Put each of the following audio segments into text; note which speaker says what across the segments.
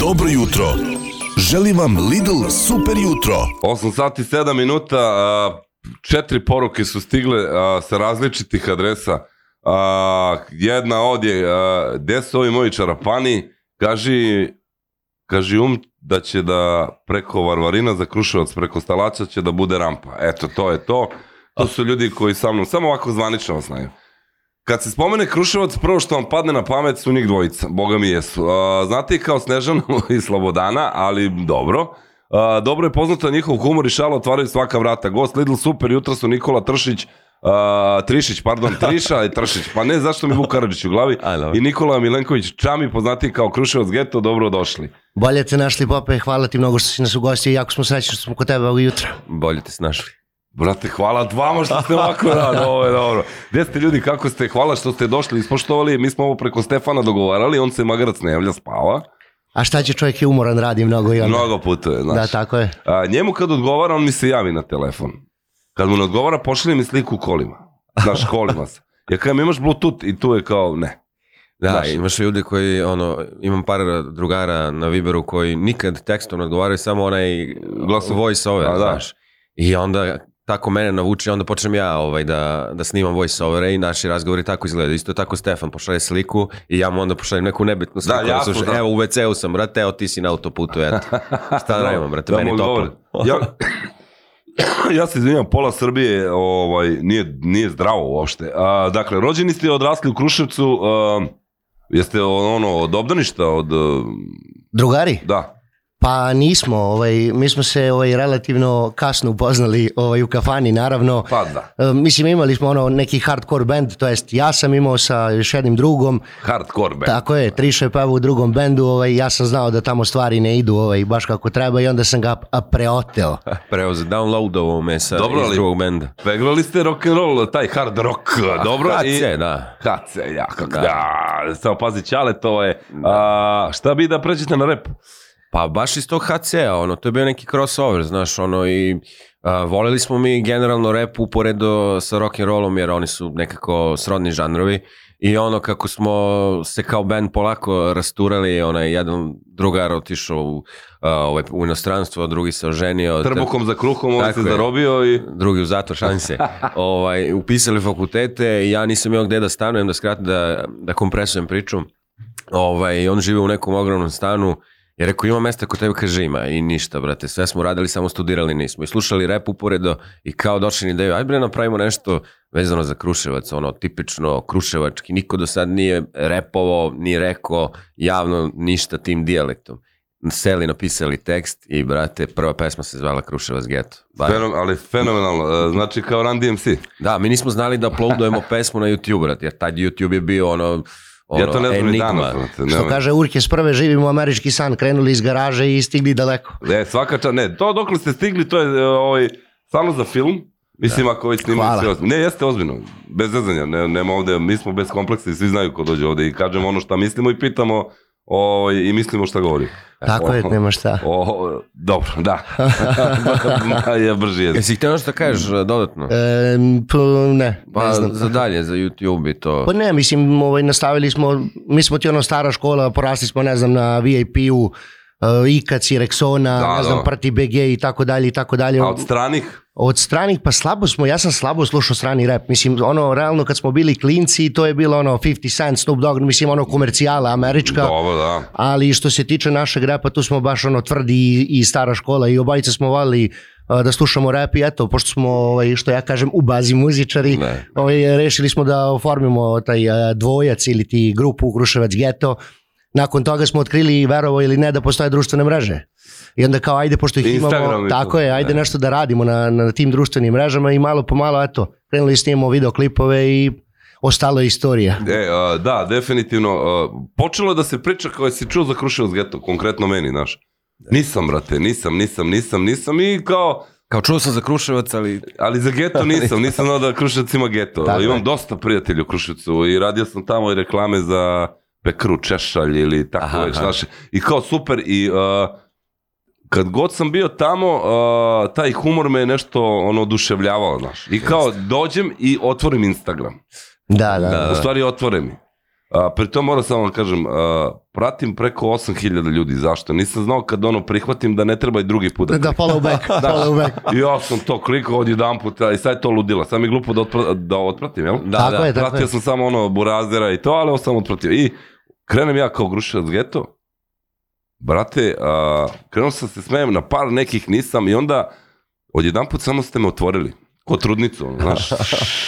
Speaker 1: Dobro jutro. Želim vam Lidl super jutro.
Speaker 2: 8 sati 7 minuta, a, četiri poruke su stigle a, sa različitih adresa. A, jedna od je, a, gde su ovi moji čarapani, kaži, kaži um da će da preko Varvarina za Kruševac, preko Stalaća će da bude rampa. Eto, to je to. To su ljudi koji sa mnom, samo ovako zvanično vas znaju. Kad se spomene Kruševac, prvo što vam padne na pamet su njih dvojica, boga mi jesu. A, znate ih kao Snežana i Slobodana, ali dobro. A, dobro je poznato njihov humor i šala otvaraju svaka vrata. Gost Lidl Super, jutra su Nikola Tršić, a, Trišić, pardon, Triša i Tršić. Pa ne, zašto mi Vuk Karadžić u glavi?
Speaker 3: I love it.
Speaker 2: I Nikola Milenković Čami, poznati kao Kruševac Geto, dobro došli.
Speaker 4: Bolje da te našli, Pope, hvala ti mnogo što si nas ugostio i jako smo srećni što smo kod tebe ovog jutra.
Speaker 3: Bolje te snašli.
Speaker 2: Brate, hvala vama što ste ovako rado, ovo je dobro. Gde ste ljudi, kako ste, hvala što ste došli, ispoštovali, mi smo ovo preko Stefana dogovarali, on se magarac ne javlja, spava.
Speaker 4: A šta će čovjek je umoran, radi mnogo i onda.
Speaker 2: Mnogo putuje, znaš.
Speaker 4: da, tako je.
Speaker 2: A, njemu kad odgovara, on mi se javi na telefon. Kad mu ne odgovara, pošalje mi sliku kolima. Znaš, kolima se. Ja kažem, imaš Bluetooth i tu je kao, ne.
Speaker 3: Da,
Speaker 2: Znaš.
Speaker 3: imaš ljudi koji, ono, imam par drugara na Viberu koji nikad tekstom ne odgovaraju, samo onaj glas voice over,
Speaker 2: A, da.
Speaker 3: znaš. I onda tako mene navuče, onda počnem ja ovaj, da, da snimam voice overe i naši razgovori tako izgledaju. Isto tako Stefan pošalje sliku i ja mu onda pošaljem neku nebitnu sliku.
Speaker 2: jasno,
Speaker 3: slušaj,
Speaker 2: da.
Speaker 3: Evo u WC-u sam, brate, evo ti si na autoputu, eto. Šta da radimo, brate, meni
Speaker 2: mu
Speaker 3: je
Speaker 2: odgovori.
Speaker 3: toplo.
Speaker 2: Ja, ja se izvinjam, pola Srbije ovaj, nije, nije zdravo uopšte. A, dakle, rođeni ste i odrasli u Kruševcu, a, jeste ono, od obdaništa, od, a,
Speaker 4: Drugari?
Speaker 2: da.
Speaker 4: Pa nismo, ovaj, mi smo se ovaj, relativno kasno upoznali ovaj, u kafani, naravno.
Speaker 2: Pa da.
Speaker 4: E, Mislim, imali smo ono neki hardcore band, to jest ja sam imao sa još jednim drugom,
Speaker 2: Hardcore band.
Speaker 4: tako je, Triša je pevao u drugom bendu, ovaj, ja sam znao da tamo stvari ne idu ovaj, baš kako treba i onda sam ga a, preoteo.
Speaker 3: Preuze, downloadovo me sa
Speaker 2: Dobro,
Speaker 3: iz
Speaker 2: ali-
Speaker 3: drugog benda.
Speaker 2: Peglali ste rock and roll, taj hard rock, dobro?
Speaker 3: HC,
Speaker 2: i-
Speaker 3: da.
Speaker 2: HC, ja, kako da.
Speaker 3: Da.
Speaker 2: da. Samo pazi, čale, to je. A, šta bi da pređete na rep?
Speaker 3: Pa baš iz tog HC-a, ono, to je bio neki crossover, znaš, ono, i a, voleli smo mi generalno rap uporedo sa rock'n'rollom, jer oni su nekako srodni žanrovi, i ono, kako smo se kao band polako rasturali, onaj, jedan drugar otišao u, a, ovaj, u inostranstvo, drugi se oženio.
Speaker 2: Trbukom za kruhom, on
Speaker 3: Tako
Speaker 2: se
Speaker 3: je.
Speaker 2: zarobio i...
Speaker 3: drugi u zatvor, šalim se, ovaj, upisali fakultete, ja nisam imao gde da stanujem, da skratim, da, da kompresujem priču. Ovaj, on živi u nekom ogromnom stanu, je rekao ima mesta kod tebe, kaže ima i ništa, brate, sve smo radili, samo studirali nismo i slušali rep uporedo i kao došli na ideju, aj bre napravimo nešto vezano za Kruševac, ono tipično kruševački, niko do sad nije repovao, ni rekao javno ništa tim dijalektom. Seli, napisali tekst i, brate, prva pesma se zvala Kruševac geto. Baš-
Speaker 2: Fenom, ali fenomenalno, e, znači kao Run DMC.
Speaker 3: Da, mi nismo znali da uploadujemo pesmu na YouTube, brat, jer tad YouTube je bio ono, ono
Speaker 2: Ja to ne znam ni
Speaker 3: enigma.
Speaker 2: danas. brate,
Speaker 4: Što
Speaker 2: nemam-
Speaker 4: kaže Urke, s prve živimo američki san, krenuli iz garaže i stigli daleko.
Speaker 2: E, svaka ča, ne, to dok ste stigli, to je e, ovaj, samo za film. Mislim, ako već snimali
Speaker 4: Da. Hvala.
Speaker 2: sve ozbiljno. Ne, jeste ozbiljno, bez zezanja, ne, nema ovde, mi smo bez kompleksa i svi znaju ko dođe ovde i kažemo ono šta mislimo i pitamo ovaj, i mislimo šta govorimo.
Speaker 4: Tako je,
Speaker 2: O,
Speaker 4: nema šta.
Speaker 2: O, dobro, da. je brži jezik.
Speaker 3: Jesi htio nešto da kažeš e, dodatno?
Speaker 4: E, p, ne,
Speaker 3: Pa
Speaker 4: ne znam.
Speaker 3: za dalje, za YouTube i to.
Speaker 4: Pa ne, mislim, ovaj, nastavili smo, mi smo ti ono stara škola, porasli smo, ne znam, na VIP-u, e, Ikac i Rexona,
Speaker 2: Da,
Speaker 4: ne znam,
Speaker 2: da.
Speaker 4: Parti BG i tako dalje i tako dalje.
Speaker 2: A od stranih?
Speaker 4: Od stranih, pa slabo smo, ja sam slabo slušao strani rap. Mislim, ono, realno kad smo bili klinci, to je bilo ono 50 Cent, Snoop Dogg, mislim, ono komercijala američka.
Speaker 2: Dobro, da.
Speaker 4: ali što se tiče našeg repa, tu smo baš ono tvrdi i, i stara škola i obajice smo volili a, da slušamo rap i eto, pošto smo, ovaj, što ja kažem, u bazi muzičari,
Speaker 3: Ne.
Speaker 4: ovaj, rešili smo da oformimo taj a, dvojac ili ti grupu Kruševac Geto, Nakon toga smo otkrili, verovo ili ne, da postoje društvene mreže. I onda kao, ajde, pošto ih
Speaker 2: Instagram
Speaker 4: imamo,
Speaker 2: i to,
Speaker 4: tako je, ajde
Speaker 3: ne.
Speaker 4: nešto da radimo na, na tim društvenim mrežama i malo po malo, eto, krenuli snimamo videoklipove i ostalo je istorija.
Speaker 2: E, a, da, definitivno. a, počelo je da se priča kao je si čuo za Kruševac geto, konkretno meni, znaš. Nisam, brate, nisam, nisam, nisam, nisam i kao,
Speaker 3: Kao čuo sam za Kruševac, ali
Speaker 2: ali za geto nisam, nisam znao da Kruševac ima geto.
Speaker 4: Tako je.
Speaker 2: Imam dosta prijatelja u Kruševcu i radio sam tamo i reklame za pekru Češalj ili tako
Speaker 3: Aha,
Speaker 2: već,
Speaker 3: aha.
Speaker 2: znaš. I kao super i... a, kad god sam bio tamo, a, taj humor me je nešto ono oduševljavao, znaš. I kao dođem i otvorim Instagram.
Speaker 4: Da, da.
Speaker 2: U stvari otvore mi. A, pri tom moram samo da kažem, a, pratim preko 8000 ljudi, zašto? Nisam znao kad ono prihvatim da ne treba i drugi put. Da,
Speaker 4: Da, follow back, follow back.
Speaker 2: I ja sam to klikao od jedan puta i sad je to ludilo. Sad mi je glupo da, otpra, da otpratim, jel?
Speaker 3: Da,
Speaker 4: tako
Speaker 3: da,
Speaker 4: je, tako
Speaker 2: Pratio
Speaker 4: je.
Speaker 2: sam samo ono burazdera i to, ali sam otpratio. I krenem ja kao grušilac geto. Brate, a, krenuo sam da se smijem, na par nekih nisam i onda odjedan put samo ste me otvorili. Ko trudnicu, ono, znaš.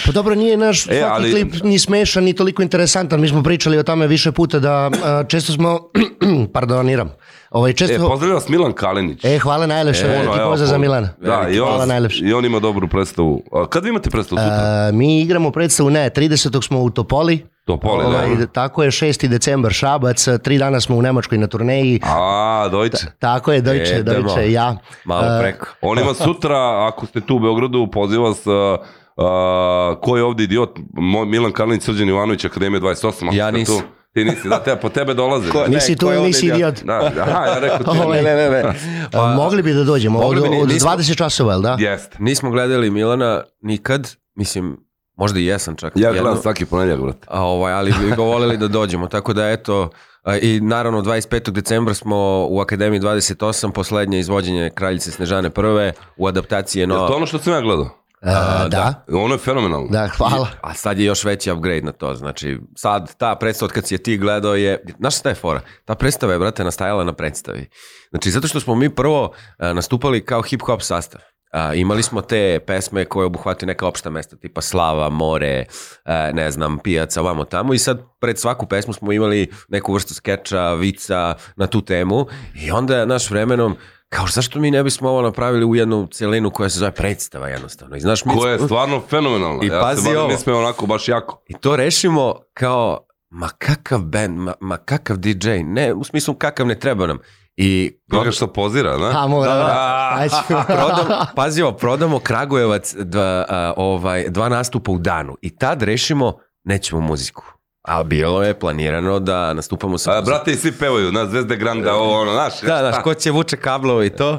Speaker 4: Pa dobro, nije naš svaki
Speaker 2: ali-
Speaker 4: klip ni smešan, ni toliko interesantan. Mi smo pričali o tome više puta da a, često smo, pardoniram, ovaj,
Speaker 2: E,
Speaker 4: često...
Speaker 2: pozdravlja vas Milan Kalinić.
Speaker 4: E, hvala najlepše,
Speaker 2: E, ono,
Speaker 4: veliki
Speaker 2: evo,
Speaker 4: pozdrav za
Speaker 2: poz-
Speaker 4: Milana.
Speaker 2: Da, i
Speaker 4: Hvala
Speaker 2: on,
Speaker 4: najlepše.
Speaker 2: i on ima dobru predstavu. A, kad vi imate predstavu
Speaker 4: E,
Speaker 2: sutra?
Speaker 4: A, mi igramo predstavu, ne, 30. smo u Topoli.
Speaker 2: Topoli, da.
Speaker 4: Ovaj,
Speaker 2: dobro.
Speaker 4: Tako je, 6. decembar Šabac, tri dana smo u Nemačkoj na turneji.
Speaker 2: A, dojče.
Speaker 4: Tako je, Deutsche,
Speaker 3: Jedemo.
Speaker 4: Deutsche, ja.
Speaker 3: Malo
Speaker 4: E,
Speaker 3: preko.
Speaker 2: On ima sutra, ako ste tu u Beogradu, poziva vas a, a, ko je ovdje idiot, Moj, Milan Karlinić, Srđan Ivanović, Akademija 28. Ako
Speaker 3: Ja
Speaker 2: ste
Speaker 3: nisam.
Speaker 2: Tu, ti nisi, da, te, po tebe dolaze.
Speaker 3: Ko-
Speaker 4: Nisi
Speaker 3: Ne,
Speaker 4: tu,
Speaker 3: ko je ovdje
Speaker 4: nisi
Speaker 3: idiot?
Speaker 4: idiot.
Speaker 2: Da, aha, ja rekao ti.
Speaker 4: Ovaj Ne, ne,
Speaker 3: ne.
Speaker 4: A, mogli bi da dođemo, od,
Speaker 3: mogli bi, ni-
Speaker 4: od
Speaker 3: nismo-
Speaker 4: 20 časova, jel da?
Speaker 2: Jeste.
Speaker 3: Nismo gledali Milana nikad, mislim, možda i jesam čak.
Speaker 2: Ja
Speaker 3: jednom.
Speaker 2: gledam svaki ponedjeljak, brate.
Speaker 3: A, ovaj, ali bi ga voljeli da dođemo, tako da eto, a, i naravno 25. decembra smo u Akademiji 28, poslednje izvođenje Kraljice Snežane prve u adaptaciji je
Speaker 2: Je
Speaker 3: nova.
Speaker 2: to ono što sam ja gledao?
Speaker 4: E, da.
Speaker 2: Ono je fenomenalno.
Speaker 4: Da, hvala.
Speaker 3: A sad je još veći upgrade na to, znači sad ta predstava od kad si je ti gledao je, znaš šta je fora? Ta predstava je, brate, nastajala na predstavi. Znači, zato što smo mi prvo a, nastupali kao hip-hop sastav. A, imali smo te pesme koje obuhvataju neka opšta mesta, tipa Slava, More, e, ne znam, Pijaca, ovamo tamo i sad pred svaku pesmu smo imali neku vrstu skeča, vica na tu temu i onda, naš vremenom, kao zašto mi ne bismo ovo napravili u jednu celinu koja se zove predstava jednostavno. I znaš, mi
Speaker 2: Koje je stvarno fenomenalno.
Speaker 3: I
Speaker 2: ja
Speaker 3: pazi
Speaker 2: se
Speaker 3: ovo.
Speaker 2: bavim, mi smo onako baš jako.
Speaker 3: I to rešimo kao, ma kakav band, ma, ma kakav DJ, ne, u smislu kakav ne treba nam. I
Speaker 2: Gledaš što pozira, ne?
Speaker 4: A, mora, da.
Speaker 3: prodam, pazi ovo, prodamo Kragujevac dva, a, ovaj, dva nastupa u danu i tad rešimo, nećemo muziku. A bilo je planirano da nastupamo sa
Speaker 2: A,
Speaker 3: muzikom.
Speaker 2: brate, i svi pevaju, na Zvezde Granda, ovo, ono, znaš.
Speaker 3: Da, znaš, ko će vuče kablovo i to.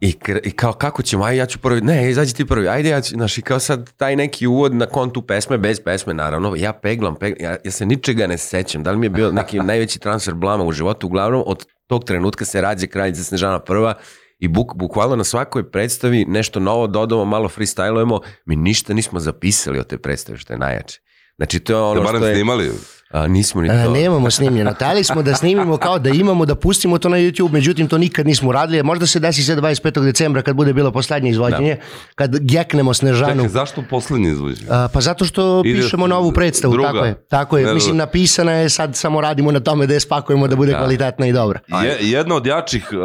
Speaker 3: I, kre- I kao, kako ćemo, aj ja ću prvi, ne, izađi ti prvi, ajde ja ću, znaš, i kao sad taj neki uvod na kontu pesme, bez pesme naravno, ja peglam, peglam ja, ja se ničega ne sećam, da li mi je bio neki najveći transfer blama u životu, uglavnom od tog trenutka se rađe kraljica Snežana prva i buk, bukvalno na svakoj predstavi nešto novo dodamo, malo freestylujemo, mi ništa nismo zapisali od te predstave, što je najjače. Znači to je
Speaker 2: Ste
Speaker 3: ono
Speaker 2: Da barem
Speaker 3: što je,
Speaker 2: snimali.
Speaker 3: a, nismo ni
Speaker 4: E,
Speaker 3: to.
Speaker 4: nemamo snimljeno. Tali smo da snimimo kao da imamo, da pustimo to na YouTube, međutim to nikad nismo uradili. Možda se desi sad 25. decembra kad bude bilo poslednje izvođenje, kad geknemo Snežanu.
Speaker 2: Da. Čekaj, zašto poslednji izvođenje?
Speaker 4: A, pa zato što
Speaker 2: Ide
Speaker 4: pišemo novu predstavu,
Speaker 2: druga.
Speaker 4: tako je. Tako
Speaker 2: Ne, da.
Speaker 4: je.
Speaker 2: ne.
Speaker 4: Mislim, napisana je, sad samo radimo na tome da je spakujemo da bude kvalitetna i dobra.
Speaker 2: Je, jedna od jačih, uh,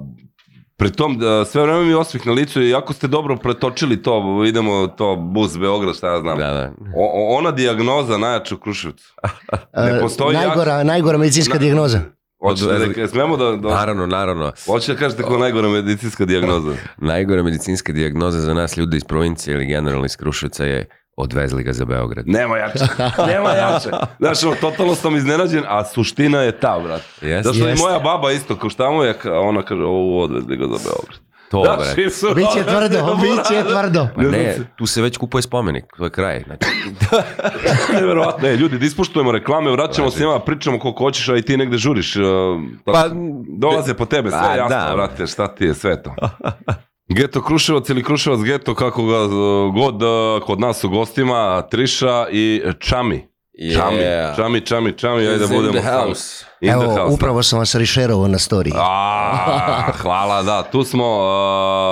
Speaker 2: uh, pri tom uh, sve vreme mi je osmih na licu i jako ste dobro pretočili to, idemo to bus Beograd, šta ja znam.
Speaker 3: Da, da.
Speaker 2: O, o- ona dijagnoza najjača u Kruševcu. Ne
Speaker 4: E,
Speaker 2: postoji
Speaker 4: najgora, najgora medicinska
Speaker 2: Na-
Speaker 4: dijagnoza.
Speaker 2: Hoćete da, smemo da, da
Speaker 3: Naravno, naravno.
Speaker 2: hoćete da kažete kao najgora medicinska dijagnoza.
Speaker 3: Najgora medicinska dijagnoza za nas ljude iz provincije ili generalno iz Kruševca je odvezli ga za Beograd.
Speaker 2: Nema jače. Nema jače. Znaš, ono, totalno sam iznenađen, a suština je ta, brat.
Speaker 3: Jeste.
Speaker 2: Zato što i
Speaker 3: Jeste.
Speaker 2: moja baba isto, kao šta mu je, ka- ona kaže, ovo odvezli ga za Beograd.
Speaker 3: To,
Speaker 2: Znaš,
Speaker 3: brate.
Speaker 2: i su-
Speaker 4: Biće tvrdo, biće tvrdo.
Speaker 3: Ma
Speaker 2: Ne
Speaker 3: ne,
Speaker 2: znam se.
Speaker 3: tu se već kupuje spomenik, to je kraj. Znači,
Speaker 2: Neverovatno je, ljudi, da ispoštujemo reklame, vraćamo se njima, pričamo koliko hoćeš, a i ti negde žuriš. e, tako-
Speaker 3: Znači. Pa,
Speaker 2: dolaze po tebe, sve
Speaker 3: Pa,
Speaker 2: jasno,
Speaker 3: da.
Speaker 2: vrate, šta ti je sve to. Geto Kruševac ili Kruševac Geto, kako ga e, god e, kod nas u gostima, Triša i Čami. Čami,
Speaker 3: Yeah.
Speaker 2: Čami, Čami, Čami, ajde da
Speaker 3: It's in
Speaker 2: budemo
Speaker 3: the
Speaker 2: sami.
Speaker 3: house.
Speaker 2: In the
Speaker 4: Evo,
Speaker 2: house, da.
Speaker 4: upravo sam vas rešerovao na storiji.
Speaker 2: a, hvala, da, tu smo,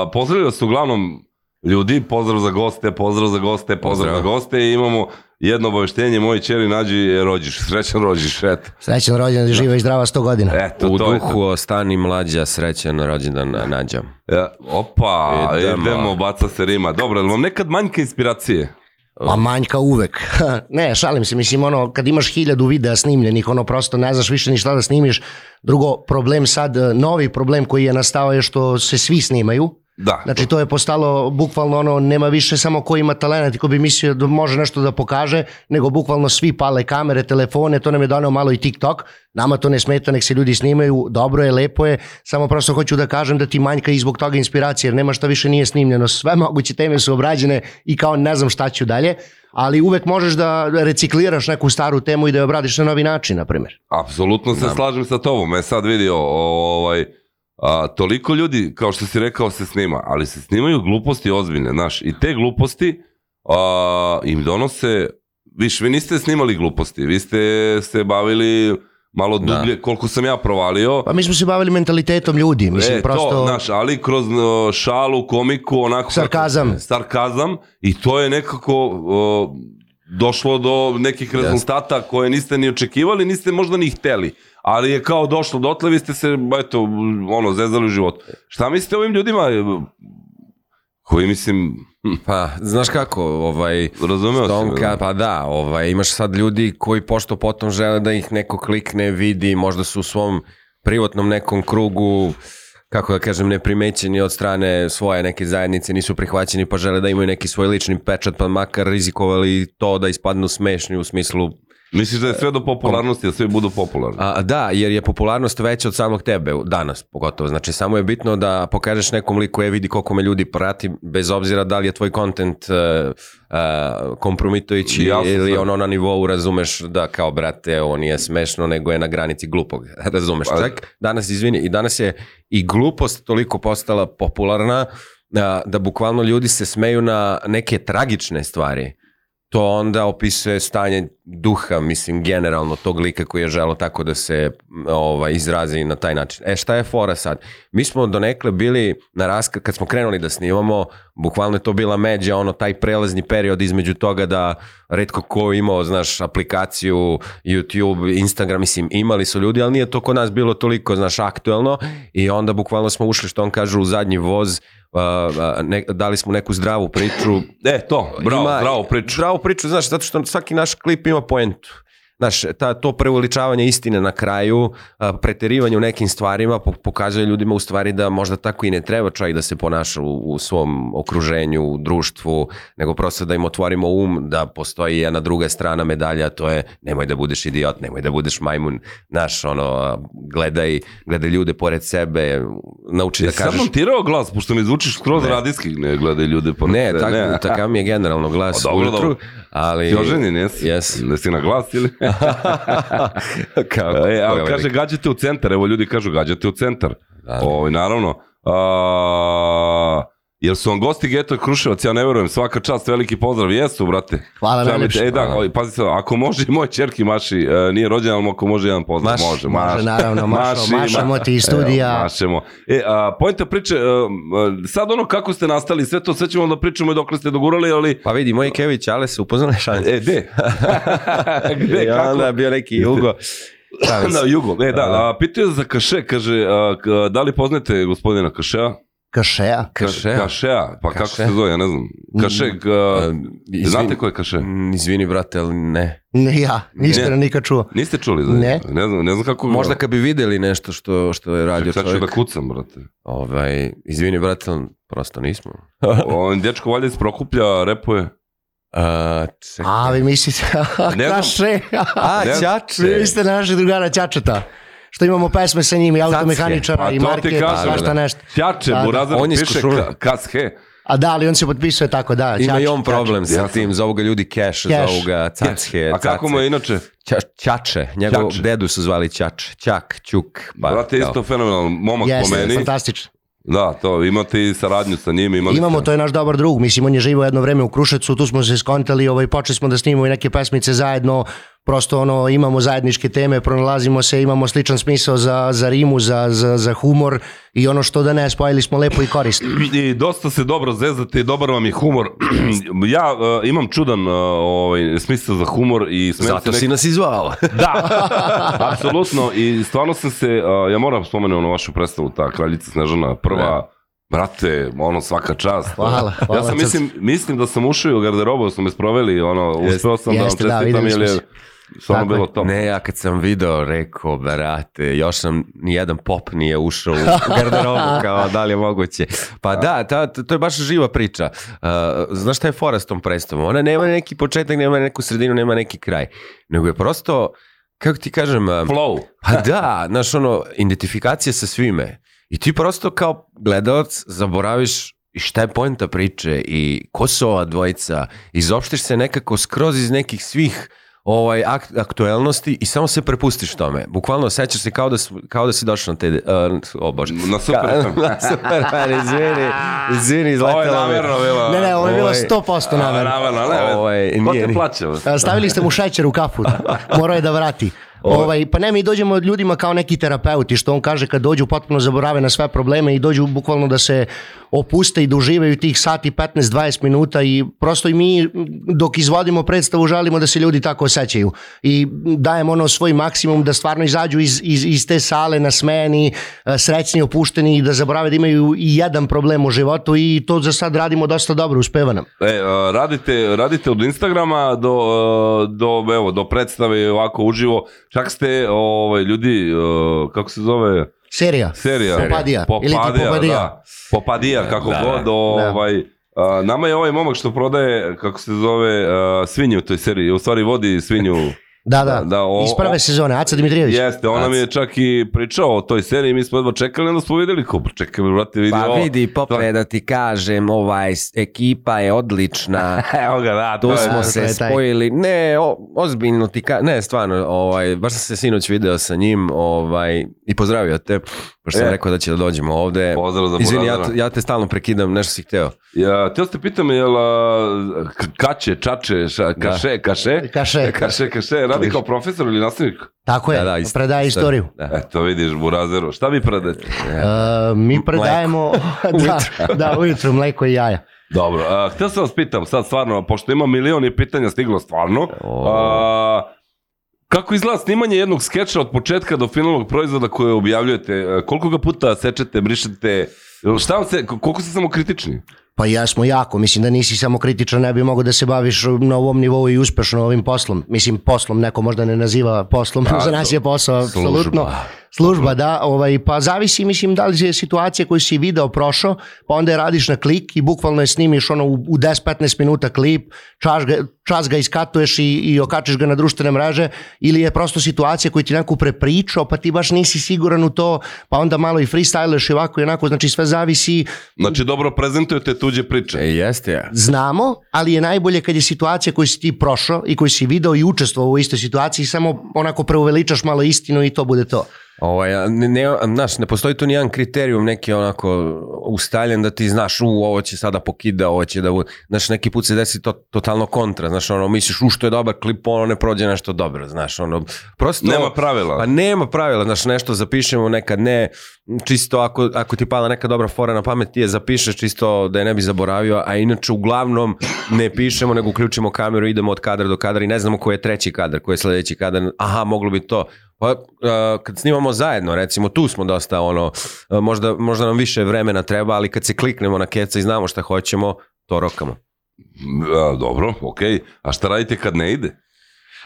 Speaker 2: uh, pozdravili su uglavnom ljudi, pozdrav za goste, pozdrav za goste, pozdrav,
Speaker 3: Pozdrav.
Speaker 2: za goste i imamo jedno obaveštenje, moji čeri nađi je rođiš, srećan rođiš, eto.
Speaker 4: Srećan
Speaker 2: Da.
Speaker 4: rođendan, živa i zdrava 100 godina.
Speaker 2: Eto,
Speaker 3: u
Speaker 2: to je to.
Speaker 3: duhu ostani mlađa, srećan rođendan nađa.
Speaker 2: E, opa, idemo.
Speaker 3: Idemo.
Speaker 2: baca se rima. Dobro, jel vam nekad manjka inspiracije?
Speaker 4: Ma manjka uvek. ne, šalim se, mislim, ono, kad imaš hiljadu videa snimljenih, ono, prosto ne znaš više ni šta da e, snimiš. Drugo, problem sad, eh, novi problem koji je nastao je što se svi snimaju
Speaker 2: Da.
Speaker 4: Znači to je postalo bukvalno ono, nema više samo ko ima talent i ko bi mislio da može nešto da pokaže, nego bukvalno svi pale kamere, telefone, to nam je donao malo i TikTok, nama to ne smeta, nek se ljudi snimaju, dobro je, lepo je, samo prosto hoću da kažem da ti manjka i zbog toga inspiracije, jer nema šta više nije snimljeno, sve moguće teme su obrađene i kao ne znam šta ću dalje, ali uvek možeš da recikliraš neku staru temu i da je obradiš na novi način, na primjer.
Speaker 2: Apsolutno se slažem sa tobom. E sad vidi, o- o- ovaj, a, toliko ljudi, kao što si rekao, se snima, ali se snimaju gluposti ozbiljne, znaš, i te gluposti a, im donose, viš, vi niste snimali gluposti, vi ste se bavili malo
Speaker 3: Da.
Speaker 2: dublje, koliko sam ja provalio,
Speaker 4: Pa mi smo se bavili mentalitetom ljudi, mislim,
Speaker 2: e,
Speaker 4: prosto...
Speaker 2: to, znaš, ali kroz uh, šalu, komiku, onako...
Speaker 4: Sarkazam.
Speaker 2: Kako, sarkazam i to je nekako uh, došlo do nekih rezultata koje niste ni očekivali, niste možda ni hteli. Ali je kao došlo dotle, vi ste se, eto, ono, zezali u životu. Šta mislite o ovim ljudima e, koji, mislim,
Speaker 3: Pa, znaš kako, ovaj...
Speaker 2: razumeo sam.
Speaker 3: Tomka, pa da, ovaj, imaš sad ljudi koji pošto potom žele da ih neko klikne, vidi, možda su u svom privatnom nekom krugu, kako da kažem, neprimećeni od strane svoje neke zajednice, nisu prihvaćeni pa žele da imaju neki svoj lični pečat, pa makar rizikovali i to da ispadnu smešni u smislu
Speaker 2: Misliš da je sve do popularnosti, da svi budu popularni?
Speaker 3: A, da, jer je popularnost veća od samog tebe u- danas pogotovo. Znači samo je bitno da pokažeš nekom liku je vidi koliko me ljudi prati bez obzira da li je tvoj kontent uh, uh, kompromitujući
Speaker 2: Jasno,
Speaker 3: ili
Speaker 2: da.
Speaker 3: ono na nivou razumeš da kao brate ovo nije smešno nego je na granici glupog. razumeš.
Speaker 2: Pa-
Speaker 3: Čak danas, izvini, i danas je i glupost toliko postala popularna da, da bukvalno ljudi se smeju na neke tragične stvari to onda opisuje stanje duha, mislim, generalno tog lika koji je želo tako da se m, ovaj, izrazi na taj način. E, šta je fora sad? Mi smo donekle bili na raskar, kad smo krenuli da snimamo, bukvalno je to bila međa, ono, taj prelazni period između toga da redko ko je imao, znaš, aplikaciju, YouTube, Instagram, mislim, imali su ljudi, ali nije to kod nas bilo toliko, znaš, aktuelno i onda bukvalno smo ušli, što on kaže, u zadnji voz, a, a, ne, dali smo neku zdravu priču,
Speaker 2: E, to, bravo, bravo, priču.
Speaker 3: Zdravu priču, znaš, zato što svaki naš klip ima poentu. Znaš, ta, to preuveličavanje istine na kraju, a, preterivanje u nekim stvarima po- pokazuje ljudima u stvari da možda tako i ne treba čovjek da se ponaša u, u svom okruženju, u društvu, nego prosto da im otvorimo um da postoji jedna druga strana medalja, a to je nemoj da budeš idiot, nemoj da budeš majmun, znaš, ono, a, gledaj, gledaj ljude pored sebe, nauči da
Speaker 2: Jesi sad
Speaker 3: kažeš...
Speaker 2: montirao glas, pošto mi zvučiš skroz radijski, ne gledaj ljude po
Speaker 3: Ne, tak, takav mi je generalno glas
Speaker 2: O, Pa dobro,
Speaker 3: ujutru,
Speaker 2: dobro.
Speaker 3: ali...
Speaker 2: Ti oženjen jesi?
Speaker 3: Ovaj, Jes.
Speaker 2: Jesi na glas ili?
Speaker 3: Kako?
Speaker 2: E,
Speaker 3: Koga
Speaker 2: a
Speaker 3: veli?
Speaker 2: kaže gađate u centar, evo ljudi kažu gađate u centar.
Speaker 3: Da.
Speaker 2: Ovaj naravno. A, jer su vam gosti Geto Kruševac, ja ne verujem, svaka čast, veliki pozdrav, jesu, brate.
Speaker 4: Hvala
Speaker 2: Šta mi-
Speaker 4: najlepše.
Speaker 2: E, da, oj, pazi se, ako može i moj čerki Maši, e, nije rođen, ali ako može jedan pozdrav,
Speaker 3: Maš,
Speaker 2: može,
Speaker 4: Može,
Speaker 2: Maš.
Speaker 4: naravno, mašo,
Speaker 2: Maši,
Speaker 4: mašamo
Speaker 2: ma-
Speaker 4: ti iz
Speaker 2: Evo,
Speaker 4: studija.
Speaker 2: mašemo. E, a, pojenta priče, e, m, sad ono kako ste nastali, sve to, sve ćemo da pričamo i dokle ste dogurali, ali,
Speaker 3: Pa vidi, moj Kević, ale se upoznali šans.
Speaker 2: e, de? Gde,
Speaker 3: I
Speaker 2: kako?
Speaker 3: E, onda je bio neki Jugo. Da,
Speaker 2: Da, Jugo, e, da,
Speaker 3: Da, da.
Speaker 2: a, pitao je za Kaše, kaže, a, k- da li poznate gospodina Kašea?
Speaker 4: Kašeja.
Speaker 3: Kašea? Mm,
Speaker 2: Kašea, pa kako
Speaker 3: Kašea?
Speaker 2: se zove, ja ne znam. Kaše, k-
Speaker 3: e,
Speaker 2: znate ko je Kaše?
Speaker 3: Mm, Izvini, brate, ali ne.
Speaker 4: Ne ja, iskreno
Speaker 2: Ne.
Speaker 4: nikad čuo.
Speaker 2: Niste čuli za
Speaker 4: Ne.
Speaker 2: njega? Ne znam, ne znam kako...
Speaker 3: Možda kad bi videli nešto što, što je radio
Speaker 2: Sad ću
Speaker 3: čovjek.
Speaker 2: da kucam, brate.
Speaker 3: Ovaj, izvini, brate, ali prosto nismo.
Speaker 2: On dečko valjda iz Prokuplja repuje.
Speaker 3: A, čekaj.
Speaker 4: A, vi mislite,
Speaker 3: Pa
Speaker 2: Ne znam.
Speaker 4: kaše.
Speaker 3: A,
Speaker 2: Ne-
Speaker 4: Vi
Speaker 3: Ćače!
Speaker 4: ste naših drugara Ćačeta. Što imamo pesme sa njim i
Speaker 2: Pa
Speaker 4: automehaničara i
Speaker 2: to ti
Speaker 4: marke, i
Speaker 2: kažem,
Speaker 4: svašta
Speaker 2: da.
Speaker 4: nešto.
Speaker 2: Ćače,
Speaker 4: Da, da.
Speaker 2: Burazar
Speaker 3: On je iz
Speaker 2: piše
Speaker 3: Košumlja.
Speaker 2: ka- Kashe.
Speaker 4: A da, ali on se potpisuje tako, da.
Speaker 3: Ima
Speaker 4: Ćač-
Speaker 3: i on problem sa
Speaker 2: Jasno.
Speaker 3: tim, zovu ga ljudi Cash,
Speaker 4: Cash.
Speaker 3: zovu ga Cacke,
Speaker 2: A kako mu je inače?
Speaker 3: Ča- Ćače, njegov
Speaker 2: Ćače.
Speaker 3: dedu su zvali Ćač, Ćak, Ćuk. Pa,
Speaker 2: Brate,
Speaker 3: kao-
Speaker 2: isto fenomenalno, momak po
Speaker 4: Jeste,
Speaker 2: meni.
Speaker 4: fantastično.
Speaker 2: Da, to, imate i saradnju sa njim, imali
Speaker 4: Imamo,
Speaker 2: ste.
Speaker 4: to je naš dobar drug. Mislim, on je živao jedno vreme u Kruševcu, tu smo se skontali, ovaj, počeli smo da snimamo i neke pesmice zajedno, prosto ono, imamo zajedničke teme, pronalazimo se, imamo sličan smisao za, za rimu, za, za, za humor i ono što da ne, spojili smo lepo i korisno.
Speaker 2: i dosta se dobro zezate i dobar vam je humor. ja e, imam čudan e, ovaj, smisao za humor i smem
Speaker 3: Zato
Speaker 2: se
Speaker 3: si nas izvao.
Speaker 2: Da, apsolutno i stvarno sam se, e, ja moram spomenuti ono vašu predstavu, ta kraljica Snežana prva, Brate, ono svaka čast.
Speaker 4: Hvala, hvala,
Speaker 2: ja sam
Speaker 4: srce.
Speaker 2: mislim, mislim da sam ušao i u garderobu, da smo me sproveli, ono, uspeo sam da vam
Speaker 4: Jeste, da,
Speaker 2: čestitam
Speaker 4: videli smo
Speaker 2: jer je
Speaker 4: se.
Speaker 2: Samo
Speaker 4: Tako
Speaker 2: bilo
Speaker 4: je.
Speaker 2: to.
Speaker 3: Ne, ja kad sam video, rekao, brate, još sam, nijedan pop nije ušao u garderobu, kao da li je moguće. Pa da, ta, to je baš živa priča. Uh, znaš šta je fora s tom predstavom? Ona nema neki početak, nema neku sredinu, nema neki kraj. Nego je prosto, kako ti kažem... uh,
Speaker 2: Flow.
Speaker 3: Pa da, znaš ono, identifikacija sa svime. I ti prosto kao gledalac zaboraviš i šta je poenta priče i ko su ova dvojica. Izopštiš se nekako skroz iz nekih svih ovaj, ak aktuelnosti i samo se prepustiš tome. Bukvalno osjećaš se kao da, su- kao da si došao na te... Uh, o bože.
Speaker 2: Na super FM.
Speaker 3: na super, izvini, izvini,
Speaker 2: Ovo je
Speaker 3: izletelo mi.
Speaker 2: namjerno bilo.
Speaker 4: Ne, ne, ovo je bilo
Speaker 3: Ovaj,
Speaker 4: 100% namerno.
Speaker 2: Namerno, ne.
Speaker 3: Ovaj,
Speaker 2: Ko
Speaker 3: nije,
Speaker 2: te
Speaker 3: nije.
Speaker 2: plaća?
Speaker 4: A, Stavili ste mu šećer u kafu, da. morao je da vrati. Ovaj, pa ne, mi dođemo od ljudima kao neki terapeuti, što on kaže kad dođu potpuno zaborave na sve probleme i dođu bukvalno da se opuste i da uživaju tih sati 15-20 minuta i prosto i mi dok izvodimo predstavu želimo da se ljudi tako osjećaju i dajemo ono svoj maksimum da stvarno izađu iz, iz, iz te sale nasmejani, e, srećni, opušteni i da zaborave da imaju i jedan problem u životu i to za sad radimo dosta dobro, uspeva nam.
Speaker 2: E, a, radite, radite od Instagrama do, e, do, evo, do predstave ovako uživo. Čak ste ovaj, ljudi, e, kako se zove,
Speaker 4: Serija.
Speaker 2: serija.
Speaker 4: Popadija. Ili ti Popadija.
Speaker 2: Da. Popadija, kako
Speaker 3: Da,
Speaker 2: god.
Speaker 3: da.
Speaker 2: Ovaj, a, nama je ovaj momak što prodaje, kako se zove, a, svinju u toj seriji. U stvari vodi svinju.
Speaker 4: Da, da,
Speaker 2: Da, o-
Speaker 4: iz prve
Speaker 2: o-
Speaker 4: sezone, Aca Dimitrijević.
Speaker 2: Jeste, on nam je čak i pričao o toj seriji, mi smo jedva čekali, onda smo videli ko, čekaj, brate, vidi
Speaker 3: Pa
Speaker 2: ovo.
Speaker 3: vidi, pope, da ti kažem, ovaj, s- ekipa je odlična.
Speaker 2: Evo ga, da, to
Speaker 3: Tu
Speaker 2: je.
Speaker 3: smo
Speaker 4: to
Speaker 3: se
Speaker 4: je taj.
Speaker 3: spojili. Ne, o, ozbiljno ti ka... Ne, stvarno, ovaj, baš sam se sinoć video sa njim ovaj, i pozdravio te, pošto sam
Speaker 2: E.
Speaker 3: rekao da će da dođemo ovde.
Speaker 2: Pozdrav za
Speaker 3: Izvini, ja,
Speaker 2: Buradara.
Speaker 3: ja te stalno prekidam, nešto si hteo.
Speaker 2: Ja, teo ste pitam, jel a, k- kače, čače, ša,
Speaker 3: Da.
Speaker 2: kaše, kaše?
Speaker 4: Kaše.
Speaker 2: Kaše, kaše, radi kao profesor ili nastavnik?
Speaker 4: Tako je,
Speaker 3: Da,
Speaker 4: da,
Speaker 3: da,
Speaker 4: da,
Speaker 3: isto-
Speaker 4: predaje
Speaker 3: isto-
Speaker 4: istoriju.
Speaker 3: Da.
Speaker 2: Eto, vidiš, burazeru, šta vi predajete?
Speaker 4: E, mi predajemo da, da, ujutru mleko i jaja.
Speaker 2: Dobro, a, htio sam vas pitam, sad stvarno, pošto ima milion i pitanja stiglo stvarno,
Speaker 3: O.
Speaker 2: a, kako izgleda snimanje jednog skeča od početka do finalnog proizvoda koje objavljujete? E, Koliko ga puta sečete, brišete? Jel Šta vam se, k- koliko ste samo kritični?
Speaker 4: Pa ja smo jako, mislim da nisi samo kritičan, ne bi mogao da se baviš na ovom nivou i uspešno ovim poslom. Mislim poslom, neko možda ne naziva poslom,
Speaker 2: Da,
Speaker 4: za nas je posao,
Speaker 3: služba.
Speaker 4: apsolutno. Služba, da, ovaj, pa zavisi, mislim, da li je situacija koju si video prošao, pa onda je radiš na klik i bukvalno je snimiš ono u, u 10-15 minuta klip, čas ga, čas ga iskatuješ i, i okačiš ga na društvene mreže, ili je prosto situacija koju ti neko prepričao, pa ti baš nisi siguran u to, pa onda malo i freestyleš i ovako i onako, znači sve zavisi
Speaker 2: Znači, dobro prezentujete tuđe priče.
Speaker 3: E, jeste ja.
Speaker 4: znamo, ali je najbolje kad je situacija koju si ti prošao i koju si video i učestvovao u istoj situaciji, samo onako preuveličaš malo istinu i to bude to.
Speaker 3: Ovaj, a ne, ne, znaš, ne postoji tu nijedan kriterijum neki onako ustaljen da ti znaš, u, ovo će sada pokida, ovo će da bude. Znaš, neki put se desi to, totalno kontra, znaš, ono, misliš, u, što je dobar klip, ono ne prođe nešto dobro, znaš, ono, prosto...
Speaker 2: Nema pravila.
Speaker 3: Pa nema pravila, znaš, nešto zapišemo, nekad ne, čisto ako, ako ti pada neka dobra fora na pamet, ti je zapišeš čisto da je ne bi zaboravio, a inače uglavnom ne pišemo, nego uključimo kameru, idemo od kadra do kadra i ne znamo koji je treći kadar, koji je sledeći kadar, aha, moglo bi to. Pa, e, kad snimamo zajedno, recimo, tu smo dosta, ono, e, možda, možda nam više vremena treba, ali kad se kliknemo na keca i znamo šta hoćemo, to rokamo.
Speaker 2: A, dobro, okej. A šta radite kad ne ide?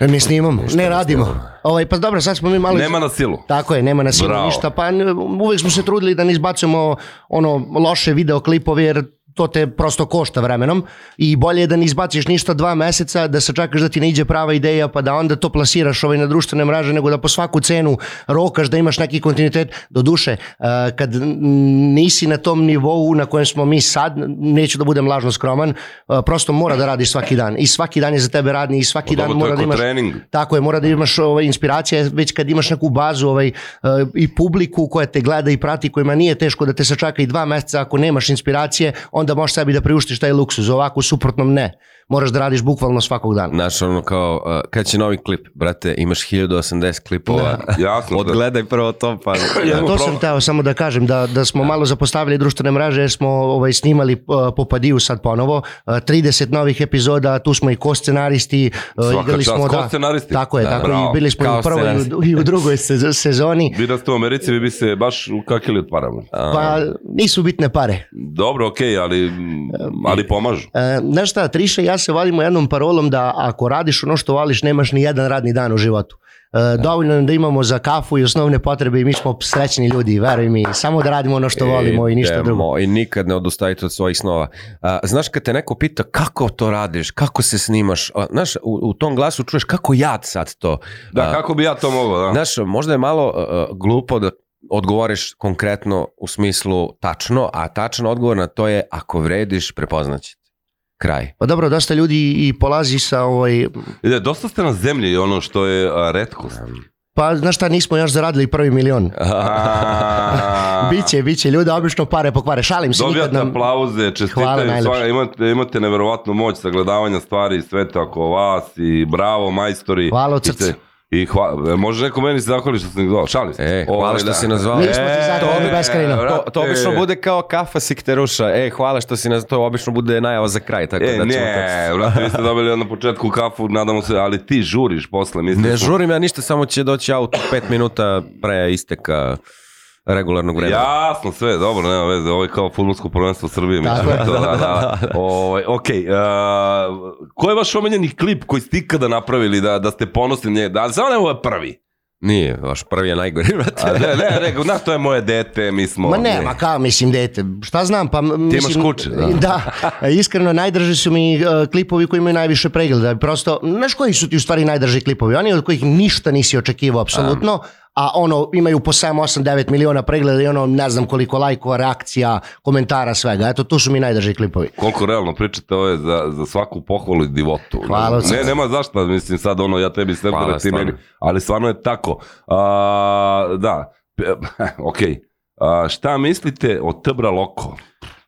Speaker 4: Ne E, snimamo, ne radimo. Ovaj, pa dobro, sad smo mi malo...
Speaker 2: Nema na silu.
Speaker 4: Tako je, nema nas ima
Speaker 2: Bravo.
Speaker 4: ništa, pa n- uvek smo se trudili da ne izbacujemo ono loše videoklipove jer to te prosto košta vremenom i bolje je da ne izbaciš ništa dva meseca, da se čekaš da ti ne iđe prava ideja pa da onda to plasiraš ovaj na društvene mraže nego da po svaku cenu rokaš da imaš neki kontinuitet. Do duše, kad n- nisi na tom nivou na kojem smo mi sad, neću da budem lažno skroman, a, prosto mora da radiš svaki dan i svaki dan je za tebe radni i svaki dan
Speaker 2: Pa Dobro, to
Speaker 4: mora
Speaker 2: je
Speaker 4: da
Speaker 2: ko
Speaker 4: imaš
Speaker 2: trening.
Speaker 4: Tako je, mora da imaš ovaj, inspiracija, već kad imaš neku bazu ovaj, e, i publiku koja te gleda i prati, kojima nije teško da te sačaka i dva meseca ako nemaš inspiracije, onda možeš sebi da priuštiš taj luksuz, ovako u suprotnom ne. Moraš da radiš bukvalno svakog dana.
Speaker 3: Znaš, ono kao, e, kad će novi klip, brate, imaš 1080 klipova,
Speaker 4: Da.
Speaker 2: Jasno.
Speaker 3: odgledaj prvo to, pa...
Speaker 2: Jedno
Speaker 4: To
Speaker 2: pro-
Speaker 4: sam teo samo da kažem, da, da smo malo zapostavili društvene mraže, jer smo ovaj, snimali uh, Popadiju sad ponovo, uh, 30 novih epizoda, tu smo i ko-scenaristi, uh,
Speaker 2: Svaka
Speaker 4: igrali
Speaker 2: čast,
Speaker 4: smo, da,
Speaker 2: ko-scenaristi.
Speaker 4: tako je,
Speaker 2: Da,
Speaker 4: tako
Speaker 2: bravo.
Speaker 4: i bili smo i
Speaker 3: Kao
Speaker 4: u prvoj i u, i u drugoj sezo- sezoni,
Speaker 2: Vi da ste u Americi, vi bi se baš ukakili od parama.
Speaker 4: pa nisu bitne pare.
Speaker 2: Dobro, okej, ali, mm, ali pomažu.
Speaker 4: E, znaš šta, Triša i ja se vadimo jednom parolom da ako radiš ono što vališ, nemaš ni jedan radni dan u životu. E, dovoljno nam da imamo za kafu i osnovne potrebe i mi smo srećni ljudi, veruj mi, samo da radimo ono što volimo i ništa
Speaker 3: E, Idemo,
Speaker 4: drugo.
Speaker 3: I nikad ne odustavite od svojih snova. A, znaš, kad te neko pita kako to radiš, kako se snimaš, a, znaš, u, u tom glasu čuješ kako ja sad to.
Speaker 2: Da,
Speaker 3: A,
Speaker 2: kako bi ja to mogao, da?
Speaker 3: Znaš, možda je malo a, a, glupo da odgovoriš konkretno u smislu tačno, a tačan odgovor na to je ako vrediš, prepoznaće te. Kraj.
Speaker 4: Pa dobro, dosta ljudi i polazi sa ovaj,
Speaker 2: Ide, dosta ste na zemlji, ono što je a, retkost.
Speaker 4: pa znaš šta, nismo još zaradili prvi milion.
Speaker 2: A,
Speaker 4: Biće, biće, ljudi obično pare pokvare, šalim se, Znači, nikad
Speaker 2: Dobijate
Speaker 4: nam...
Speaker 2: aplauze,
Speaker 4: Hvala
Speaker 2: čestitaju,
Speaker 4: najlepše.
Speaker 2: sva- imate, imate neverovatnu moć sagledavanja stvari i sveta oko vas i bravo majstori.
Speaker 4: Hvala od
Speaker 2: I te-
Speaker 4: srca.
Speaker 2: I hvala, može neko meni se zahvali što sam ih zvao, šalim se.
Speaker 3: E, hvala
Speaker 2: Ovaj,
Speaker 3: što
Speaker 2: da.
Speaker 3: si nazvao.
Speaker 4: Mi smo se zahvalili
Speaker 2: E,
Speaker 4: beskrajno. To-
Speaker 3: To,
Speaker 2: brate.
Speaker 3: to obično bude kao kafa sikteruša. E, hvala što si nas, to obično bude najava za kraj, tako da
Speaker 2: E,
Speaker 3: ćemo
Speaker 2: ne, brate, vi ste dobili na početku kafu, nadamo se, ali ti žuriš posle, mislim. da
Speaker 3: Ne žurim ja ništa, samo će doći auto 5 minuta pre isteka regularnog vremena.
Speaker 2: Jasno, sve, dobro, nema veze, ovo je kao futbolsko prvenstvo Srbije. mislim,
Speaker 4: Tako je.
Speaker 2: to, da, da. Ovaj, okej, a, ko je vaš omenjeni klip koji ste ikada napravili da, da ste ponosni nje? Da, samo ne ovo je prvi.
Speaker 3: Nije, vaš prvi je najgori, brate.
Speaker 2: A, ne, ne, ne, na, to je moje dete, mi smo...
Speaker 4: Ma ne, ma kao, mislim, dete, šta znam, pa... Ti
Speaker 2: Pa imaš kuće, da.
Speaker 4: da. iskreno, najdrži su mi e, klipovi koji imaju najviše pregleda. Prosto, znaš koji su ti u stvari najdrži klipovi? Oni od kojih ništa nisi očekivao, apsolutno, a ono, imaju po 7-8-9 miliona pregleda i ono, ne znam koliko lajkova, reakcija, komentara, svega. Eto, tu su mi najdrži klipovi.
Speaker 2: Koliko realno pričate, ovo je za, za svaku pohvalu i divotu.
Speaker 4: Hvala od
Speaker 2: Ne,
Speaker 4: srca.
Speaker 2: nema zašto, da, mislim sad ono, ja tebi sve
Speaker 3: Hvala,
Speaker 2: da ti
Speaker 3: stvarno.
Speaker 2: meni, ali stvarno je tako. A, da, ok. A, šta mislite o Tbra Loko?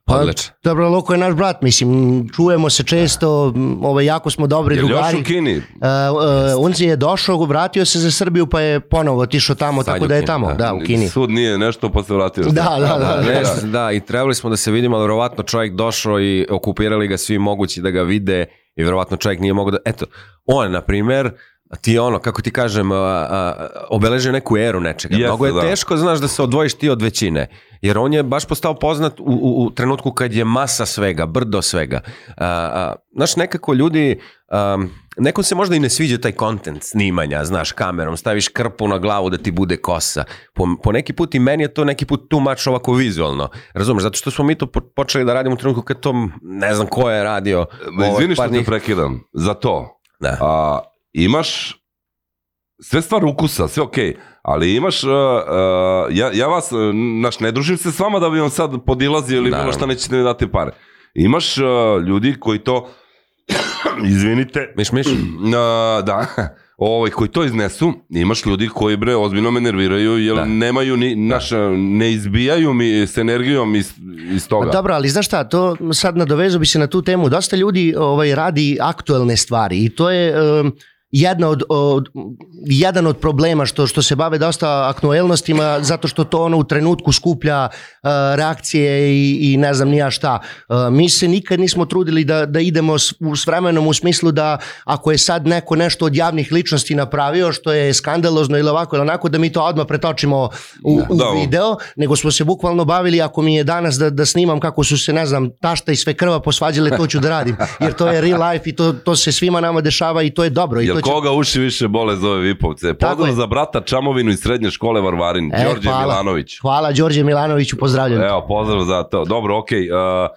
Speaker 3: Odlično.
Speaker 4: Pa, dobro, Loko je naš brat, mislim, čujemo se često, m, ovaj, jako smo dobri
Speaker 2: Jel još
Speaker 4: drugari.
Speaker 2: u Kini?
Speaker 4: E, e, on je došao, vratio se za Srbiju, pa je ponovo otišao tamo,
Speaker 3: Sad je
Speaker 4: tako
Speaker 3: u
Speaker 4: da je
Speaker 3: Kini,
Speaker 4: tamo,
Speaker 3: da.
Speaker 4: da, u Kini.
Speaker 2: Sud nije nešto, pa se vratio.
Speaker 4: Da, da, da.
Speaker 3: Da, nešto, da, i trebali smo da se vidimo, ali verovatno čovjek došao i okupirali ga svi mogući da ga vide i verovatno čovjek nije mogao da... Eto, on, na primer, ti je ono, kako ti kažem, a, a, obeležio neku eru nečega.
Speaker 2: Jeste,
Speaker 3: Mnogo je
Speaker 2: da.
Speaker 3: teško, znaš, da se odvojiš ti od većine. Jer on je baš postao poznat u, u, u trenutku kad je masa svega, brdo svega. A, a, znaš, nekako ljudi... Um, nekom se možda i ne sviđa taj kontent snimanja, znaš, kamerom, staviš krpu na glavu da ti bude kosa. Po, po neki put i meni je to neki put tu mač ovako vizualno. Razumeš, zato što smo mi to po- počeli da radimo u trenutku kad to ne znam ko je radio.
Speaker 2: Ma, Izvini
Speaker 3: Ovaj,
Speaker 2: što
Speaker 3: par
Speaker 2: te
Speaker 3: njih-
Speaker 2: prekidam. Za to.
Speaker 3: Da.
Speaker 2: A, imaš sve stvar ukusa, sve okej, ali imaš, uh, uh, ja, ja vas, uh, naš, ne družim se s vama da bi vam sad podilazio ili bilo
Speaker 3: Naravno.
Speaker 2: šta nećete mi dati pare. Imaš uh, ljudi koji to, izvinite,
Speaker 3: Miš, miš?
Speaker 2: uh, da, ovaj, koji to iznesu, imaš ljudi koji bre ozbiljno me nerviraju jer
Speaker 3: Da.
Speaker 2: nemaju ni, naš, ne izbijaju mi s energijom iz, iz toga.
Speaker 4: Pa Dobro, ali znaš šta, to sad nadovezu bi se na tu temu. Dosta ljudi ovaj, radi aktuelne stvari i to je em, jedna od, od- jedan od problema što, što se bave dosta aktuelnostima zato što to ono u trenutku skuplja eh, reakcije i, i ne znam ni ja šta. Eh, mi se nikad nismo trudili da, da idemo s, u- s vremenom u smislu da ako je sad neko nešto od javnih ličnosti napravio što je skandalozno ili ovako ili onako da mi to odmah pretočimo u, u
Speaker 2: Da, u-
Speaker 4: video video, nego smo se bukvalno bavili ako mi je danas da, da snimam kako su se, ne znam, tašta i sve krva posvađale, to ću da radim. Jer to je real life i to, to se svima nama dešava i to je dobro. I
Speaker 2: Jel
Speaker 4: to će...
Speaker 2: koga uši više bole zove Vipovce?
Speaker 4: Tako
Speaker 2: Pozdrav
Speaker 4: je.
Speaker 2: za brata Čamovinu iz srednje škole Varvarin,
Speaker 4: E,
Speaker 2: Đorđe
Speaker 4: hvala.
Speaker 2: Milanović.
Speaker 4: Hvala Đorđe Milanoviću, pozdravljam.
Speaker 2: Evo, pozdrav za to. Dobro, okej. Okay.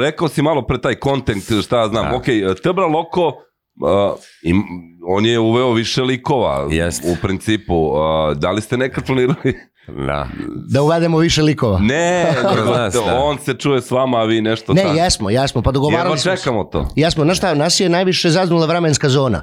Speaker 2: rekao si malo pre taj kontent, šta ja znam.
Speaker 3: Da.
Speaker 2: Okej, e, okay, Tebra Loko, uh, im, on je uveo više likova
Speaker 3: Jest.
Speaker 2: u principu. Uh, da li ste nekad planirali?
Speaker 3: Da.
Speaker 4: Da uvedemo više likova.
Speaker 2: ne, nego
Speaker 3: nas,
Speaker 2: to-
Speaker 3: da.
Speaker 2: on se čuje s vama, a vi nešto
Speaker 4: Ne,
Speaker 2: tako.
Speaker 4: jesmo, jesmo, pa
Speaker 2: Jedva
Speaker 4: dogovarali smo se.
Speaker 2: čekamo to.
Speaker 4: Jesmo, znaš šta, nas je najviše zaznula vremenska zona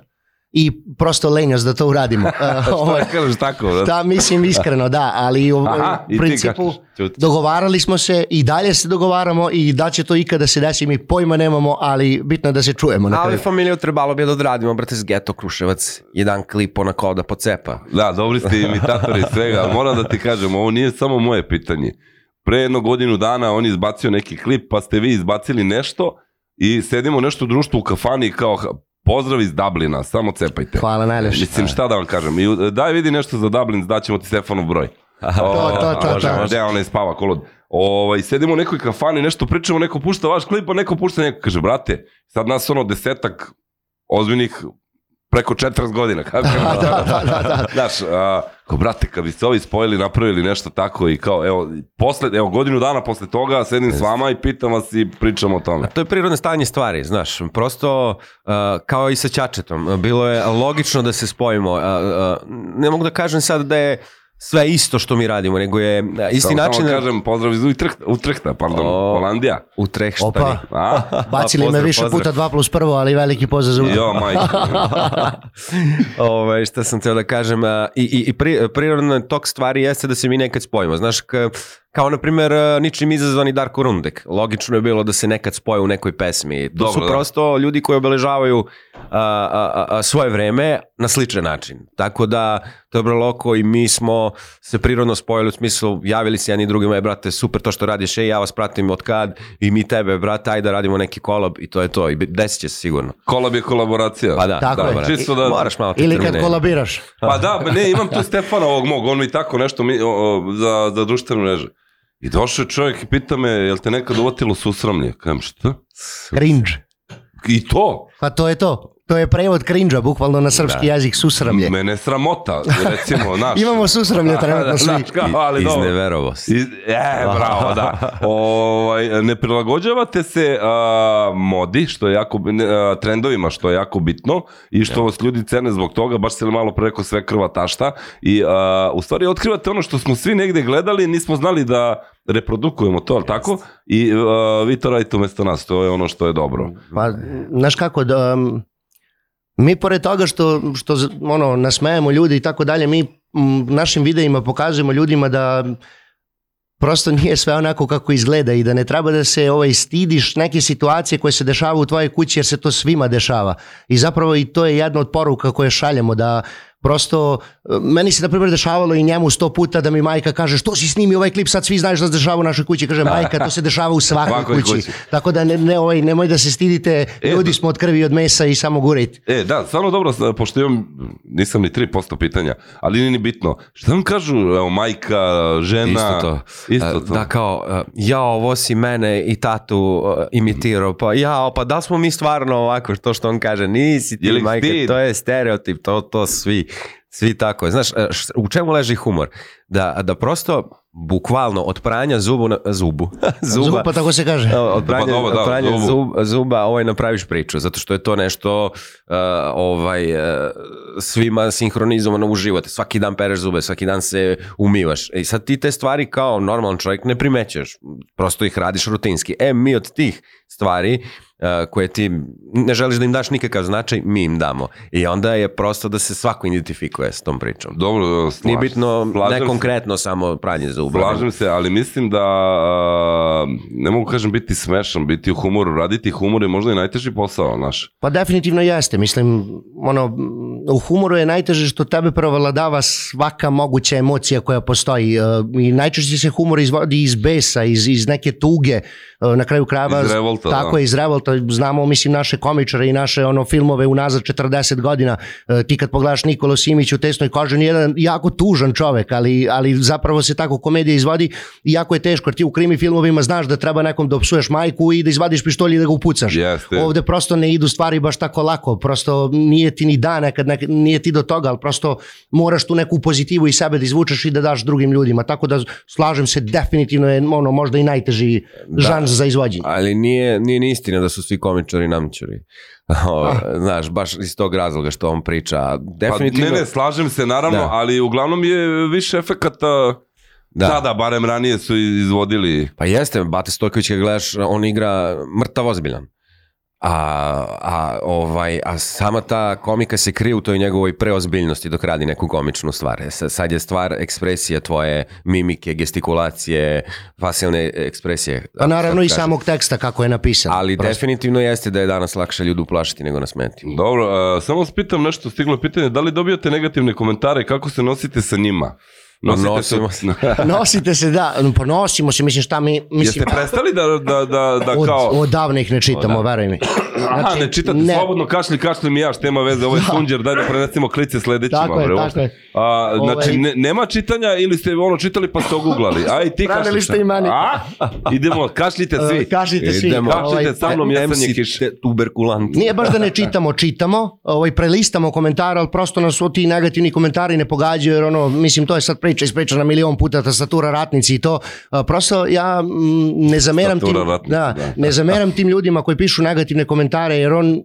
Speaker 4: i prosto lenjost da to uradimo. E, ovo-
Speaker 2: Šta kažeš tako? brate?
Speaker 4: Da, mislim iskreno, da, ali u,
Speaker 2: Aha, i
Speaker 4: u
Speaker 2: ti
Speaker 4: principu
Speaker 2: kažeš, ćuti.
Speaker 4: dogovarali smo se i dalje se dogovaramo i da će to ikada se desi mi pojma nemamo, ali bitno je da se čujemo na
Speaker 3: Ali
Speaker 4: kraju.
Speaker 3: familiju trebalo bi da odradimo, brate, s Geto Kruševac. Jedan klip onako da pocepa.
Speaker 2: Da, dobri ste imitatori svega. Moram da ti kažem, ovo nije samo moje pitanje. Pre jedno godinu dana on je izbacio neki klip, pa ste vi izbacili nešto i sedimo nešto u društvu u kafani i kao "Ha, pozdrav iz Dublina, samo cepajte.
Speaker 4: Hvala najlepše.
Speaker 2: Mislim, šta da vam kažem. I, e, daj vidi nešto za Dublin, daćemo ti Stefanov broj.
Speaker 4: To, to, to,
Speaker 2: Može,
Speaker 4: to.
Speaker 2: može. Gde onaj spava kolod. Ovaj, sedimo u nekoj kafani, nešto pričamo, neko pušta vaš klip, a neko pušta neko. Kaže, brate, sad nas ono desetak ozbiljnih preko 40 godina. Kako da, da, da, da. Znaš, a, kao, brate, kad bi se ovi spojili, napravili nešto tako i kao, evo, posle, evo godinu dana posle toga sedim s vama i pitam vas i pričamo o tome.
Speaker 3: To je prirodno stanje stvari, znaš, prosto uh, kao i sa Ćačetom, bilo je logično da se spojimo, uh, uh, ne mogu da kažem sad da je sve isto što mi radimo, nego je uh, isti
Speaker 2: Samo-
Speaker 3: način
Speaker 2: Samo kažem, pozdrav iz Utrehta, Utrehta pardon,
Speaker 3: O.
Speaker 2: Holandija.
Speaker 3: u trehštani.
Speaker 4: Opa.
Speaker 2: A?
Speaker 4: Bacili me
Speaker 3: pozdrav,
Speaker 4: više
Speaker 3: pozdrav.
Speaker 4: puta dva plus prvo, ali veliki pozdrav za
Speaker 2: Jo, majke.
Speaker 3: Ove, šta sam teo da kažem, a, i, i, i pri, prirodan tok stvari jeste da se mi nekad spojimo. Znaš, ka, kao na primer a, ničim izazvani Darko Rundek. Logično je bilo da se nekad spoje u nekoj pesmi. To
Speaker 2: Dobro,
Speaker 3: su
Speaker 2: da.
Speaker 3: prosto ljudi koji obeležavaju a, a, a, a, svoje vreme na sličan način. Tako da, to je bilo loko i mi smo se prirodno spojili u smislu, javili se jedni drugima, je brate, super to što radiš, ej, ja vas pratim od kad i mi tebe, brate, ajde da radimo neki kolab i to je to. I bi- desit će se sigurno.
Speaker 2: Kolab je kolaboracija.
Speaker 3: Pa da,
Speaker 4: Tako
Speaker 3: da,
Speaker 4: je.
Speaker 3: brate.
Speaker 2: Čisto da-
Speaker 3: moraš malo te
Speaker 4: Ili kad
Speaker 3: termine.
Speaker 4: kolabiraš.
Speaker 2: Pa da, ba ne, imam tu Stefana ovog mog, on mi tako nešto mi, o, o, za, za društvene mreže. I došao je čovjek i pita me, jel te nekad uvatilo susramlje? Kajem, šta?
Speaker 4: Cringe.
Speaker 2: I to,
Speaker 4: Pa to je to. To je prevod cringe bukvalno na srpski
Speaker 2: Da.
Speaker 4: jezik susramlje.
Speaker 2: mene sramota, recimo, naš. Da,
Speaker 4: Imamo susramlje trenutno svi.
Speaker 2: Znaš kao, ali dobro.
Speaker 3: Izneverovo si.
Speaker 2: Iz, e, bravo, da. Ovaj, ne prilagođavate se a, modi, što je jako, bi- ne, a, trendovima, što je jako bitno i što vas ljudi cene zbog toga, baš se malo preko sve krva tašta i a, u stvari otkrivate ono što smo svi negde gledali, nismo znali da reprodukujemo to, ali tako? I a, vi to radite umesto nas, to je ono što je dobro.
Speaker 4: Pa, znaš kako, da, um, mi pored toga što, što z- ono, nasmejamo ljudi i tako dalje, mi m, našim videima pokazujemo ljudima da prosto nije sve onako kako izgleda i da ne treba da se ovaj, stidiš neke situacije koje se dešavaju u tvojoj kući jer se to svima dešava. I zapravo i to je jedna od poruka koje šaljemo da prosto, e, meni se na primjer dešavalo i njemu sto puta da mi majka kaže što si snimi ovaj klip, sad svi znaju što se dešava u našoj kući. Kaže majka, to se dešava u svakoj
Speaker 2: Svakoj
Speaker 4: kući.
Speaker 2: kući.
Speaker 4: Tako da ne, ne, ovaj, nemoj da se stidite,
Speaker 2: E,
Speaker 4: ljudi
Speaker 2: da-
Speaker 4: smo od krvi i od mesa i samo gurajte.
Speaker 2: E, da, stvarno dobro, s- pošto imam, nisam ni 3% pitanja, ali nije ni bitno. Šta vam kažu, evo, majka, žena?
Speaker 3: Isto to.
Speaker 2: Isto
Speaker 3: E,
Speaker 2: to.
Speaker 3: Da kao, e, ja ovo si mene i tatu e, imitirao, pa ja, pa da smo mi stvarno ovako, to što on kaže, nisi ti
Speaker 2: Je li
Speaker 3: majke,
Speaker 2: stid?
Speaker 3: to je stereotip, to, to svi, svi tako je. Znaš, e, š- u čemu leži humor? Da, da prosto, bukvalno, od pranja zubu na, zubu, zuba,
Speaker 4: Zuba, pa tako se kaže.
Speaker 3: Evo, Od pranja,
Speaker 2: Pa dobro, da,
Speaker 3: od pranja
Speaker 2: zubu.
Speaker 3: zub, zuba ovaj napraviš priču, zato što je to nešto uh, ovaj, uh, svima sinhronizovano u život. Svaki dan pereš zube, svaki dan se umivaš. I sad ti te stvari kao normalan čovjek ne primećeš, prosto ih radiš rutinski. E, mi od tih stvari uh, koje ti ne želiš da im daš nikakav značaj, mi im damo. I onda je prosto da se svako identifikuje s tom pričom.
Speaker 2: Dobro, da, slažem.
Speaker 3: Nije bitno,
Speaker 2: slažem
Speaker 3: ne
Speaker 2: se.
Speaker 3: konkretno samo pranje zuba.
Speaker 2: Slažem se, ali mislim da a, ne mogu kažem biti smešan, biti u humoru, raditi humor je možda i najteži posao naš.
Speaker 4: Pa definitivno jeste, mislim, ono, m, u humoru je najteže što tebe prevladava svaka moguća emocija koja postoji e, i najčešće se humor izvodi iz besa, iz, iz neke tuge, e, na kraju krajeva,
Speaker 2: Iz revolta,
Speaker 4: tako
Speaker 2: da.
Speaker 4: je, iz revolta, znamo, mislim, naše komičare i naše ono filmove unazad 40 godina, E, ti kad pogledaš Nikolo Simić u tesnoj koži, on je jedan jako tužan čovek, ali, ali zapravo se tako komedija izvodi i jako je teško, jer ti u krimi filmovima znaš da treba nekom da opsuješ majku i da izvadiš pištolj i da ga upucaš.
Speaker 2: Jeste.
Speaker 4: Ovde prosto ne idu stvari baš tako lako, prosto nije ti ni dan nekad, nek, nije ti do toga, ali prosto moraš tu neku pozitivu i sebe da izvučeš i da daš drugim ljudima, tako da slažem se definitivno je ono možda i najteži da. žanr za izvođenje.
Speaker 3: Ali nije, nije ni istina da su svi komičari namćari.
Speaker 4: Ah.
Speaker 3: Znaš, baš iz tog razloga što on priča.
Speaker 2: Pa, ne,
Speaker 3: Definitivno,
Speaker 2: ne, slažem se naravno,
Speaker 3: Da.
Speaker 2: ali uglavnom je više efekata da.
Speaker 3: Da.
Speaker 2: tada, barem ranije su izvodili.
Speaker 3: Pa jeste, Bate Stojković kad gledaš, on igra mrtav ozbiljan. A, a, ovaj, a sama ta komika se krije u toj njegovoj preozbiljnosti dok radi neku komičnu stvar. E, sa- Sad je stvar ekspresije tvoje, mimike, gestikulacije, facijalne ekspresije.
Speaker 4: Pa naravno i
Speaker 3: Sad kažem.
Speaker 4: samog teksta kako je napisan.
Speaker 3: Ali
Speaker 4: prosto.
Speaker 3: definitivno jeste da je danas lakše ljudu plašiti nego nasmeti.
Speaker 2: Dobro, a, samo vas pitam nešto, stiglo je pitanje, da li dobijate negativne komentare, kako se nosite sa njima? Nosite se...
Speaker 3: Nosimo
Speaker 4: Nosite se, da, ponosimo se, mislim šta mi...
Speaker 2: Jeste
Speaker 4: Mislim,
Speaker 2: prestali da, da, da, da
Speaker 4: od,
Speaker 2: kao... da.
Speaker 4: odavno ih ne čitamo, veruj mi.
Speaker 2: Aha, ne čitate
Speaker 4: Znači, ne.
Speaker 2: slobodno, kašli, kašli mi ja, šta ima veze, ovo je sunđer, daj da prenesemo klice sledećima.
Speaker 4: Tako je,
Speaker 2: bre,
Speaker 4: tako je.
Speaker 2: A,
Speaker 4: Ovaj-
Speaker 2: znači, ne, nema čitanja ili ste ono čitali pa ste oguglali. Aj, ti
Speaker 4: Pravili
Speaker 2: kašlite.
Speaker 4: ste i mani.
Speaker 2: A? Idemo, kašljite svi.
Speaker 4: E, kašljite svi.
Speaker 2: Idemo.
Speaker 4: Ovaj,
Speaker 2: Kašljite sa mnom, ja sam je kiš.
Speaker 3: tuberkulant.
Speaker 4: Nije baš da ne čitamo, čitamo, ovaj, prelistamo komentare, ali prosto nas o ti negativni komentari ne pogađaju, jer ono, mislim, to je sad priča ispričana milion puta, tastatura ratnici i to. A, Prosto ja mm, ne zameram, tim,
Speaker 2: Tastatura ratnici,
Speaker 4: da,
Speaker 2: da.
Speaker 4: ne zameram tim ljudima koji pišu negativne komentare, jer on mm,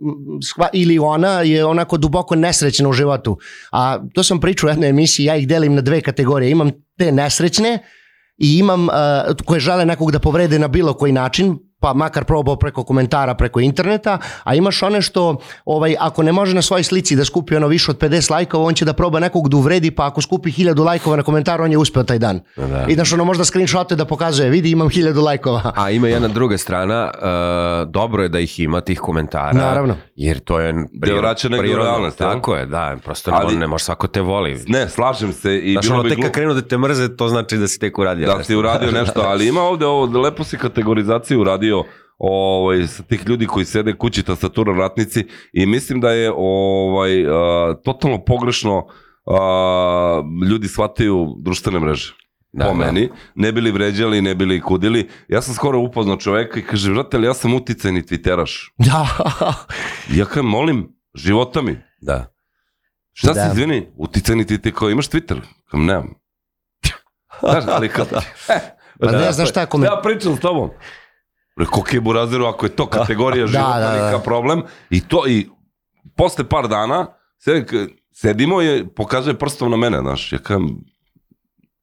Speaker 4: shva, ili ona je onako duboko nesrećna u životu. A to sam pričao u jednoj emisiji, ja ih delim na dve kategorije. Imam te nesrećne, i imam uh, koje žele nekog da povrede na bilo koji način pa makar probao preko komentara, preko interneta, a imaš one što, ovaj, ako ne može na svojoj slici da skupi ono više od 50 lajkova, on će da proba nekog da uvredi, pa ako skupi 1000 lajkova na komentar, on je uspeo taj dan. Da. I znaš, ono možda screenshote da pokazuje, vidi imam 1000 lajkova.
Speaker 3: A ima jedna druga strana, uh, dobro je da ih ima tih komentara.
Speaker 4: Naravno.
Speaker 3: Jer to je
Speaker 2: Da vraća negdje u realnost, jel?
Speaker 3: Tako je, da, prosto
Speaker 2: Ali-
Speaker 3: Ali, ne može svako te voli.
Speaker 2: Ne, slažem se i
Speaker 3: Znaš,
Speaker 2: bilo
Speaker 3: ono
Speaker 2: bi
Speaker 3: tek kad
Speaker 2: glupo.
Speaker 3: krenu da te mrze, to znači da si tek uradio
Speaker 2: Da
Speaker 3: nešto.
Speaker 2: si uradio nešto, ali ima ovde ovo, lepo si kategorizaciju uradio ovaj, sa tih ljudi koji sede kući tastatura ratnici i mislim da je ovaj, a, totalno pogrešno a, ljudi shvataju društvene mreže. Da,
Speaker 3: Da,
Speaker 2: po
Speaker 3: da.
Speaker 2: meni, ne bili vređali, ne bili kudili. Ja sam skoro upoznao čoveka i kaže, vrate, ali ja sam uticajni twitteraš.
Speaker 4: Da,
Speaker 2: Ja kažem, molim, života mi.
Speaker 3: Da.
Speaker 2: Šta
Speaker 4: Da.
Speaker 2: si, izvini, uticajni ti ti kao imaš Twitter? Kam nemam. Znaš, ali kao... e, da,
Speaker 4: Pa ne znam šta kome-
Speaker 2: Ja pričam s tobom. Rekao, ok, Burazeru, ako je to kategorija života, da,
Speaker 4: da, da.
Speaker 2: da, problem. I to, i posle par dana, sedi, sedimo je, pokazuje prstom na mene, znaš, ja kažem,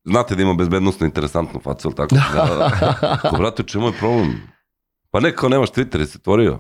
Speaker 2: znate da imam bezbednostno interesantnu facu, ili tako? Da, da. Ako, brate, u čemu je problem? Pa ne, kao nemaš Twitter, jesi otvorio?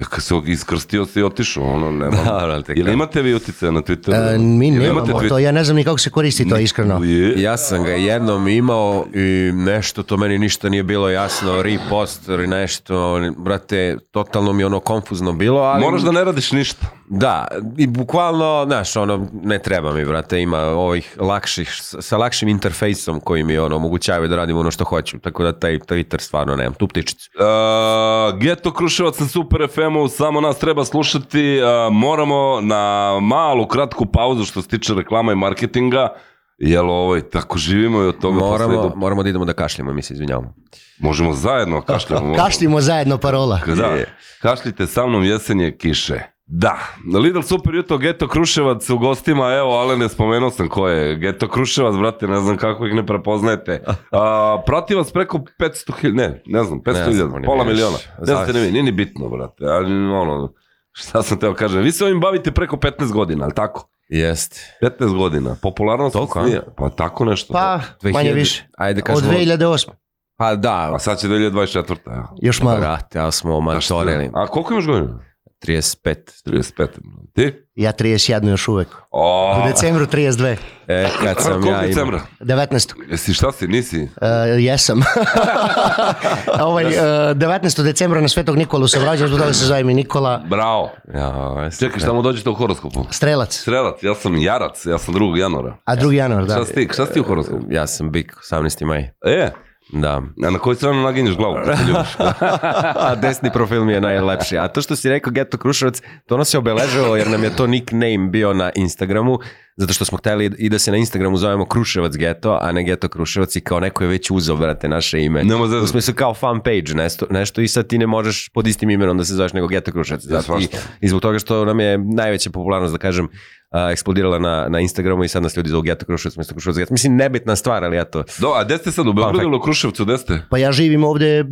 Speaker 2: Ja kad se iskrstio se i otišao, ono, nema.
Speaker 3: Da, ali tek
Speaker 2: Jel imate vi utice na Twitteru?
Speaker 4: e, mi
Speaker 2: Jel imate
Speaker 4: nemamo to, ja ne znam ni kako se koristi to, iskreno.
Speaker 2: Je.
Speaker 3: Ja sam ga jednom imao i nešto, to meni ništa nije bilo jasno, repost ili nešto, brate, totalno mi je ono konfuzno bilo, ali...
Speaker 2: Moraš da ne radiš ništa.
Speaker 3: Da, i bukvalno, znaš, ono, ne treba mi, brate, ima ovih lakših, sa lakšim interfejsom koji mi, ono, omogućavaju da radim ono što hoću, tako da taj Twitter stvarno nemam, tu ptičicu.
Speaker 2: Uh, Geto Kruševac sa Super FM-u, samo nas treba slušati. Uh, moramo na malu, kratku pauzu što se tiče reklama i marketinga, jel ovaj, tako živimo i od toga posle
Speaker 3: Moramo,
Speaker 2: idu-
Speaker 3: moramo da idemo da kašljamo, mi se izvinjavamo.
Speaker 2: Možemo zajedno, kašljamo.
Speaker 4: Kaštimo zajedno parola.
Speaker 2: Da, kašljite sa mnom jesenje kiše. Da, Lidl Super Juto, Geto Kruševac u gostima, evo, ale ne spomenuo sam ko je. Geto Kruševac, brate, ne znam kako ih ne prepoznajete. A, prati vas preko 500 hiljada, ne, ne znam, 500
Speaker 3: Ne znam,
Speaker 2: hiljada,
Speaker 3: oni
Speaker 2: pola
Speaker 3: mi
Speaker 2: miliona.
Speaker 3: još-
Speaker 2: Ne znate ni
Speaker 3: zavisi.
Speaker 2: vi, nije ni bitno, brate, ali ono, šta sam teo kažem. Vi se ovim bavite preko 15 godina, ali tako?
Speaker 3: Jeste.
Speaker 2: 15 godina, popularnost
Speaker 3: Toliko,
Speaker 2: vas
Speaker 3: a?
Speaker 2: nije, pa tako nešto.
Speaker 4: Pa, manje
Speaker 3: 2000
Speaker 4: više.
Speaker 3: Ajde,
Speaker 2: da
Speaker 4: Od
Speaker 3: kažemo,
Speaker 4: 2008.
Speaker 3: pa da,
Speaker 2: A sad će 2024. Evo.
Speaker 4: Još malo.
Speaker 3: brate, ali smo omatorili.
Speaker 2: A koliko imaš godina?
Speaker 3: 35.
Speaker 2: 35. Ti?
Speaker 4: Ja 31 još uvek.
Speaker 3: Pa
Speaker 2: O,
Speaker 4: U decembru 32.
Speaker 3: E, kad sam
Speaker 2: Koliko
Speaker 3: ja imao...
Speaker 2: decembra?
Speaker 4: 19.
Speaker 2: Jesi šta si, nisi?
Speaker 4: Uh, jesam. ovaj, uh, 19. decembra na Svetog Nikolu sam rođen, zbog toga se zove mi Nikola
Speaker 2: Bravo.
Speaker 3: Ja, jeste.
Speaker 2: Čekaj, šta mu dođete u horoskopu?
Speaker 4: Strelac,
Speaker 2: Strelac, ja sam jarac, ja sam 2. januara.
Speaker 4: a 2. januar, da.
Speaker 2: Šta si ti, šta
Speaker 3: e,
Speaker 2: si ti u horoskopu?
Speaker 3: Ja sam bik, 18. maj.
Speaker 2: E,
Speaker 3: Da.
Speaker 2: a na koju stranu naginješ glavu kad se ljubiš?
Speaker 3: A desni profil mi je najlepši. A to što si rekao Geto Kruševac, to nas je obeležilo jer nam je to nickname bio na Instagramu, zato što smo hteli i da se na Instagramu zovemo Kruševac Geto, a ne Geto Kruševac i kao neko je već uzeo, brate, naše ime.
Speaker 2: Nema
Speaker 3: U
Speaker 2: zezati.
Speaker 3: smislu kao fan page, nešto, nešto i sad ti ne možeš pod istim imenom da se zoveš nego Geto Kruševac.
Speaker 2: Ja,
Speaker 3: i,
Speaker 2: svašta.
Speaker 3: I zbog toga što nam je najveća popularnost, da kažem, a, eksplodirala na, na Instagramu i sad nas ljudi zovu Geto Kruševac, mesto Kruševac Geto. Mislim, nebitna stvar, ali eto.
Speaker 2: Do, a gde ste sad, u
Speaker 3: Pa,
Speaker 2: Beogradu ili u Kruševcu, gde ste?
Speaker 4: Pa ja živim ovde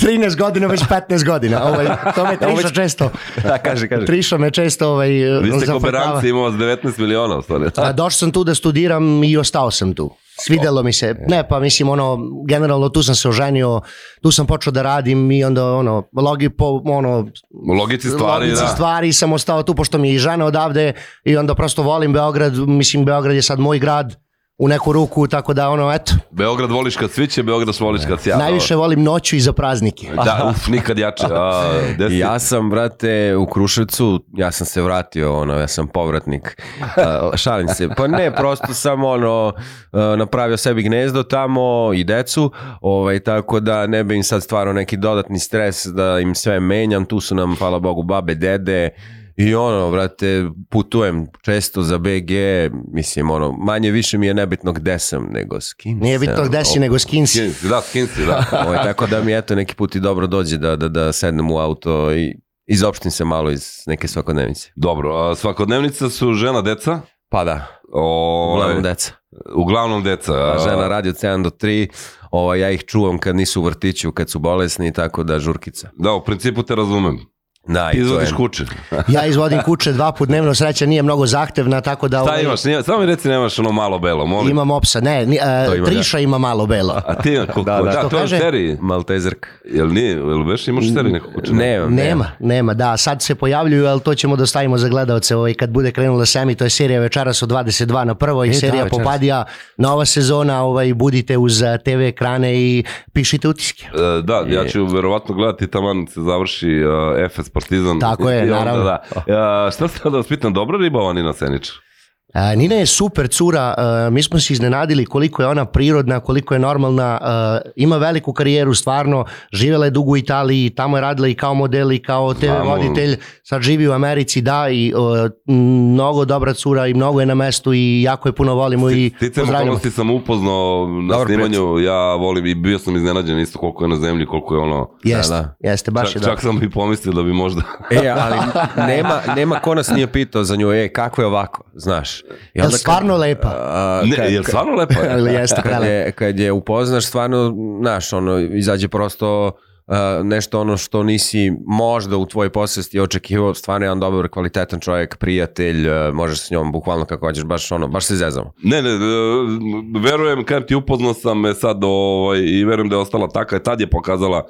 Speaker 4: 13 godina, već 15 godina. Ovaj, to me triša često.
Speaker 3: Da, kaže, kaže.
Speaker 4: Triša me često ovaj,
Speaker 2: Vi ste ko
Speaker 4: zafrkava.
Speaker 2: Beranci, imao vas 19 miliona, u stvari.
Speaker 4: A došao sam tu da studiram i ostao sam tu. Svidelo mi se. Ne, pa mislim, ono, generalno tu sam se oženio, tu sam počeo da radim i onda, ono, logi po, ono,
Speaker 2: U logici stvari,
Speaker 4: logici
Speaker 2: da.
Speaker 4: stvari sam ostao tu pošto mi je i žena odavde i onda prosto volim Beograd, mislim Beograd je sad moj grad, u neku ruku, tako da ono, eto,
Speaker 2: Beograd voliš kad sviće, Beograd voliš kad sjaja.
Speaker 4: najviše volim noću i za praznike.
Speaker 2: Da, uf, nikad jače. A, gde si?
Speaker 3: Ja sam, brate, u Kruševcu, ja sam se vratio, ono, ja sam povratnik. A, šalim se. Pa ne, prosto sam, ono, a, napravio sebi gnezdo tamo i decu, ovaj, tako da ne bi im sad stvarao neki dodatni stres da im sve menjam. Tu su nam, hvala Bogu, babe, dede, I ono, brate, putujem često za BG, mislim, ono, manje više mi je nebitno gde sam, nego s kim
Speaker 4: Nije bitno
Speaker 3: sam,
Speaker 4: gde si, nego skin si.
Speaker 2: Skinsi, da, skinsi, da.
Speaker 3: Ovaj, tako da mi eto neki put i dobro dođe da, da, da sednem u auto i izopštim se malo iz neke svakodnevice.
Speaker 2: Dobro, a, svakodnevnica su žena, deca?
Speaker 3: Pa da,
Speaker 2: O,
Speaker 3: uglavnom deca.
Speaker 2: Uglavnom deca.
Speaker 3: A
Speaker 2: Ovaj, a,
Speaker 3: žena radi od 7 do 3, ovaj, ja ih čuvam kad nisu u vrtiću, kad su bolesni, tako da žurkica.
Speaker 2: Da, u principu te razumem.
Speaker 3: Da,
Speaker 2: Ti
Speaker 3: i to je.
Speaker 2: izvodiš kuće.
Speaker 4: Ja izvodim kuće dva put dnevno, sreća nije mnogo zahtevna, tako da
Speaker 2: Šta
Speaker 4: ovaj,
Speaker 2: imaš? Nije, samo mi reci nemaš ono malo belo, molim.
Speaker 4: imam opsa. Ne, ni,
Speaker 3: To
Speaker 4: a,
Speaker 3: ima,
Speaker 4: triša ima malo belo.
Speaker 2: A ti imaš kuću?
Speaker 3: Da, da.
Speaker 2: da,
Speaker 4: Što
Speaker 2: to je
Speaker 4: kaže?
Speaker 2: seriji.
Speaker 3: Maltezerka.
Speaker 2: Jel nije, jel već imaš seriji neku kuću? E,
Speaker 3: Nemam,
Speaker 4: Nema, nema, da, sad se pojavljuju, ali to ćemo da stavimo za gledalce ovaj, kad bude krenula sami, to je serija večeras od 22 na prvo i
Speaker 3: E, da,
Speaker 4: serija
Speaker 3: večeras.
Speaker 4: Popadija, nova sezona, ovaj, budite uz eh, TV ekrane i pišite utiske.
Speaker 2: E, Da, ja ću verovatno gledati taman se završi uh, Efes Partizan.
Speaker 4: Tako je,
Speaker 2: I onda,
Speaker 4: naravno.
Speaker 2: Da. Uh, šta sad da vas pitam, dobra riba ova Nina Senić?
Speaker 4: A, E, Nina je super cura, a, mi smo se iznenadili koliko je ona prirodna, koliko je normalna, a, ima veliku karijeru stvarno, živela je dugo u Italiji, tamo je radila i kao model i kao TV
Speaker 2: Znamo.
Speaker 4: voditelj, sad živi u Americi, da, i a, mnogo dobra cura i mnogo je na mestu i jako je puno volimo i
Speaker 2: Sticam
Speaker 4: pozdravljamo.
Speaker 2: okolnosti sam upoznao na
Speaker 3: Dobar
Speaker 2: snimanju, ja volim i bio sam iznenađen isto koliko je na zemlji, koliko je ono...
Speaker 4: Jeste,
Speaker 3: Da, da.
Speaker 4: jeste, baš je
Speaker 2: čak,
Speaker 4: da.
Speaker 2: čak sam i pomislio da bi možda...
Speaker 3: E, ali nema, nema ko nas nije pitao za nju, e, kako je ovako, znaš. I
Speaker 4: Jel
Speaker 3: onda kad-
Speaker 4: stvarno lepa?
Speaker 3: A, kad-
Speaker 2: Ne, jer stvarno lepa je.
Speaker 4: Ali jeste,
Speaker 3: Da. kad
Speaker 4: prelepa.
Speaker 3: je, kad je upoznaš, stvarno, znaš, ono, izađe prosto uh, nešto ono što nisi možda u tvojoj posvesti očekivao, stvarno je on dobar, kvalitetan čovjek, prijatelj, uh, možeš s njom bukvalno kako hoćeš, baš ono, baš se zezamo.
Speaker 2: Ne, ne, e, verujem, kažem ti, upoznao sam je sad ovaj, i verujem da je ostala taka, i tad je pokazala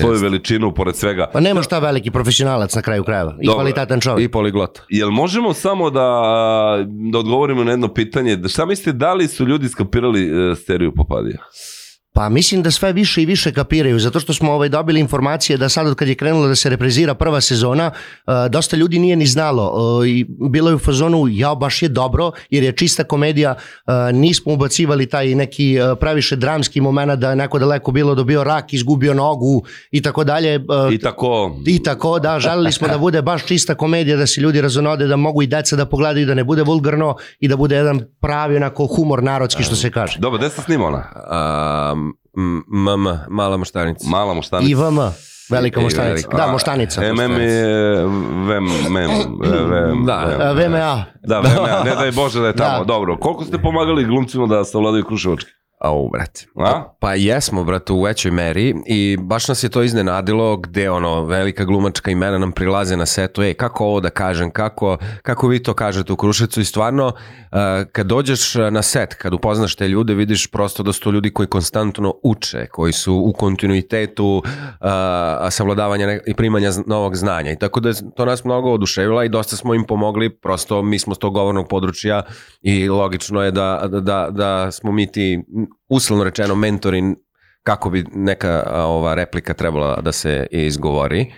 Speaker 2: svoju veličinu pored svega.
Speaker 4: Pa nema šta veliki profesionalac na kraju krajeva i
Speaker 2: Dobro.
Speaker 4: kvalitetan čovjek.
Speaker 3: I poliglot.
Speaker 2: Jel možemo samo da, da odgovorimo na jedno pitanje? Da Šta mislite, da li su ljudi skapirali e, seriju Popadija?
Speaker 4: Pa mislim da sve više i više kapiraju, zato što smo ovaj, dobili informacije da sad od kad je krenula da se reprezira prva sezona, e, dosta ljudi nije ni znalo e, i bilo je u fazonu, ja baš je dobro, jer je čista komedija, e, nismo ubacivali taj neki e, previše dramski moment da je neko daleko bilo dobio rak, izgubio nogu i tako dalje. e,
Speaker 2: I tako,
Speaker 4: I tako, da, želeli smo da bude baš čista komedija, da se ljudi razonode, da mogu i deca da pogledaju, da ne bude vulgarno i da bude jedan pravi onako humor narodski, što se kaže.
Speaker 2: dobro, gde se snima ona?
Speaker 3: Um, mm, mm, mala maštanica.
Speaker 2: Mala moštanica.
Speaker 4: IVM, velika
Speaker 3: I-
Speaker 4: moštanica.
Speaker 3: velika. E,
Speaker 4: Da, moštanica.
Speaker 2: MM je vem, mem, e, vem,
Speaker 3: Da.
Speaker 2: vem.
Speaker 4: E, VMA.
Speaker 2: Da, VMA, ne daj Bože da je tamo.
Speaker 4: Da.
Speaker 2: Dobro, koliko ste pomagali glumcima da savladaju Kruševački?
Speaker 3: Au, brate.
Speaker 2: A?
Speaker 3: Pa jesmo, brate, u većoj meri i baš nas je to iznenadilo gde ono, velika glumačka imena nam prilaze na setu, ej, kako ovo da kažem, kako, kako vi to kažete u Krušecu i stvarno, eh, kad dođeš na set, kad upoznaš te ljude, vidiš prosto da su to ljudi koji konstantno uče, koji su u kontinuitetu eh, savladavanja ne- i primanja z- novog znanja i tako da je to nas mnogo oduševila i dosta smo im pomogli, prosto mi smo s tog govornog područja i logično je da, da- da, da smo mi ti uslovno rečeno mentori kako bi neka a, ova replika trebala da se izgovori.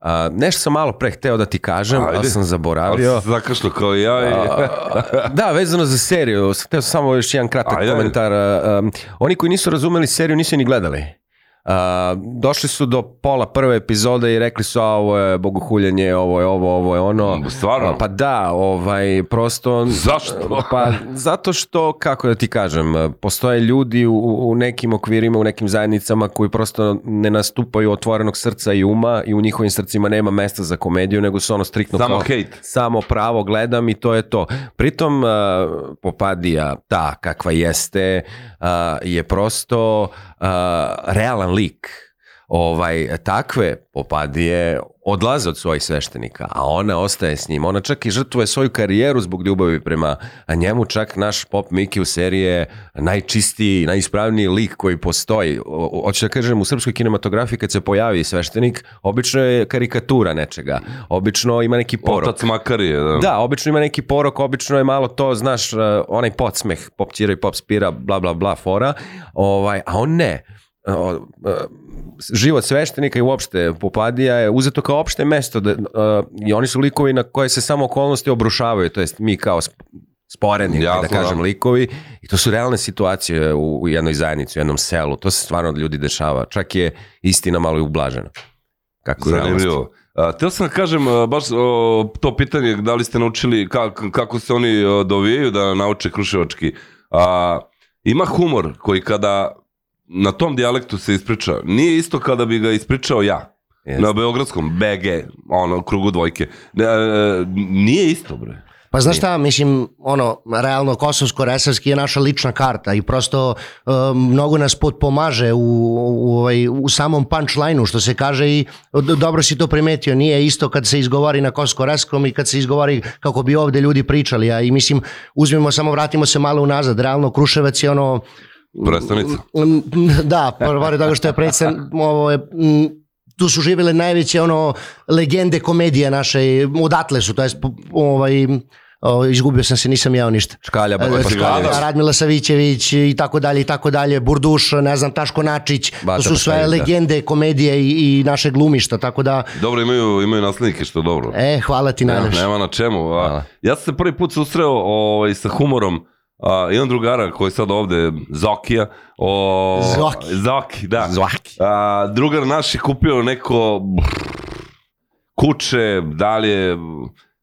Speaker 3: A, nešto sam malo pre hteo da ti kažem,
Speaker 2: Ajde.
Speaker 3: ali sam
Speaker 2: Ali
Speaker 3: zaboravio.
Speaker 2: sam se zakašljao kao i ja. I...
Speaker 3: A, da, vezano za seriju, sam hteo sam samo još jedan kratak
Speaker 2: Ajde, ajde.
Speaker 3: komentar. A, um, oni koji nisu razumeli seriju nisu je ni gledali. A, došli su do pola prve epizode i rekli su a, ovo je bogohuljanje, ovo je ovo, ovo je ono.
Speaker 2: Stvarno?
Speaker 3: A, Pa da, ovaj, prosto...
Speaker 2: Zašto?
Speaker 3: Pa zato što, kako da ti kažem, postoje ljudi u, u nekim okvirima, u nekim zajednicama koji prosto ne nastupaju otvorenog srca i uma i u njihovim srcima nema mesta za komediju, nego su ono striktno
Speaker 2: Samo
Speaker 3: kao-
Speaker 2: hejt.
Speaker 3: samo pravo gledam i to je to. Pritom eh, Popadija, ta kakva jeste, eh, je prosto eh, realan lik. ovaj, takve popadije odlaze od svojih sveštenika, a ona ostaje s njim. Ona čak i žrtvuje svoju karijeru zbog ljubavi prema a njemu. Čak naš pop Miki u seriji je najčistiji, najispravniji lik koji postoji. O- o- Hoću da kažem, u srpskoj kinematografiji kad se pojavi sveštenik, obično je karikatura nečega. Obično ima neki porok.
Speaker 2: Otac Makarije, da.
Speaker 3: Da, obično ima neki porok, obično je malo to, znaš, uh, onaj podsmeh, pop ćira i pop spira, bla, bla, bla, fora, ovaj, a on ne. Uh, uh, život sveštenika i uopšte popadija je uzeto kao opšte mesto da, uh, i oni su likovi na koje se samo okolnosti obrušavaju, to jest mi kao sp- sporeni,
Speaker 2: Jasno,
Speaker 3: da kažem,
Speaker 2: da.
Speaker 3: likovi i to su realne situacije u, u jednoj zajednici, u jednom selu, to se stvarno od ljudi dešava, čak je istina malo i ublažena. Kako je u realnosti.
Speaker 2: Zanimljivo. A, teo sam da kažem a, baš o, to pitanje da li ste naučili ka, kako se oni o, dovijaju da nauče kruševački. A, ima humor koji kada na tom dijalektu se ispriča, nije isto kada bi ga ispričao ja.
Speaker 3: Jeste.
Speaker 2: Na beogradskom, BG, ono, krugu dvojke. Ne, e, nije isto, bre.
Speaker 4: Pa znaš šta, mislim, ono, realno kosovsko-resavski je naša lična karta i prosto e, mnogo nas potpomaže u, u, ovaj, u samom punchline-u, što se kaže i d- dobro si to primetio, nije isto kad se izgovori na kosovsko-reskom i kad se izgovori kako bi ovde ljudi pričali, a i mislim, uzmimo, samo vratimo se malo unazad, realno Kruševac je ono,
Speaker 2: Prestonica.
Speaker 4: Mm, Da, pored toga što je predstav, ovo je, mm, tu su živele najveće ono legende komedije naše, odatle su, to jest po- ovaj, o, izgubio sam se, nisam jeo ništa.
Speaker 3: Škalja, Barbara
Speaker 4: da,
Speaker 3: Škaljević.
Speaker 4: Škada, Radmila Savićević i tako dalje i tako dalje, Burduš, ne znam, Taško Načić,
Speaker 3: Bata
Speaker 4: to su sve
Speaker 3: Paškalić, da.
Speaker 4: legende komedije i, i naše glumišta, tako da,
Speaker 2: Dobro, imaju, imaju naslednike, što je dobro.
Speaker 4: e, hvala ti
Speaker 2: Nema,
Speaker 4: najlepše.
Speaker 2: Da, nema na čemu. A,
Speaker 3: Hvala.
Speaker 2: ja sam se prvi put susreo ovaj, sa humorom a, imam drugara koji je sad ovde, Zokija. O,
Speaker 4: Zoki.
Speaker 2: Zoki, da.
Speaker 3: Zvaki.
Speaker 2: A, drugar naš je kupio neko kuće, dalje,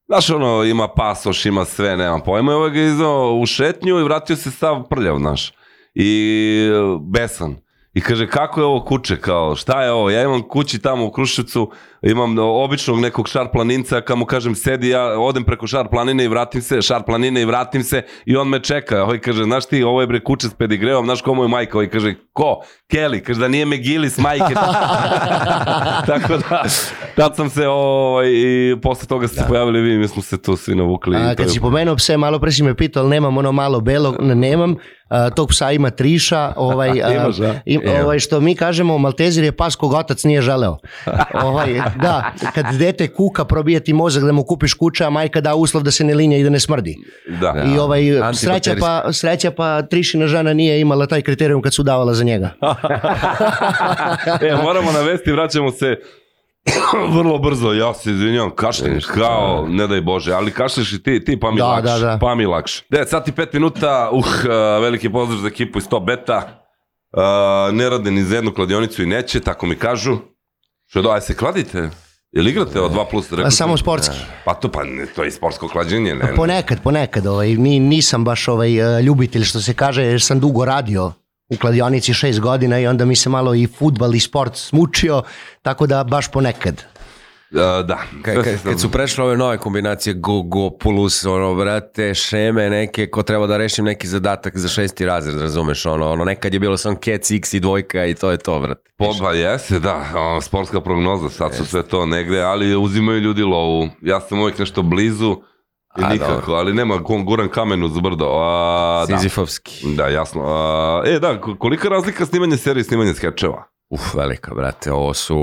Speaker 2: znaš ono, ima pasoš, ima sve, nemam pojma, i ovaj ga je izdao u šetnju i vratio se sav prljav, znaš, i e, besan. I kaže, kako je ovo kuće, kao, šta je ovo, ja imam kući tamo u Kruševcu, imam običnog nekog šar planinca, kad mu kažem, sedi, ja odem preko šar planine i vratim se, šar planine i vratim se, i on me čeka, ovaj kaže, znaš ti, ovo je bre kuće s pedigreom, znaš ko mu je majka, ovaj kaže, ko? Kelly, kaže, da nije Megilis majke, Tako da, tad sam se ovaj, i posle toga ste da. pojavili vi, mi smo se tu svi navukli.
Speaker 4: A,
Speaker 2: i to je-
Speaker 4: kad si pomenuo pse, malo pre si me pitao, ali nemam ono malo belog, ne, nemam, a, tog psa ima triša, ovaj, a,
Speaker 2: Imaš, da?
Speaker 4: im,
Speaker 3: Evo.
Speaker 4: ovaj, što mi kažemo, Maltezir je pas kog otac nije želeo. ovaj, da, kad dete kuka, probije ti mozak da mu kupiš kuća, a majka da uslov da se ne linja i da ne smrdi.
Speaker 2: Da.
Speaker 4: I ovaj,
Speaker 3: Antihopterist.
Speaker 4: sreća pa, sreća pa trišina žena nije imala taj kriterijum kad su davala za njega.
Speaker 2: e, moramo navesti, vraćamo se vrlo brzo, ja se izvinjam, kašljenješ kao, ne daj Bože, ali kašlješ i ti, ti pa mi
Speaker 4: Da,
Speaker 2: lakše,
Speaker 4: da, da.
Speaker 2: pa mi lakše. 9 sati 5 minuta, uh, veliki pozdrav za ekipu iz 100 beta, uh, ne rade ni za jednu kladionicu i neće, tako mi kažu. Što je do, aj se kladite? Ili igrate od 2 plus?
Speaker 4: A samo sportski.
Speaker 2: Pa to, pa ne, to je i sportsko klađenje, ne?
Speaker 4: Ponekad, ponekad, ovaj, ni, nisam baš ovaj, e, ljubitelj što se kaže, jer sam dugo radio u kladionici šest godina i onda mi se malo i futbal i sport smučio, tako da baš ponekad.
Speaker 2: Uh, da.
Speaker 3: Kad, kad, kad su prešle ove nove kombinacije go, go, plus, ono, brate, šeme neke, ko treba da rešim neki zadatak za šesti razred, razumeš, ono, ono, nekad je bilo sam kec, x i dvojka i to je to, brate.
Speaker 2: Poba jeste, da, o, sportska prognoza, sad su sve to negde, ali uzimaju ljudi lovu. Ja sam uvijek nešto blizu i
Speaker 3: A,
Speaker 2: nikako,
Speaker 3: dobro.
Speaker 2: ali nema, gu- guran kamen uz brdo. A, da.
Speaker 3: Sizifovski.
Speaker 2: da, jasno. A, e, da, ko- kolika je razlika snimanje serije i snimanje skečeva?
Speaker 3: Uf, velika, brate, ovo su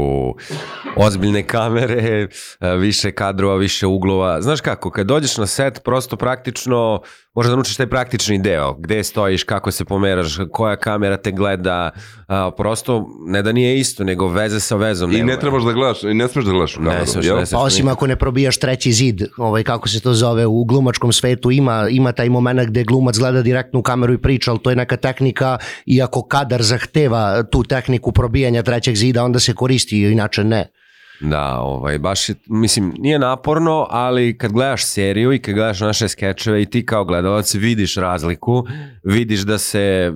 Speaker 3: ozbiljne kamere, e, više kadrova, više uglova. Znaš kako, kad dođeš na set, prosto praktično, možda da naučiš taj praktični deo, gde stojiš, kako se pomeraš, koja kamera te gleda, a, prosto, ne da nije isto, nego veze sa vezom.
Speaker 2: I
Speaker 3: nema.
Speaker 2: ne trebaš da gledaš, i ne smeš da gledaš u kameru.
Speaker 3: smeš,
Speaker 2: jel?
Speaker 3: ne smeš.
Speaker 4: Pa osim ako ne probijaš treći zid, ovaj, kako se to zove, u glumačkom svetu ima, ima taj moment gde glumac gleda direktno u kameru i priča, ali to je neka tehnika i ako kadar zahteva tu tehniku probijanja trećeg zida, onda se koristi, inače ne.
Speaker 3: Da, ovaj, baš je, mislim, nije naporno, ali kad gledaš seriju i kad gledaš naše skečeve i ti kao gledalac vidiš razliku, vidiš da se,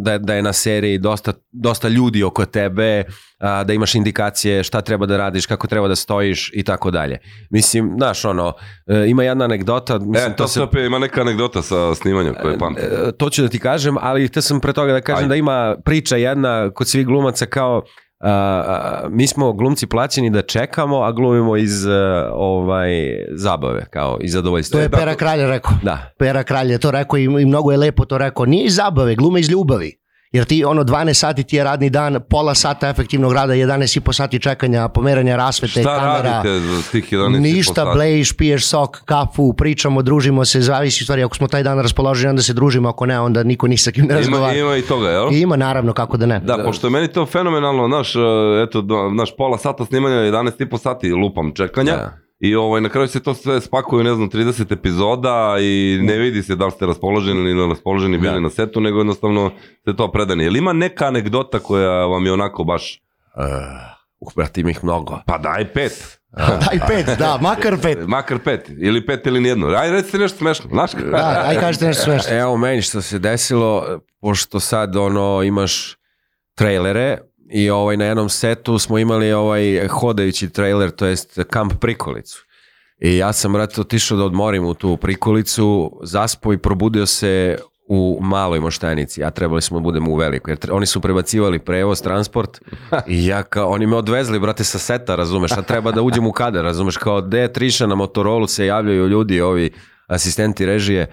Speaker 3: da, da je na seriji dosta, dosta ljudi oko tebe, a, da imaš indikacije šta treba da radiš, kako treba da stojiš i tako dalje. Mislim, znaš, ono, e, ima jedna anegdota, mislim,
Speaker 2: E, to, se... opet ima neka anegdota sa snimanjem koje pamtim.
Speaker 3: E, to ću da ti kažem, ali te sam pre toga da kažem
Speaker 2: Ajde.
Speaker 3: Ajde. da ima priča jedna kod svih glumaca kao a, a, mi smo glumci plaćeni da čekamo, a glumimo iz a, ovaj, zabave, kao iz
Speaker 4: To
Speaker 3: zadovoljstva.
Speaker 4: je
Speaker 2: da,
Speaker 4: Pera
Speaker 2: to-
Speaker 4: Kralja rekao.
Speaker 3: Da.
Speaker 4: Pera Kralj je to rekao i, i mnogo je lepo to rekao. Nije iz zabave, glume iz ljubavi. Jer ti ono 12 sati ti je radni dan, pola sata efektivnog rada, 11 i po sati čekanja, pomeranja rasvete,
Speaker 2: Šta
Speaker 4: kamera.
Speaker 2: radite za tih 11
Speaker 4: Ništa, blejiš, piješ sok, kafu, pričamo, družimo se, zavisi stvari, ako smo taj dan raspoloženi, onda se družimo, ako ne, onda niko ni sa kim ne
Speaker 2: Ima,
Speaker 4: razgovara. Ima,
Speaker 2: ima i toga, jel?
Speaker 4: ima. naravno, kako da ne.
Speaker 2: Da, pošto je meni to fenomenalno, naš, e, eto, do- naš pola sata snimanja, 11,5 sati lupam čekanja.
Speaker 3: Da.
Speaker 2: I ovaj, na kraju se to sve spakuje, u, ne znam, 30 epizoda i ne vidi se da li ste raspoloženi ili ne raspoloženi bili
Speaker 3: Da.
Speaker 2: na setu, nego jednostavno ste to predani. Jel ima neka anegdota koja vam je onako baš,
Speaker 3: Uh, pratim ih mnogo.
Speaker 2: pa daj pet,
Speaker 4: Daj pet, da, makar pet.
Speaker 2: makar pet, ili pet ili nijedno. Aj, recite nešto smešno, znaš kako?
Speaker 4: Da, aj kažete nešto smešno.
Speaker 3: Evo meni što se desilo, pošto sad ono imaš trailere i ovaj na jednom setu smo imali ovaj hodajući trailer, to jest kamp prikolicu. I ja sam vrat otišao da odmorim u tu prikolicu, zaspo i probudio se u maloj moštajnici, a trebali smo da budemo u velikoj, jer tre- oni su prebacivali prevoz, transport i ja kao, oni me odvezli, brate, sa seta, razumeš, a treba da uđem u kadar, razumeš, kao, de, triša na motorolu se javljaju ljudi, ovi asistenti režije,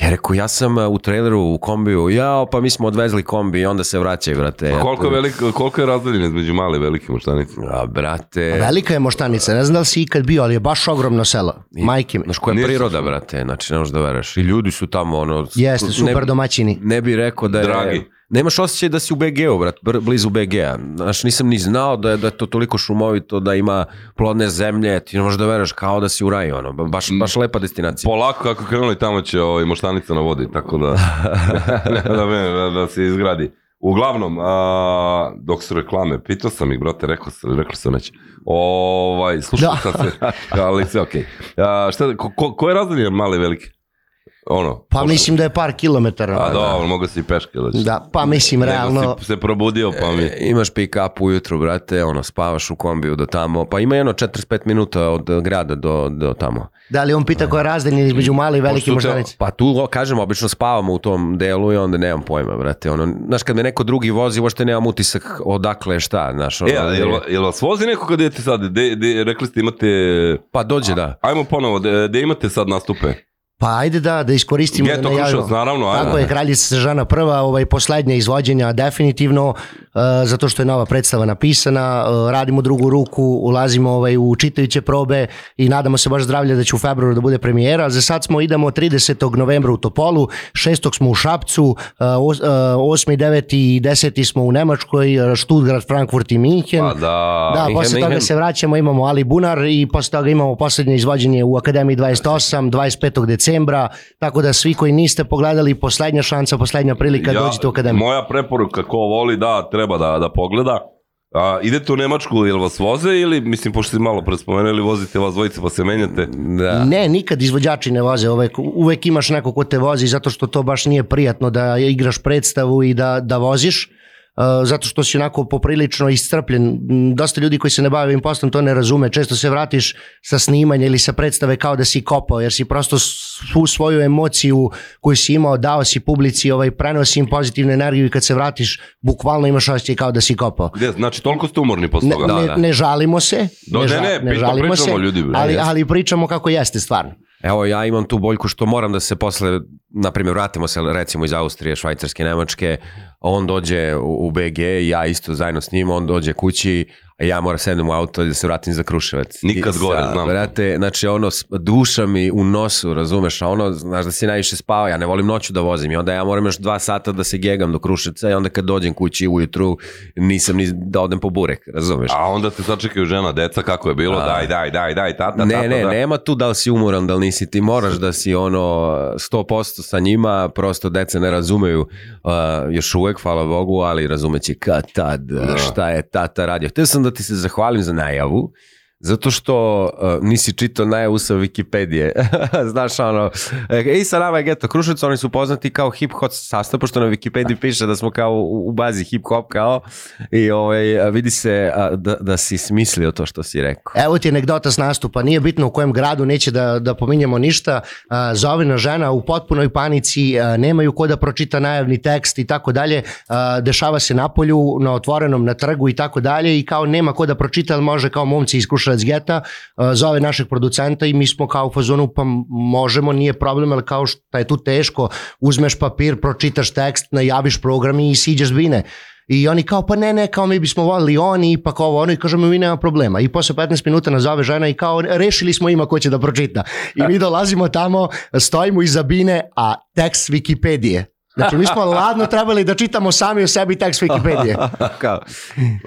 Speaker 3: ja rekao, ja sam a, u traileru, u kombiju, jao, pa mi smo odvezli kombi i onda se vraćaju, brate. Ja
Speaker 2: Pa Koliko
Speaker 3: to-
Speaker 2: je, veliko, koliko je razdeljen između male i velike moštanice?
Speaker 3: A,
Speaker 2: E.
Speaker 3: brate,
Speaker 4: Velika je moštanica, ne znam da li si ikad bio, ali je baš ogromno selo. Majke
Speaker 2: E,
Speaker 4: mi.
Speaker 3: Znaš koja je
Speaker 2: Nisam
Speaker 3: priroda,
Speaker 2: čuo.
Speaker 3: brate, znači ne možeš da veraš. I ljudi su tamo, ono...
Speaker 4: Jeste, super
Speaker 3: ne,
Speaker 4: domaćini.
Speaker 3: Ne bi rekao da je...
Speaker 2: Dragi.
Speaker 3: Nemaš osjećaj da si u BG-u, brat, br- blizu BG-a. Znaš, nisam ni znao da je, da je to toliko šumovito, da ima plodne zemlje, ti ne možeš da veraš kao da si u raju, ono, ba- baš, baš lepa destinacija.
Speaker 2: Polako kako krenuli tamo će ovaj, moštanica na vodi, tako da da, me, da, da se izgradi. Uglavnom, a, dok su reklame, pitao sam ih, brate, rekao sam, rekao sam neće. Ovaj, slušao sam
Speaker 4: Da.
Speaker 2: se, ali sve okej. A, Šta, ko, ko, ko je razdeljen male i velike? Ono,
Speaker 4: Pa mislim da je par kilometara.
Speaker 2: A dobro, mogu si i peške da ćeš.
Speaker 4: Da, pa mislim,
Speaker 2: Nego
Speaker 4: realno,
Speaker 2: si se probudio, pa mi...
Speaker 3: E, Imaš pick up ujutru, brate, ono, spavaš u kombiju do tamo, pa ima jedno 45 minuta od e, grada do, do tamo.
Speaker 4: da li on pita koja je razdeljen između male i velike
Speaker 2: Mm, Pošto te-
Speaker 4: moštanice?
Speaker 3: Pa tu, o, kažem, obično spavamo u tom delu i onda nemam pojma, brate. Ono, znaš, kad me neko drugi vozi, uopšte nemam utisak odakle je šta, znaš. Ono,
Speaker 2: E, a jel, jel vas vozi neko kad idete sad? De, de, rekli ste imate...
Speaker 3: pa dođe, da.
Speaker 2: Ajmo ponovo, de, de imate sad nastupe?
Speaker 4: Pa ajde da, da iskoristimo da
Speaker 2: Geto
Speaker 4: najavimo.
Speaker 2: Kruševac, naravno, ajmo.
Speaker 4: Tako je, Kraljica Sežana prva, ovaj, poslednje izvođenja definitivno, e, zato što je nova predstava napisana, e, radimo drugu ruku, ulazimo ovaj, u čitajuće probe i nadamo se baš zdravlje da će u februaru da bude premijera. Za sad smo, idemo 30. novembra u Topolu, 6. smo u Šapcu, e, os- e, 8. 9. i 10. smo u Nemačkoj, e, Stuttgart, Frankfurt i Minhen.
Speaker 2: Pa da,
Speaker 4: Da,
Speaker 3: Minhen,
Speaker 4: posle toga
Speaker 3: Minhen.
Speaker 4: se vraćamo, imamo Ali Bunar i posle toga imamo poslednje izvođenje u Akademiji 28, 25. decembra, tako da svi koji niste pogledali, poslednja šansa, poslednja prilika, dođite u Akademiju.
Speaker 2: Moja preporuka, ko voli, da, treba da, da pogleda. A, idete u Nemačku, jel vas voze ili, mislim, pošto ste malo pre spomenuli, vozite vas dvojice pa se menjate?
Speaker 3: Da.
Speaker 4: Ne, nikad izvođači ne voze, uvek, uvek imaš neko ko te vozi zato što to baš nije prijatno da igraš predstavu i da, da voziš. Uh, zato što si onako poprilično iscrpljen. M, Dosta ljudi koji se ne bave ovim poslom to ne razume. Često se vratiš sa snimanja ili sa predstave kao da si kopao, jer si prosto svu svoju emociju koju si imao dao si publici, ovaj, prenosi im pozitivnu energiju i kad se vratiš, bukvalno imaš osjećaj kao da si kopao.
Speaker 2: Gde, znači, toliko ste umorni posle
Speaker 4: Ne,
Speaker 2: toga?
Speaker 3: Da,
Speaker 4: ne, ne žalimo se,
Speaker 2: Do- Da, ne,
Speaker 4: ža-
Speaker 2: ne, pitam, pričamo, ljudi, bre,
Speaker 4: ali,
Speaker 2: jeste.
Speaker 4: ali pričamo kako jeste stvarno.
Speaker 3: Evo, ja imam tu boljku što moram da se posle, na primjer, vratimo se recimo iz Austrije, Švajcarske, Nemačke, on dođe u, u BG, ja isto zajedno s njim, on dođe kući, a ja moram sednem u auto i da se vratim za Kruševac.
Speaker 2: Nikad
Speaker 3: I
Speaker 2: gore, znam.
Speaker 3: Brate, znači ono, s- duša mi u nosu, razumeš, a ono, znaš da si najviše spao, ja ne volim noću da vozim i onda ja moram još dva sata da se gegam do Kruševca i onda kad dođem kući ujutru nisam ni da odem po burek, razumeš.
Speaker 2: A onda te sačekaju žena, deca, kako je bilo,
Speaker 3: A.
Speaker 2: daj, daj, daj, daj, tata,
Speaker 3: Da. Ne,
Speaker 2: tata,
Speaker 3: ne,
Speaker 2: da.
Speaker 3: nema tu da li si umoran, da li nisi, ti moraš da si ono 100% sa njima, prosto deca ne razumeju uh, još uvek, hvala Bogu, uh, ali razumeći kad tad, šta je tata radio. Htio sam da ti se zahvalim za najavu, Zato što uh, nisi čitao najavu sa Wikipedije. Znaš, ono, e, i sa nama je Geto Kruševac, oni su poznati kao hip-hop sastav, pošto na Wikipediji piše da smo kao u, u bazi hip-hop kao, i ovaj, vidi se a, da, da si smislio to što si rekao.
Speaker 4: Evo ti anegdota s nastupa, nije bitno u kojem gradu, neće da, da pominjemo ništa, a, zovena žena u potpunoj panici, a, nemaju ko da pročita najavni tekst i tako dalje, a, dešava se na polju, na otvorenom, na trgu i tako dalje i kao nema ko da pročita, ali može kao momci iz Kruševac geta, a, zove našeg producenta i mi smo kao u fazonu, pa možemo, nije problem, ali kao šta je tu teško, uzmeš papir, pročitaš tekst, najaviš program i siđeš s bine. I oni kao, pa ne, ne, kao mi bismo volili oni, ipak ovo, ono, i kažemo mi nema problema. I posle 15 minuta nazove žena i kao, rešili smo ima ko će da pročita. I mi dolazimo tamo, stojimo iza bine, a tekst Wikipedije. Znači, mi smo ladno trebali da čitamo sami o sebi tekst Wikipedije.
Speaker 3: kao,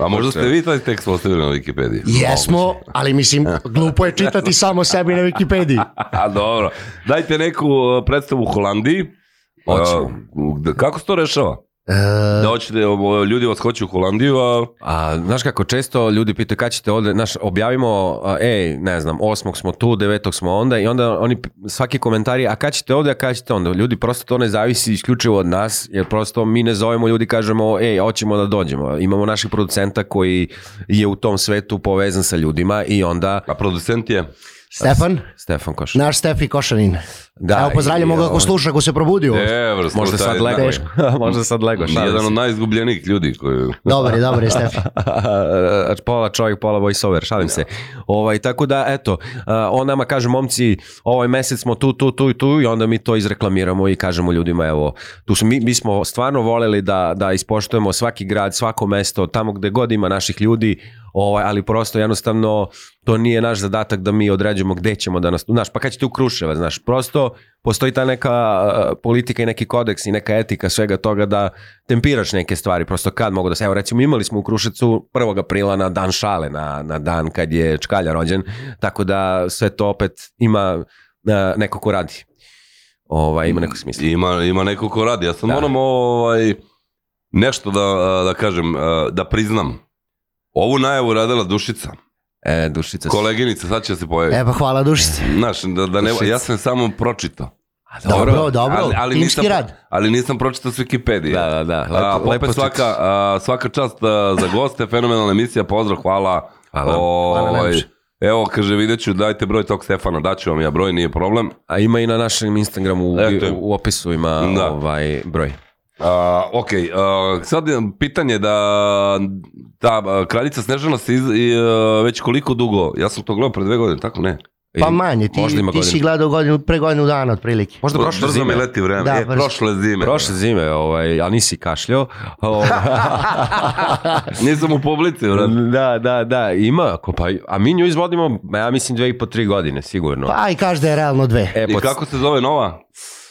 Speaker 2: A možda ste vi taj tekst ostavili na Wikipediji?
Speaker 4: Jesmo, ali mislim, glupo je čitati samo o sebi na Wikipediji.
Speaker 2: A dobro. Dajte neku e, predstavu u Holandiji.
Speaker 3: Hoćemo.
Speaker 2: A, da- kako se to rešava?
Speaker 4: E,
Speaker 2: Da hoćete, o, ljudi vas hoće u Holandiju, a
Speaker 3: A, znaš kako, često ljudi pitaju kada ćete ovde, znaš, objavimo, a, ej, ne znam, osmog smo tu, devetog smo onda i onda oni, p- svaki komentar je, a kada ćete ovde, a kada ćete onda. Ljudi, prosto to ne zavisi isključivo od nas, jer prosto mi ne zovemo ljudi, kažemo, ej, hoćemo da dođemo. Imamo našeg producenta koji je u tom svetu povezan sa ljudima i onda...
Speaker 2: A producent je?
Speaker 4: Stefan,
Speaker 3: Stefan Koš.
Speaker 4: naš Stefi Košanin.
Speaker 3: Da,
Speaker 4: Evo, pozdravljamo
Speaker 3: i,
Speaker 4: ga ako
Speaker 3: on-
Speaker 4: sluša, ako se probudio.
Speaker 2: Evro,
Speaker 3: Možda sad lego.
Speaker 4: Teško.
Speaker 3: Možda sad lego. šalim
Speaker 2: Da, Jedan
Speaker 3: se.
Speaker 2: od najizgubljenijih ljudi koji...
Speaker 4: Dobar je, dobar je Stefi.
Speaker 3: A, Znači, pola čovjek, pola voiceover, šalim se. Ovaj, tako da, eto, a, on nama kaže, momci, ovaj mesec smo tu, tu, tu i tu i onda mi to izreklamiramo i kažemo ljudima, evo, tu smo, mi, mi smo stvarno voleli da, da ispoštujemo svaki grad, svako mesto, tamo gde god ima naših ljudi, ovaj, ali prosto jednostavno to nije naš zadatak da mi određujemo gde ćemo da nas, znaš, pa kad ćete u Kruševa, znaš, prosto postoji ta neka a, politika i neki kodeks i neka etika svega toga da tempiraš neke stvari, prosto kad mogu da se, evo recimo imali smo u Krušecu 1. aprila na dan šale, na, na dan kad je Čkalja rođen, tako da sve to opet ima a, neko ko radi. Ovaj, ima neko smisla.
Speaker 2: Ima, ima neko ko radi. Ja sam
Speaker 3: Da.
Speaker 2: moram ovaj, nešto da, a, da kažem, a, da priznam. Ovu najavu je radila Dušica,
Speaker 3: E, dušica.
Speaker 2: koleginica, sad će se pojaviti.
Speaker 4: E pa hvala dušice.
Speaker 2: Znaš, da, da ne,
Speaker 3: Dušica.
Speaker 2: ja sam samo pročitao.
Speaker 3: A,
Speaker 4: Dobro, dobro,
Speaker 2: ali, ali
Speaker 4: timski
Speaker 2: nisam,
Speaker 4: rad.
Speaker 2: Ali nisam pročitao s Wikipedije.
Speaker 3: Da, da, da.
Speaker 2: a,
Speaker 3: Lepo, lepo
Speaker 2: opet svaka, a, svaka čast a, za goste, fenomenalna emisija, pozdrav, hvala. Ovaj,
Speaker 3: Hvala.
Speaker 4: Hvala najljepše.
Speaker 2: evo, kaže, vidjet ću, dajte broj tog Stefana, daću vam ja broj, nije problem.
Speaker 3: A ima i na našem Instagramu u,
Speaker 2: Eto.
Speaker 3: u, u opisu ima
Speaker 2: Da.
Speaker 3: ovaj broj.
Speaker 2: A, ok, a, sad je pitanje da ta a, kraljica Snežana se iz, i, a, već koliko dugo, ja sam to gledao pre dve godine, tako ne?
Speaker 4: Pa manje, ti,
Speaker 3: možda ima
Speaker 4: ti si
Speaker 3: godinu.
Speaker 4: gledao godinu, pre godinu dana otprilike.
Speaker 3: Možda prošle
Speaker 2: Brzo
Speaker 3: zime.
Speaker 2: mi leti vreme,
Speaker 4: Da,
Speaker 2: e,
Speaker 4: brzo.
Speaker 2: prošle zime.
Speaker 3: Prošle zime, ovaj, a nisi kašljao. Ovaj,
Speaker 2: Nisam u publici, vreme.
Speaker 3: da, da, da, ima. ako Pa, a mi nju izvodimo, ma ja mislim, dve i po tri godine, sigurno.
Speaker 4: Pa i kaže da je realno dve.
Speaker 3: E,
Speaker 2: I
Speaker 3: pod-
Speaker 2: kako se zove nova?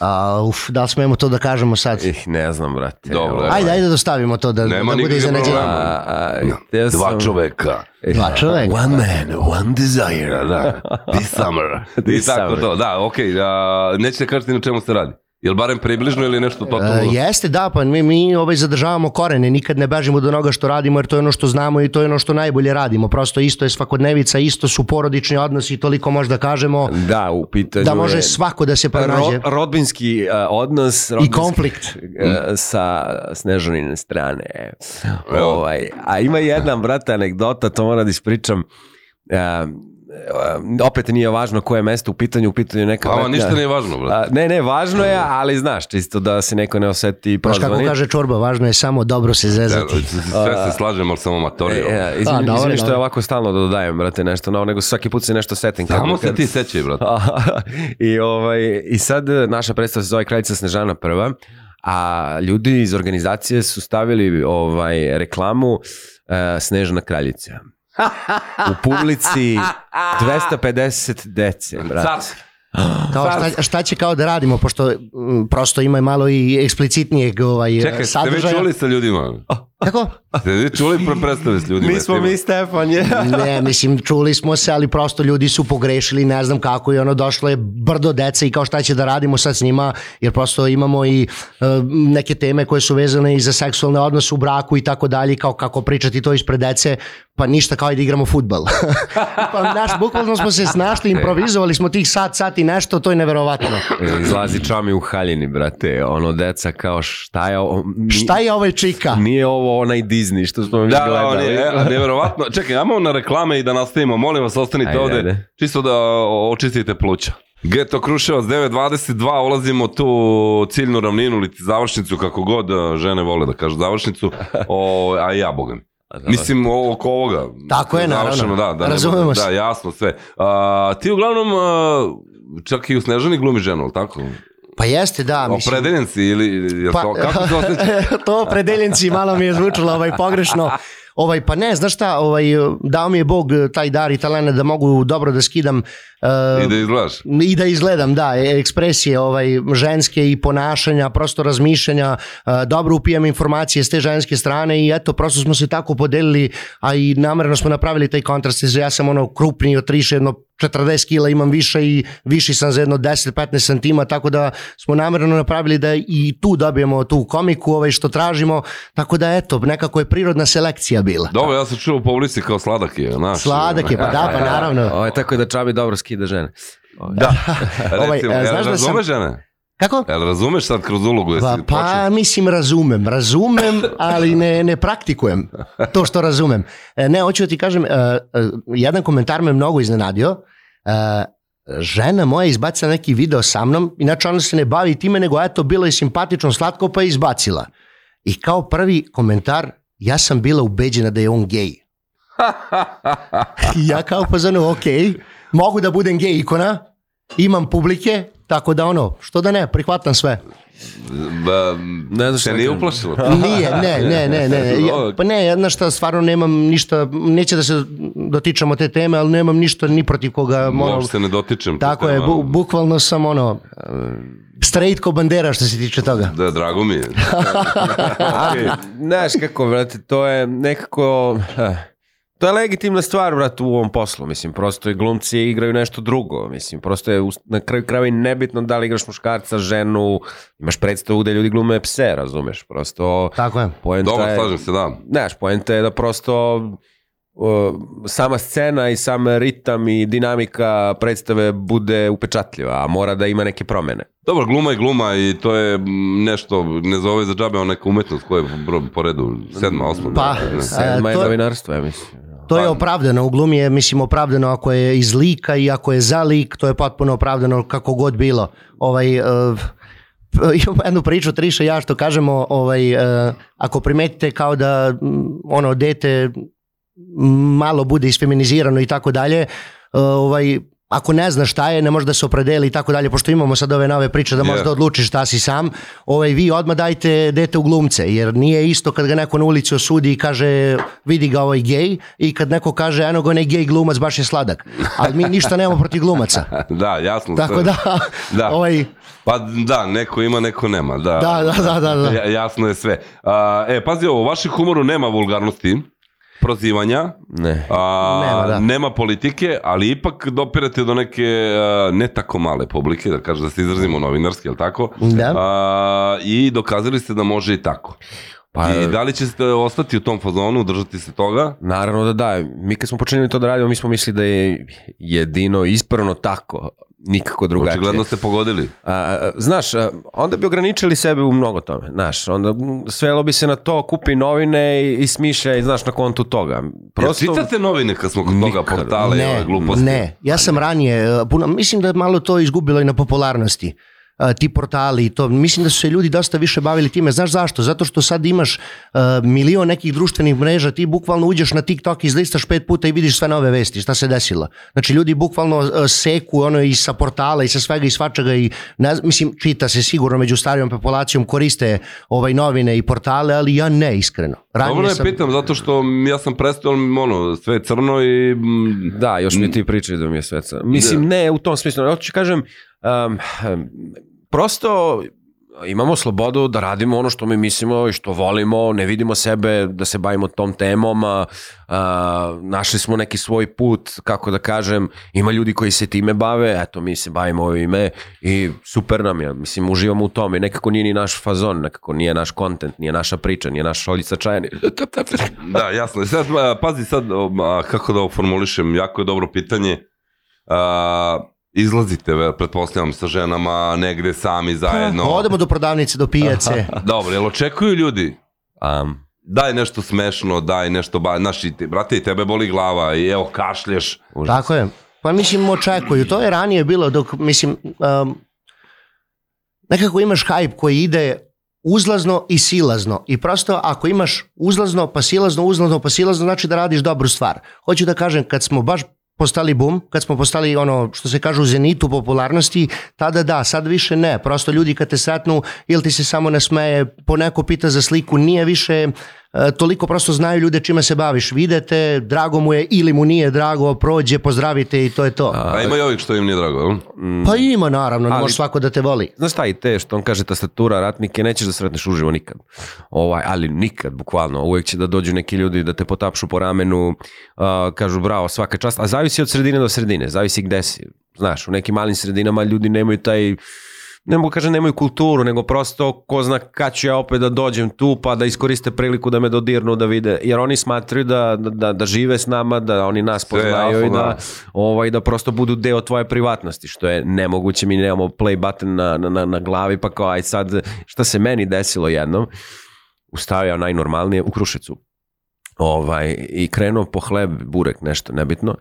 Speaker 4: A, uf, da li smemo to da kažemo sad?
Speaker 3: Ih, Eh, ne znam, brate.
Speaker 2: Dobro,
Speaker 3: Ovaj,
Speaker 2: ajde.
Speaker 4: Ajde, ajde da ostavimo to da,
Speaker 2: Nema
Speaker 4: da bude
Speaker 2: nikakvih
Speaker 4: iznenađenje. E,
Speaker 2: problema.
Speaker 3: A, a, ja sam-
Speaker 2: Dva čoveka.
Speaker 3: Eh,
Speaker 4: Dva čoveka.
Speaker 2: One man, one desire, da. This summer.
Speaker 3: This
Speaker 2: I tako
Speaker 3: summer.
Speaker 2: to, da, okej. a, nećete kažete na čemu se radi. Jel barem približno ili nešto totalno?
Speaker 4: E, jeste, da, pa mi, mi ovaj, zadržavamo korene, nikad ne bežimo od onoga što radimo, jer to je ono što znamo i to je ono što najbolje radimo. Prosto isto je svakodnevica, isto su porodični odnosi, toliko možda kažemo
Speaker 3: Da, u pitanju
Speaker 4: da može
Speaker 3: je-
Speaker 4: svako da se pronađe.
Speaker 3: Ro, rodbinski uh, odnos rodbinski,
Speaker 4: konflikt.
Speaker 3: uh, sa snežanine strane
Speaker 2: Evo.
Speaker 3: ovaj, a ima jedna brate anegdota to moram da ispričam uh, uh, opet nije važno koje je mesto u pitanju u pitanju je neka
Speaker 2: Vama
Speaker 3: brate-
Speaker 2: ništa nije važno, brate.
Speaker 3: A, ne, ne, važno je, ali znaš, čisto da se neko ne oseti
Speaker 4: Znaš kako
Speaker 3: prozvanit.
Speaker 4: kaže čorba, važno je samo dobro se zezati.
Speaker 2: Sve se slažem, ali sam amatorio.
Speaker 3: E, e, izvini,
Speaker 4: A, dobro,
Speaker 3: izvini što
Speaker 4: dobro.
Speaker 3: ja ovako stalno dodajem, brate, nešto novo, nego svaki put se nešto setim.
Speaker 2: Samo
Speaker 3: Kad-
Speaker 2: se
Speaker 3: kad-
Speaker 2: ti sećaj, brate.
Speaker 3: I, ovaj, I sad e, naša predstava se zove Kraljica Snežana prva, a ljudi iz organizacije su stavili ovaj reklamu uh, Snežana kraljica. U publici 250 dece, brate.
Speaker 2: Carski.
Speaker 4: Kao šta, šta će kao da radimo, mm, pošto m, prosto ima malo i eksplicitnijeg ovaj,
Speaker 2: Čekaj, ste vi
Speaker 4: sadržaja.
Speaker 2: čuli sa ljudima?
Speaker 4: Kako?
Speaker 2: Ste vi čuli pre predstave s ljudima?
Speaker 3: Mi smo
Speaker 2: Jeste
Speaker 3: mi Stefan, je.
Speaker 4: Ne, mislim, čuli smo se, ali prosto ljudi su pogrešili, ne znam kako, i ono, došlo je brdo dece i kao šta će da radimo sad s njima, jer prosto imamo i e, neke teme koje su vezane i za seksualne odnose u braku i tako dalje, i kao kako pričati to ispred dece, pa ništa kao i da igramo futbal. pa naš, bukvalno smo se
Speaker 2: E.
Speaker 4: snašli, improvizovali smo tih sat, sat i nešto, to je neverovatno.
Speaker 3: E, Izlazi čami u haljini, brate. Ono, deca kao šta je ovo? Ni-
Speaker 4: Šta je ovaj čika?
Speaker 3: Nije ovo onaj Disney što smo mi
Speaker 2: Da, da, on
Speaker 3: gledali.
Speaker 2: je, e, nevjerovatno. Čekaj, ajmo na reklame i da nastavimo. Molim vas, ostanite
Speaker 3: Ajde,
Speaker 2: ajde, ovde.
Speaker 3: ajde.
Speaker 2: Ajde. Čisto da očistite pluća. Geto Kruševac 9.22, ulazimo tu ciljnu ravninu ili završnicu, kako god e, žene vole da kažu završnicu, o, a i ja, boga mi.
Speaker 3: A, da, da.
Speaker 2: Mislim, o- oko ovoga.
Speaker 4: Tako je, naravno.
Speaker 2: Završeno, Da, da, ne
Speaker 4: Razumemo
Speaker 2: bude-
Speaker 4: se.
Speaker 2: Da, jasno, sve. A, ti uglavnom, a, čak i u Snežani glumi ženu, ali tako?
Speaker 4: Pa jeste, da, mislim.
Speaker 2: Opredeljen si ili... Jel
Speaker 4: Pa-
Speaker 2: pa, to, kako se osjećaš?
Speaker 4: to opredeljenci malo mi je zvučilo ovaj, pogrešno. Ovaj, pa ne, znaš šta, ovaj, dao mi je Bog taj dar i talent da mogu dobro da skidam
Speaker 2: I
Speaker 4: uh,
Speaker 2: da izgledaš.
Speaker 4: i da izgledam, da, ekspresije ovaj, ženske i ponašanja, prosto razmišljanja, e, dobro upijam informacije s te ženske strane i eto, prosto smo se tako podelili, a i namerno smo napravili taj kontrast, jer ja sam ono krupniji od Triše, jedno 40 kila imam više i viši sam za jedno 10-15 santima, tako da smo namerno napravili da i tu dobijemo tu komiku ovaj, što tražimo, tako da eto, nekako je prirodna selekcija bila.
Speaker 2: Dobro, ja sam čuo u publici kao sladak je, znaš.
Speaker 4: Sladak je, pa da, pa naravno.
Speaker 3: Ovo je tako da čami dobro skida žene.
Speaker 2: Da.
Speaker 4: Ovaj,
Speaker 2: Recimo,
Speaker 4: e,
Speaker 2: jel
Speaker 4: znaš da sam-
Speaker 2: razumeš žene?
Speaker 4: Kako?
Speaker 2: Jel razumeš sad kroz ulogu?
Speaker 4: Pa,
Speaker 2: Jesi
Speaker 4: pa
Speaker 2: počeo? da-
Speaker 4: mislim razumem, razumem, ali ne, ne praktikujem to što razumem. E, Ne, hoću da ti kažem, e, e, jedan komentar me mnogo iznenadio. E, Žena moja je izbacila neki video sa mnom, inače ona se ne bavi time, nego eto, bilo je simpatično slatko pa je izbacila. I kao prvi komentar, ja sam bila ubeđena da je on gej. I ja kao pa zanu, ok, mogu da budem gej ikona, imam publike, tako da ono, što da ne, prihvatam sve. pa-
Speaker 2: Ba,
Speaker 3: Ne znam
Speaker 2: se
Speaker 3: šta da
Speaker 2: nije
Speaker 3: kažem.
Speaker 2: uplašilo.
Speaker 4: Nije, ne, ne, ne, ne. ne. Ja, pa ne, jedna šta, stvarno nemam ništa, neće da se dotičemo te teme, ali nemam ništa ni protiv koga. Ono,
Speaker 2: Uopšte ne dotičem.
Speaker 4: tako
Speaker 2: te
Speaker 4: je,
Speaker 2: tema.
Speaker 4: bu, bukvalno sam ono, straight ko bandera što se tiče toga.
Speaker 2: Da, drago mi je.
Speaker 3: Ali, znaš kako, brate, to je nekako... eh, To je legitimna stvar, brate, u ovom poslu, mislim, prosto i glumci igraju nešto drugo, mislim, prosto je us- na kraju krajeva i nebitno da li igraš muškarca, ženu, imaš predstavu gde ljudi glume pse, razumeš, prosto
Speaker 4: Tako je.
Speaker 3: poenta
Speaker 2: Dobro,
Speaker 3: je...
Speaker 2: slažem se, da.
Speaker 3: Znaš, poenta je da prosto uh, sama scena i sam ritam i dinamika predstave bude upečatljiva, a mora da ima neke promene.
Speaker 2: Dobro, gluma je gluma i to je mm, nešto, ne zove za džabe, ona neka umetnost koja je bro, po redu, sedma, osma.
Speaker 4: Pa,
Speaker 2: ne, ne.
Speaker 3: Sedma je
Speaker 4: to-
Speaker 3: novinarstvo, ja mislim.
Speaker 4: To je opravdano, u glumi je, mislim, opravdano ako je iz lika i ako je za lik, to je potpuno opravdano kako god bilo. Ovaj, eh, imam jednu priču, Triša i ja što kažemo, ovaj, eh, ako primetite kao da mm, ono dete malo bude isfeminizirano i tako dalje, eh, ovaj, ako ne znaš šta je, ne može da se opredeli i tako dalje, pošto imamo sad ove nove priče da možeš
Speaker 2: Je.
Speaker 4: da odlučiš šta si sam, ovaj, vi odmah dajte dete u glumce, jer nije isto kad ga neko na ulici osudi i kaže vidi ga ovaj gej i kad neko kaže eno ga onaj gej glumac baš je sladak, ali mi ništa nemamo protiv glumaca.
Speaker 2: Da, jasno.
Speaker 4: Tako
Speaker 2: sve.
Speaker 4: da,
Speaker 2: Da.
Speaker 4: ovaj,
Speaker 2: Pa da, neko ima, neko nema, da.
Speaker 4: da, da, da, da, da.
Speaker 2: Ja, jasno je sve. A, e, pazi ovo, u vašem humoru nema vulgarnosti, prozivanja,
Speaker 3: Ne.
Speaker 2: a,
Speaker 4: Nema, da.
Speaker 2: nema politike, ali ipak dopirate do neke a, ne tako male publike, da kažem da se izrazimo novinarski, jel tako?
Speaker 4: Da.
Speaker 2: A, I dokazali ste da može i tako.
Speaker 3: Pa,
Speaker 2: I da li ćete ostati u tom fazonu, držati se toga?
Speaker 3: Naravno da da, mi kad smo počinili to da radimo, mi smo mislili da je jedino ispravno tako, nikako drugačije.
Speaker 2: Očigledno ste pogodili.
Speaker 3: A, a, znaš, a, onda bi ograničili sebe u mnogo tome, znaš, onda mm, svelo bi se na to, kupi novine i, i smišljaj, znaš, na kontu toga.
Speaker 2: Prosto... Jel čitate novine kad smo kod toga
Speaker 3: Nikad.
Speaker 2: portale i ove gluposti?
Speaker 4: Ne, ja sam ranije, e, puno, mislim da je malo to izgubilo i na popularnosti e, ti portali i to. Mislim da su se ljudi dosta više bavili time. Znaš zašto? Zato što sad imaš e, milion nekih društvenih mreža, ti bukvalno uđeš na TikTok, izlistaš pet puta i vidiš sve nove vesti, šta se desilo. Znači ljudi bukvalno e, seku ono i sa portala i sa svega i svačega i ne, znam, mislim čita se sigurno među starijom populacijom koriste ovaj novine i portale, ali ja ne iskreno. Ranije
Speaker 2: Dobro ne
Speaker 4: sam-
Speaker 2: pitam, zato što ja sam prestao, ono, sve je crno i... mm,
Speaker 3: Da, još mi ti pričaju da mi je sveca. Mislim, ne u tom smislu. Ja hoću kažem, um, um, prosto imamo slobodu da radimo ono što mi mislimo i što volimo, ne vidimo sebe da se bavimo tom temom, a, a, našli smo neki svoj put, kako da kažem, ima ljudi koji se time bave, eto mi se bavimo ovime i super nam je, mislim uživamo u tome, nekako nije ni naš fazon, nekako nije naš kontent, nije naša priča, nije naša oljica čajna.
Speaker 2: Da, jasno. Sad, a, pazi sad, o, a, kako da ovo formulišem, jako je dobro pitanje. A, izlazite, ve- pretpostavljam, sa ženama negde sami
Speaker 3: Pa,
Speaker 2: zajedno.
Speaker 4: Odemo do prodavnice, do pijace.
Speaker 2: Dobro, jel očekuju ljudi?
Speaker 3: Um,
Speaker 2: Daj nešto smešno, daj nešto, ba, znaš, i te, brate, i tebe boli glava, i evo, kašlješ.
Speaker 4: Tako je. Pa mislim očekuju. To je ranije bilo dok mislim um, nekako imaš hype koji ide uzlazno i silazno. I prosto ako imaš uzlazno pa silazno, uzlazno pa silazno znači da radiš dobru stvar. Hoću da kažem kad smo baš postali bum, kad smo postali ono što se kaže u zenitu popularnosti, tada da, sad više ne. Prosto ljudi kad te sretnu ili ti se samo nasmeje, poneko pita za sliku, nije više e, toliko prosto znaju ljude čime se baviš. Videte, drago mu je ili mu nije drago, prođe, pozdravite i to je to.
Speaker 2: A ima i ovih što im nije drago, jel?
Speaker 4: Pa ima naravno, ne
Speaker 3: Ali-
Speaker 4: može svako da te voli.
Speaker 3: znaš šta i te što on kaže tastatura ratnike nećeš da sretneš uživo nikad. Ovaj, ali nikad, bukvalno. Uvijek će da dođu neki ljudi da te potapšu po ramenu, a, kažu bravo, svaka čast, a zavisi od sredine do sredine, zavisi gde si. Znaš, u nekim malim sredinama ljudi nemaju taj ne mogu kažem nemaju kulturu, nego prosto ko zna kad ću ja opet da dođem tu pa da iskoriste priliku da me dodirnu da vide, jer oni smatraju da, da- da, da žive s nama, da oni nas
Speaker 2: Sve je
Speaker 3: poznaju i
Speaker 2: alfa,
Speaker 3: da,
Speaker 2: da.
Speaker 3: ovaj, da prosto budu deo tvoje privatnosti, što je nemoguće, mi nemamo play button na, na- na, na glavi, pa kao aj sad, šta se meni desilo jednom, ustavio ja najnormalnije u Krušecu ovaj, i krenuo po hleb, burek, nešto nebitno,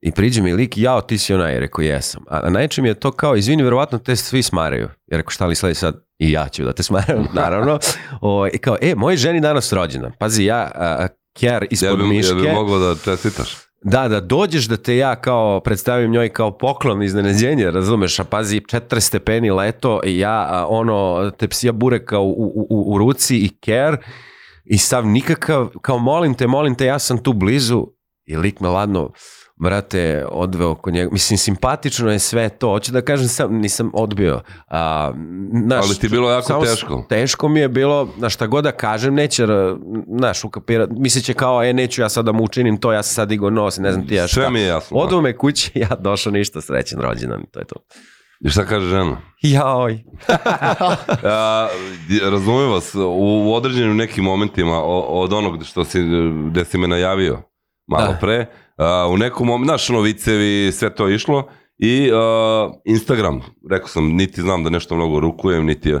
Speaker 3: I priđe mi lik, jao, ti si onaj, rekao, jesam. A, a najče mi je to kao, izvini, verovatno te svi smaraju. Ja rekao, šta li sledi sad? I ja ću da te smaram, naravno. O, I kao, e, moj ženi danas rođena. Pazi, ja, a, kjer ispod
Speaker 2: Ja bi,
Speaker 3: miške.
Speaker 2: ja bi mogao da čestitaš.
Speaker 3: Da, da dođeš da te ja kao predstavim njoj kao poklon iznenađenje, razumeš, a pazi 4 stepeni leto, i ja a, ono tepsija bureka u, u, u, u ruci i ker i sav nikakav, kao molim te, molim te, ja sam tu blizu i lik me ladno brate, odveo kod njega. Mislim, simpatično je sve to. Hoću da kažem, sam, nisam odbio. A, naš,
Speaker 2: Ali ti je bilo jako
Speaker 3: s-
Speaker 2: teško.
Speaker 3: Teško mi je bilo, na šta god da kažem, neće, ra- znaš, ukapirati, mislit će kao, e, neću ja sad da mu učinim to, ja sam sad digo nos, i ne znam ti ja šta.
Speaker 2: Sve mi je jasno.
Speaker 3: Odu me kući, ja došao ništa, srećen rođendan, to je to.
Speaker 2: da. I šta kaže žena?
Speaker 3: Jaoj.
Speaker 2: A, razumijem vas, u, u određenim nekim momentima o- od onog što si, gde si me najavio malo
Speaker 3: Da.
Speaker 2: pre, a, u nekom momentu, naš novicevi, sve to je išlo i a, Instagram, rekao sam, niti znam da nešto mnogo rukujem, niti je.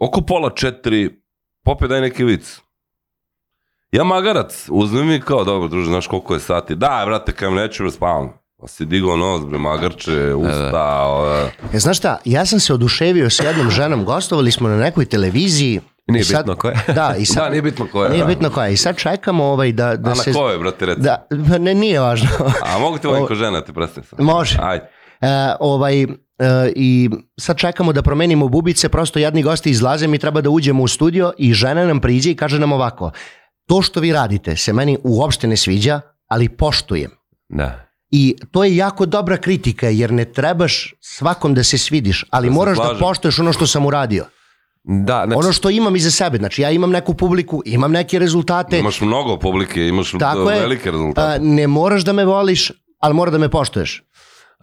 Speaker 2: Oko pola četiri, popet daj neki vic. Ja magarac, uzmi mi kao, dobro druže, znaš koliko je sati, daj brate, kajem neću, bre, spavam. Pa si digao nos, bre, magarče, usta, ove,
Speaker 4: E, znaš šta, ja sam se oduševio s jednom ženom, gostovali smo na nekoj televiziji.
Speaker 3: Nije
Speaker 4: I sad-
Speaker 3: bitno ko je.
Speaker 4: Da, i sad,
Speaker 2: Da, nije bitno ko je,
Speaker 4: Nije
Speaker 2: da.
Speaker 4: bitno koja. I sad čekamo ovaj da, da
Speaker 2: a na
Speaker 4: se...
Speaker 2: koje, brate, reci?
Speaker 4: Da, pa ne, nije važno.
Speaker 2: A mogu te volim ko žena, te prestajem sam.
Speaker 4: Može.
Speaker 2: Ajde.
Speaker 4: E, ovaj, e, I sad čekamo da promenimo bubice, prosto jadni gosti izlaze, mi treba da uđemo u studio i žena nam priđe i kaže nam ovako, to što vi radite se meni uopšte ne sviđa, ali poštujem.
Speaker 3: Da.
Speaker 4: I to je jako dobra kritika, jer ne trebaš svakom da se svidiš, ali
Speaker 2: Da se
Speaker 4: moraš da
Speaker 2: slažem.
Speaker 4: poštuješ ono što sam uradio.
Speaker 3: Da, znači,
Speaker 4: Ono što imam iza sebe, znači ja imam neku publiku, imam neke rezultate,
Speaker 2: Imaš mnogo publike, imaš
Speaker 4: Tako je.
Speaker 2: velike rezultate.
Speaker 4: A, ne moraš da me voliš, ali mora da me poštuješ.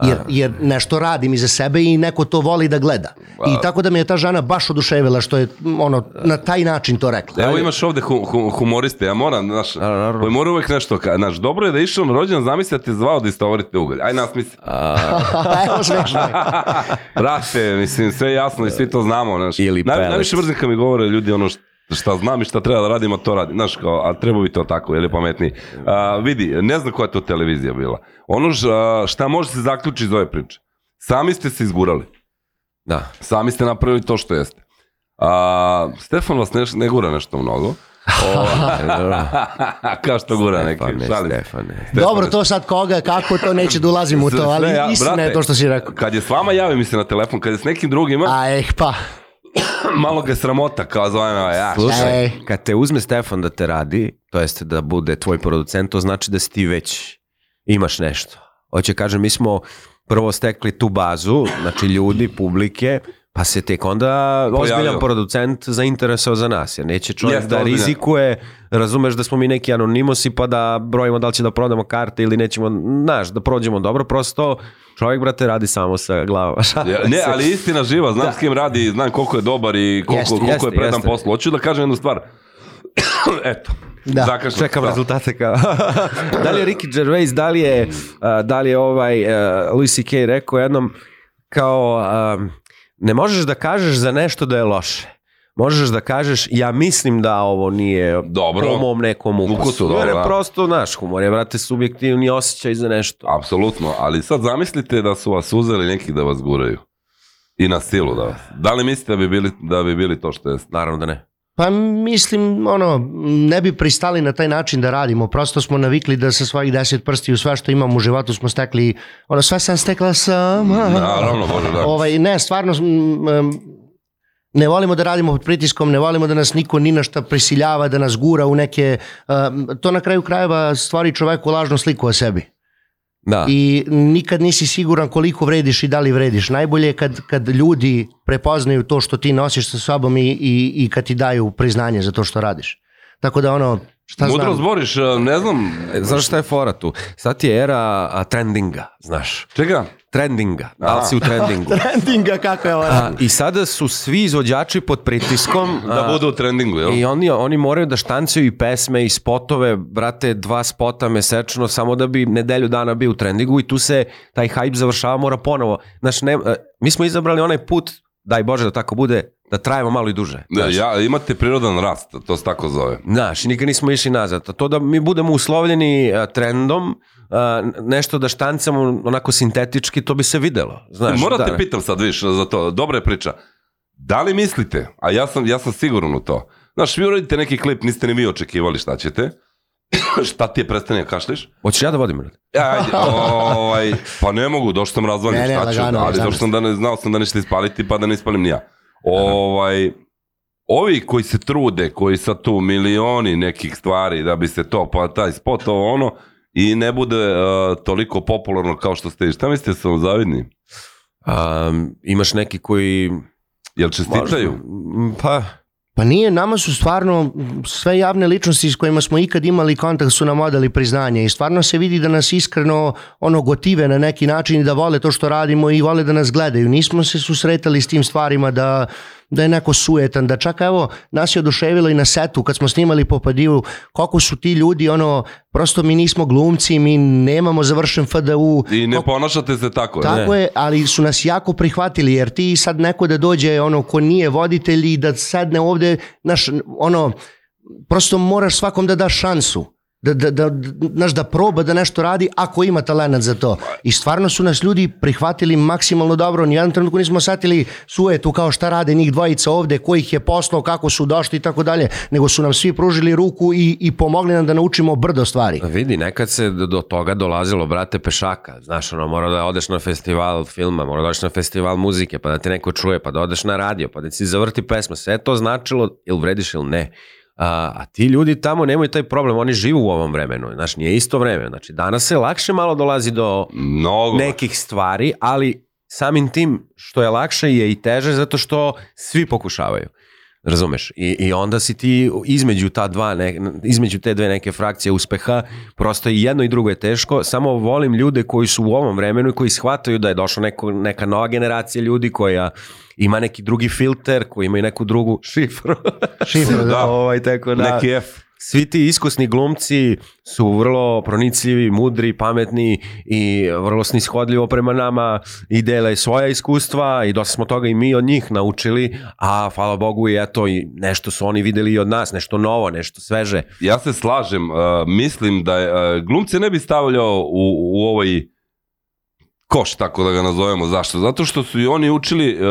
Speaker 4: Jer, jer nešto radim iza sebe i neko to voli da gleda. I tako da me je ta žena baš oduševila što je m, ono, na taj način to rekla.
Speaker 2: Evo imaš ovde hu, hu, humoriste, ja moram, znaš,
Speaker 3: Da, naravno.
Speaker 2: koji mora uvek nešto, ka, znaš, dobro je da je išao na rođendan, zamisli da te je zvao da istovarite ugalj. Aj nas misli.
Speaker 4: Evo smešno je.
Speaker 2: Rate, mislim, sve je jasno i svi to znamo, znaš.
Speaker 3: Ili pelet.
Speaker 2: najviše mrzim kad mi govore ljudi ono što šta znam i šta treba da radim, a to radim. Znaš kao, a treba bi to tako, je li pametniji? A, vidi, ne znam koja je to televizija bila. Ono ž- a, šta može se zaključiti iz ove priče? Sami ste se izgurali.
Speaker 3: da.
Speaker 2: Sami ste napravili to što jeste. A, Stefan vas ne, ne gura nešto mnogo.
Speaker 3: Da.
Speaker 2: Kao što gura neki.
Speaker 3: Stefane,
Speaker 2: šalim se.
Speaker 3: Stefane.
Speaker 4: Dobro, to sad koga, kako, to neće da ulazim u to,
Speaker 2: Sve,
Speaker 4: ali
Speaker 2: sve, ja,
Speaker 4: istina je
Speaker 2: brate,
Speaker 4: to što si rekao.
Speaker 2: Kad je s vama, javi mi se na telefon. Kad je s nekim drugima,
Speaker 4: A eh, pa,
Speaker 2: malo ga je sramota, kao zove me, ja.
Speaker 3: Slušaj,
Speaker 4: Ej.
Speaker 3: Dakle, kad te uzme Stefan da te radi, to jeste da bude tvoj producent, to znači da si ti već imaš nešto. Hoće kažem, mi smo prvo stekli tu bazu, znači ljudi, publike, Pa se tek onda ozbiljan producent zainteresao za nas, jer neće čovjek
Speaker 2: Jeste,
Speaker 3: da
Speaker 2: ozbiljan.
Speaker 3: rizikuje, razumeš da smo mi neki anonimosi pa da brojimo da li će da prodamo karte ili nećemo, znaš, da prođemo dobro, prosto čovjek, brate, radi samo sa glavama. šalim
Speaker 2: Ja, ne,
Speaker 3: se.
Speaker 2: ali istina živa,
Speaker 3: Da.
Speaker 2: znam s kim radi, i znam koliko je dobar i koliko,
Speaker 4: Jeste,
Speaker 2: koliko
Speaker 3: jeste,
Speaker 2: je predan
Speaker 3: jeste.
Speaker 2: poslu. Hoću da kažem jednu stvar. Eto,
Speaker 4: Da.
Speaker 2: zakašljam
Speaker 3: Čekam
Speaker 2: se.
Speaker 3: rezultate kao. da li je Ricky Gervais, da li je, a, da li je ovaj uh, Louis C.K. rekao jednom kao um, ne možeš da kažeš za nešto da je loše. Možeš da kažeš ja mislim da ovo nije
Speaker 2: Dobro.
Speaker 3: po mom nekom ukusu.
Speaker 2: Ukusu, dobro,
Speaker 3: Jer je
Speaker 2: da.
Speaker 3: prosto naš humor je, brate, subjektivni osjećaj za nešto.
Speaker 2: Apsolutno, ali sad zamislite da su vas uzeli neki da vas guraju. I na silu da vas. Da li mislite da bi bili, da bi bili to što jeste?
Speaker 3: Naravno da ne.
Speaker 4: Pa mislim, ono, ne bi pristali na taj način da radimo, prosto smo navikli da sa svojih deset prstiju sve što imamo u životu smo stekli, ono, sve sam stekla sama.
Speaker 2: Naravno, Bože, Mm, da.
Speaker 4: Ovaj, ne, stvarno, mm, em, ne volimo da radimo pod pritiskom, ne volimo da nas niko ni na šta prisiljava, da nas gura u neke, em, to na kraju krajeva stvari čoveku lažnu sliku o sebi.
Speaker 3: Da.
Speaker 4: I nikad nisi siguran koliko vrediš i da li vrediš. Najbolje je kad, kad ljudi prepoznaju to što ti nosiš sa sobom i, i, i kad ti daju priznanje za to što radiš. Tako da ono, šta
Speaker 2: Mudro
Speaker 4: znam,
Speaker 2: zboriš, ne znam.
Speaker 3: E, Znaš šta je fora tu? Sad ti je era a, trendinga, znaš.
Speaker 2: Čega?
Speaker 3: Trendinga. Da li si u trendingu?
Speaker 4: trendinga kako je ovo.
Speaker 3: A, I sada su svi izvođači pod pritiskom
Speaker 2: Da
Speaker 3: a,
Speaker 2: budu u trendingu, jel?
Speaker 3: I oni, oni moraju da štancaju i pesme i spotove, brate, dva spota mesečno, samo da bi nedelju dana bio u trendingu i tu se taj hype završava, mora ponovo. Znaš, ne, e, mi smo izabrali onaj put, daj Bože da tako bude, da trajemo malo i duže.
Speaker 2: Da,
Speaker 3: znaš.
Speaker 2: ja, imate prirodan rast, to se tako zove.
Speaker 3: Znaš, i nikad nismo išli nazad. A To da mi budemo uslovljeni e, trendom, e, nešto da štancamo onako sintetički, to bi se videlo. Znaš,
Speaker 2: Morate
Speaker 3: da,
Speaker 2: pitam sad, viš, za to. Dobra je priča. Da li mislite, a ja sam, ja sam siguran u to, znaš, vi uradite neki klip, niste ni vi očekivali šta ćete, šta ti je prestane da kašliš,
Speaker 3: Hoćeš ja da vodim, brate?
Speaker 2: E, Ajde, ovaj, pa ne mogu, došao sam razvaljen,
Speaker 4: Ne, ne,
Speaker 2: šta ću,
Speaker 4: lagano,
Speaker 2: ali došao
Speaker 4: zamisli.
Speaker 2: sam da ne, znao sam da nećete ispaliti, pa da ne ispalim ni ja. Ovaj, ovi koji se trude, koji sad tu milioni nekih stvari da bi se to, pa taj spot, ovo ono, i ne bude uh, toliko popularno kao što ste, vi. šta mislite, da su vam zavidni?
Speaker 3: Um, imaš neki koji...
Speaker 2: Jel čestitaju?
Speaker 3: Možda- Pa,
Speaker 4: Pa nije, nama su stvarno m, sve javne ličnosti s kojima smo ikad imali kontakt su nam odali priznanje i stvarno se vidi da nas iskreno ono gotive na neki način i da vole to što radimo i vole da nas gledaju. Nismo se susretali s tim stvarima da, da je neko sujetan, da čak evo nas je oduševilo i na setu kad smo snimali Popadiju koliko su ti ljudi ono prosto mi nismo glumci, mi nemamo završen FDU,
Speaker 2: I ne ponašate se tako, jel?
Speaker 4: tako je, ali su nas jako prihvatili, jer ti sad neko da dođe, ono, ko nije voditelj i da sadne ovde, znaš, ono, prosto moraš svakom da daš šansu. Da, da, da, znaš, da proba da nešto radi ako ima talenat za to. I stvarno su nas ljudi prihvatili maksimalno dobro. Ni u jednom trenutku nismo satili sujetu kao šta rade njih dvojica ovde, ko ih je poslao, kako su došli i tako dalje. Nego su nam svi pružili ruku i, i pomogli nam da naučimo brdo stvari.
Speaker 3: Pa Vidi, nekad se do do toga dolazilo, brate, pešaka. Znaš, ono, mora da odeš na festival filma, mora da odeš na festival muzike, pa da te neko čuje, pa da odeš na radio, pa da ti zavrti pesma. Sve to značilo ili vrediš ili ne. A, a ti ljudi tamo nemaju taj problem, oni žive u ovom vremenu, znaš, nije isto vreme. Znači, danas se lakše malo dolazi do
Speaker 2: Mnogo.
Speaker 3: nekih stvari, ali samim tim što je lakše je i teže zato što svi pokušavaju. Razumeš? I, I onda si ti između, ta dva ne, između te dve neke frakcije uspeha, prosto i jedno i drugo je teško, samo volim ljude koji su u ovom vremenu i koji shvataju da je došla neko, neka nova generacija ljudi koja ima neki drugi filter, koji imaju neku drugu šifru.
Speaker 4: Šifra, da.
Speaker 3: ovaj, tako da
Speaker 2: Neki F.
Speaker 3: svi ti iskusni glumci su vrlo pronicljivi, mudri, pametni i vrlo snishodljivo prema nama i dele svoja iskustva i dosta smo toga i mi od njih naučili, a hvala Bogu i eto i nešto su oni videli i od nas, nešto novo, nešto sveže.
Speaker 2: Ja se slažem, uh, mislim da je, uh, glumce ne bi stavljao u, u ovaj koš, tako da ga nazovemo. Zašto? Zato što su i oni učili uh,